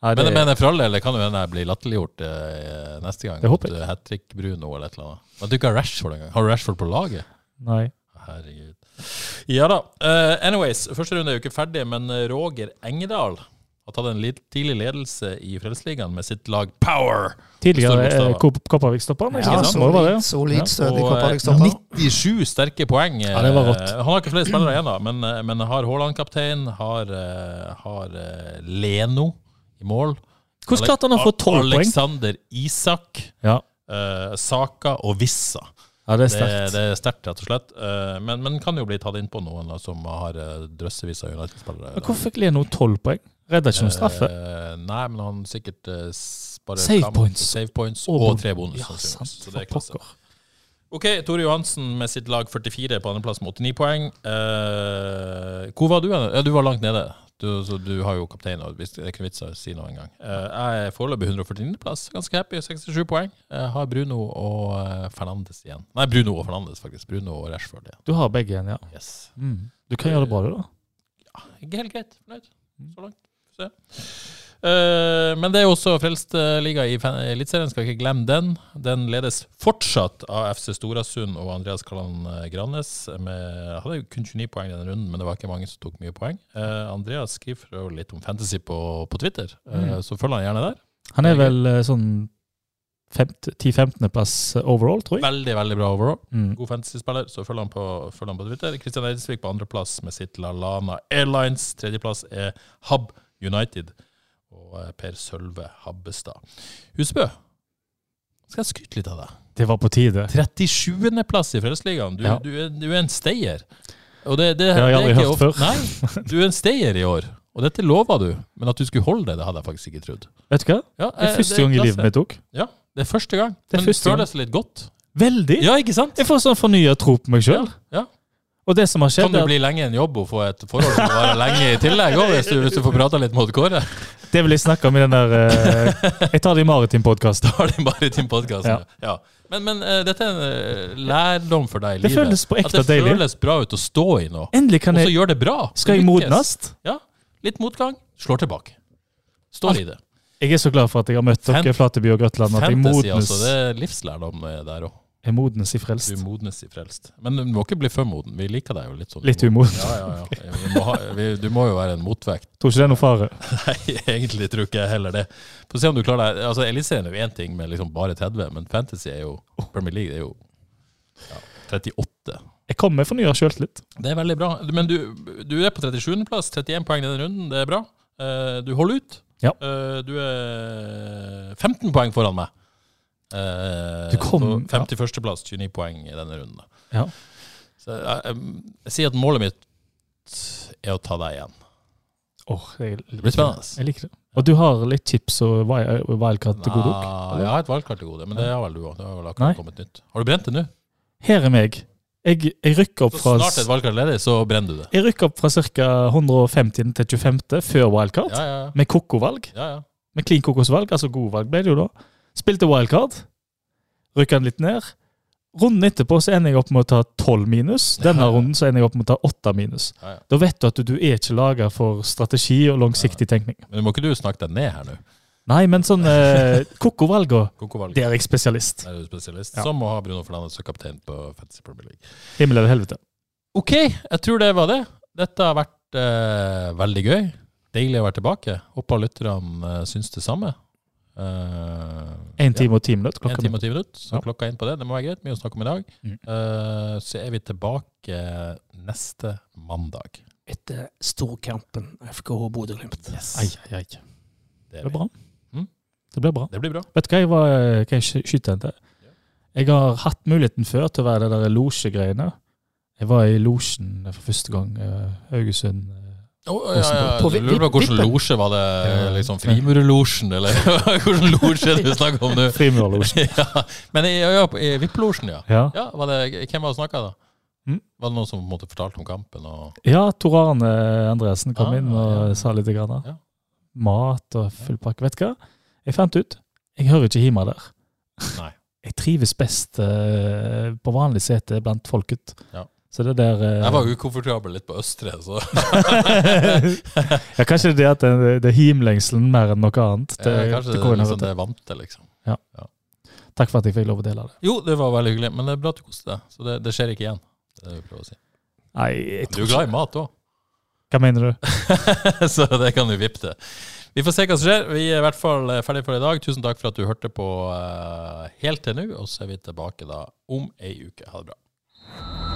[SPEAKER 3] Nei,
[SPEAKER 1] Men
[SPEAKER 3] det,
[SPEAKER 1] jeg mener for all del, det kan jo hende jeg blir latterliggjort eh, neste gang.
[SPEAKER 3] Det håper jeg.
[SPEAKER 1] Hat trick Bruno eller et eller annet. Men du ikke har Rashford engang. Har du Rashford på laget?
[SPEAKER 3] nei.
[SPEAKER 1] Herregud. Ja da. Eh, anyways, første runde er jo ikke ferdig, men eh, Roger Engedal har tatt en litt tidlig ledelse i Frelsesligaen med sitt lag Power.
[SPEAKER 3] Tidligere
[SPEAKER 1] Store
[SPEAKER 3] eh,
[SPEAKER 1] bokstaver.
[SPEAKER 3] Kop- Kopervik-stopper. men
[SPEAKER 1] Ja,
[SPEAKER 3] ikke sant? Må det være det. Ja.
[SPEAKER 2] solid stødig
[SPEAKER 1] Og, eh,
[SPEAKER 2] Kopervik-stopper.
[SPEAKER 1] 97 sterke poeng.
[SPEAKER 3] Ja, det var rått.
[SPEAKER 1] Eh, Han har ikke flere spillere igjen, da, men, eh, men har Haaland-kaptein, har, eh, har eh, Leno i mål.
[SPEAKER 3] Hvordan klarte han å få
[SPEAKER 1] Ale-
[SPEAKER 3] tolv poeng?
[SPEAKER 1] Alexander Isak,
[SPEAKER 3] Ja.
[SPEAKER 1] eh, Saka og Vissa.
[SPEAKER 3] ja, det er
[SPEAKER 1] Det,
[SPEAKER 3] sterkt.
[SPEAKER 1] det er sterkt, rett og slett. Eh, men, men kan jo bli tatt inn på noen da, som har eh, drøssevis av United-spillere.
[SPEAKER 3] Men Hvorfor fikk Leno tolv poeng? Redda ikke noen straffe.
[SPEAKER 1] Eh, nei, men han sikkert eh, s- bare
[SPEAKER 3] Save
[SPEAKER 1] kamp-
[SPEAKER 3] points.
[SPEAKER 1] save points
[SPEAKER 3] Og
[SPEAKER 1] og,
[SPEAKER 3] bon-
[SPEAKER 1] tre bonus.
[SPEAKER 3] Ja,
[SPEAKER 1] sannsynligvis.
[SPEAKER 3] sant.
[SPEAKER 1] Så
[SPEAKER 3] For
[SPEAKER 1] det er klasse.
[SPEAKER 3] pokker.
[SPEAKER 1] Ok, Tore Johansen med sitt lag 44 på andreplass med 89 poeng. Eh, hvor var du? hen? Ja, du var langt nede. Du, så du har jo kaptein, og hvis det er ikke vits å si noe engang. Eh, jeg er foreløpig 149.-plass, ganske happy. 67 poeng. Jeg har Bruno og eh, Fernandes igjen. Nei, Bruno og Fernandes, faktisk. Bruno og Rashford igjen.
[SPEAKER 3] Du har begge igjen, ja.
[SPEAKER 1] Yes.
[SPEAKER 3] Mm. Du kan gjøre det bra, du, da.
[SPEAKER 1] Ikke helt greit. Fornøyd så langt. Får Se. Eh, men det er jo også Frelstliga i fan- Eliteserien, skal ikke glemme den. Den ledes fortsatt av FC Storasund og Andreas Kalland eh, Grannes. Med, hadde jo kun 29 poeng i denne runden, men det var ikke mange som tok mye poeng. Eh, Andreas skriver jo litt om fantasy på, på Twitter, eh, så følg han gjerne der.
[SPEAKER 3] Han er vel eh, sånn 10-15.-plass eh, overall, tror jeg.
[SPEAKER 1] Veldig, veldig bra overall.
[SPEAKER 3] Mm.
[SPEAKER 1] God fantasy-spiller, så følg han på, følg han på Twitter. Kristian Eidsvik på andreplass med sitt LaLana Airlines. Tredjeplass er Hab United og eh, Per Sølve Habbestad. Husbø, skal jeg skryte litt av deg.
[SPEAKER 3] Det var på tide.
[SPEAKER 1] 37. plass i Frelsesligaen. Du,
[SPEAKER 3] Ja.
[SPEAKER 1] du, er- du er en stayer. Og det,
[SPEAKER 3] Det
[SPEAKER 1] det,
[SPEAKER 3] har jeg
[SPEAKER 1] det er
[SPEAKER 3] aldri
[SPEAKER 1] ikke
[SPEAKER 3] hørt
[SPEAKER 1] of-
[SPEAKER 3] før.
[SPEAKER 1] Nei, du er en stayer i år. Og dette lova du, men at du skulle holde det, det hadde jeg faktisk ikke trodd.
[SPEAKER 3] Vet du hva? Det
[SPEAKER 1] Ja, eh,
[SPEAKER 3] er første gang i
[SPEAKER 1] klasse.
[SPEAKER 3] livet mitt tok.
[SPEAKER 1] Ja, det er første gang.
[SPEAKER 3] Det er
[SPEAKER 1] men det
[SPEAKER 3] første gang.
[SPEAKER 1] føles litt godt.
[SPEAKER 3] Veldig!
[SPEAKER 1] Ja, ikke sant?
[SPEAKER 3] Jeg får sånn fornya tro på meg sjøl.
[SPEAKER 1] Ja, ja.
[SPEAKER 3] Og det som har
[SPEAKER 1] Kan
[SPEAKER 3] skjedd,
[SPEAKER 1] du
[SPEAKER 3] er at-
[SPEAKER 1] bli lenge i en jobb og få et forhold som varer lenge i tillegg også, hvis, du, hvis du får prata litt mot Kåre?
[SPEAKER 3] det vil jeg snakke om i den der eh, Jeg tar det i maritim-podkasten.
[SPEAKER 1] Da har de bare din podcast.
[SPEAKER 3] Ja.
[SPEAKER 1] Ja. Men, men eh, dette er en eh, lærdom for deg i
[SPEAKER 3] Det
[SPEAKER 1] livet.
[SPEAKER 3] føles på ekte
[SPEAKER 1] At det
[SPEAKER 3] deilig.
[SPEAKER 1] føles bra ut å stå i noe.
[SPEAKER 3] Endelig kan
[SPEAKER 1] Og så
[SPEAKER 3] jeg
[SPEAKER 1] gjør det bra.
[SPEAKER 3] Skal
[SPEAKER 1] Du
[SPEAKER 3] jeg
[SPEAKER 1] lykkes.
[SPEAKER 3] modnes?
[SPEAKER 1] Ja. Litt motgang, slår tilbake. Står i det.
[SPEAKER 3] Jeg er så glad for at jeg har møtt dere,
[SPEAKER 1] Fan-
[SPEAKER 3] Flateby og Grøtland, at jeg
[SPEAKER 1] Fantasy,
[SPEAKER 3] modnes,
[SPEAKER 1] altså. Det er livslærdom eh, der òg.
[SPEAKER 3] jeg modnes i
[SPEAKER 1] Du
[SPEAKER 3] frelst.
[SPEAKER 1] modnes i frelst. Men du må ikke bli for moden. Vi liker deg jo litt sånn.
[SPEAKER 3] Litt humor.
[SPEAKER 1] Ja, ja, ja. Vi må ha, vi, du må jo være en motvekt.
[SPEAKER 3] Tror ikke det er noe fare.
[SPEAKER 1] Nei, egentlig tror ikke jeg heller det. Få se om du klarer deg. Altså, Eliteserien er jo én ting med liksom bare 30, men Fantasy er jo Premier League det er jo ja, 38.
[SPEAKER 3] Jeg kommer med fornya sjøltillit.
[SPEAKER 1] Det er veldig bra. Men du, du er på 37.-plass, 31 poeng i denne runden. Det er bra. Eh, Du holder ut.
[SPEAKER 3] Ja.
[SPEAKER 1] Eh, Du er 15 poeng foran meg. Eh,
[SPEAKER 3] Du kom-
[SPEAKER 1] på 51.-plass, 29 poeng i denne runden.
[SPEAKER 3] Ja.
[SPEAKER 1] Så jeg, jeg, jeg sier at målet mitt er å ta deg igjen.
[SPEAKER 3] Åh, jeg,
[SPEAKER 1] Det blir spennende.
[SPEAKER 3] jeg liker det. Og du har litt chips og wi- og wildcard til god dukk.
[SPEAKER 1] Nei, jeg har et valgkart til gode, men det har vel du òg. Det har vel
[SPEAKER 3] Nei.
[SPEAKER 1] akkurat kommet nytt. Har du brent det nå?
[SPEAKER 3] Her er meg. Jeg, jeg rykker opp
[SPEAKER 1] Så
[SPEAKER 3] fra
[SPEAKER 1] snart et valgkart er ledig, så brenner du det.
[SPEAKER 3] Jeg rykker opp fra ca. 150 til 25. før wildcard.
[SPEAKER 1] Ja, ja, ja.
[SPEAKER 3] Med koko-valg.
[SPEAKER 1] ja, ja.
[SPEAKER 3] Med clean kokosvalg, altså gode valg ble det jo da. Spilte wildcard. Rykka den litt ned. Runden etterpå så ender jeg opp med å ta 12 minus. Denne
[SPEAKER 1] Ja, ja.
[SPEAKER 3] runden så ender jeg opp med å ta 8 minus.
[SPEAKER 1] Ja, ja.
[SPEAKER 3] Da vet du at du, du er ikke laga for strategi og langsiktig tenkning.
[SPEAKER 1] Men må ikke du snakke deg ned her nå?
[SPEAKER 3] Nei, men sånn eh, koko-valga,
[SPEAKER 1] Kokovalg.
[SPEAKER 3] der er jeg spesialist.
[SPEAKER 1] Der er du spesialist.
[SPEAKER 3] Ja.
[SPEAKER 1] Som må ha Bruno Fernandes som kaptein på Fantasy Premier League.
[SPEAKER 3] Himmel eller helvete.
[SPEAKER 1] OK, jeg tror det var det. Dette har vært eh, veldig gøy. Deilig å være tilbake. Håper lytterne eh, syns det samme. Eh,
[SPEAKER 3] Én time og ti minutter.
[SPEAKER 1] En
[SPEAKER 3] Klokka
[SPEAKER 1] time og ti minutter, så
[SPEAKER 3] Ja.
[SPEAKER 1] klokka er inn på det. Det må være greit. Mye å snakke om i dag.
[SPEAKER 3] Mm.
[SPEAKER 1] Eh, så er vi tilbake neste mandag.
[SPEAKER 2] Etter storkampen FKH Bodø-Glimt.
[SPEAKER 3] Ai, ai, ai.
[SPEAKER 1] Det,
[SPEAKER 3] Det ble
[SPEAKER 1] er vi.
[SPEAKER 3] bra.
[SPEAKER 1] Mm.
[SPEAKER 3] Det ble bra.
[SPEAKER 1] det blir bra.
[SPEAKER 3] Vet du hva jeg, var, hva jeg sky- skyter hen til? Jeg har hatt muligheten før til å være det der losjegreiene. Jeg var i losjen for første gang. eh, Haugesund.
[SPEAKER 1] ja, ja, ja.
[SPEAKER 2] På
[SPEAKER 1] Du lurer på hvilken
[SPEAKER 2] vippen.
[SPEAKER 1] losje var det?
[SPEAKER 3] Ja.
[SPEAKER 1] Liksom Frimurerlosjen, eller hvilken losje er det vi snakker om nå?
[SPEAKER 3] Frimurlosjen.
[SPEAKER 1] ja. Men i, ja, i Vipp-losjen, ja.
[SPEAKER 3] Ja.
[SPEAKER 1] ja var det, hvem var det som snakka, da?
[SPEAKER 3] Mm.
[SPEAKER 1] Var det noen som på en måte fortalte om kampen? Og,
[SPEAKER 3] ja, Tor Arne Andresen kom
[SPEAKER 1] Ah,
[SPEAKER 3] inn og
[SPEAKER 1] ja.
[SPEAKER 3] sa litt. Grann,
[SPEAKER 1] Ja.
[SPEAKER 3] Mat og full pakke. Vet du hva? Jeg fant ut jeg hører ikke hjemme der.
[SPEAKER 1] Nei.
[SPEAKER 3] Jeg trives best eh, på vanlig sete blant folket.
[SPEAKER 1] Ja.
[SPEAKER 3] Så det der eh,
[SPEAKER 1] jeg var ukomfortabel litt på Østre, så
[SPEAKER 3] ja, Kanskje det er at det, det er himlengselen mer enn noe annet. Det,
[SPEAKER 1] eh, kanskje
[SPEAKER 3] det
[SPEAKER 1] det,
[SPEAKER 3] går
[SPEAKER 1] er
[SPEAKER 3] inn over
[SPEAKER 1] liksom det jeg vant til, liksom.
[SPEAKER 3] det. Takk for at jeg fikk lov å dele det.
[SPEAKER 1] Jo, det var veldig hyggelig, men det er bra at du koste deg. Så det, det skjer ikke igjen. Det er det jeg prøver å si.
[SPEAKER 3] Nei, jeg
[SPEAKER 1] Du
[SPEAKER 3] tror
[SPEAKER 1] er glad i mat òg,
[SPEAKER 3] ikke Hva mener du?
[SPEAKER 1] så det kan du vippe til. Vi får se hva som skjer. Vi er i hvert fall ferdige for i dag. Tusen takk for at du hørte på eh, helt til nå, og så er vi tilbake da om ei uke. Ha det bra.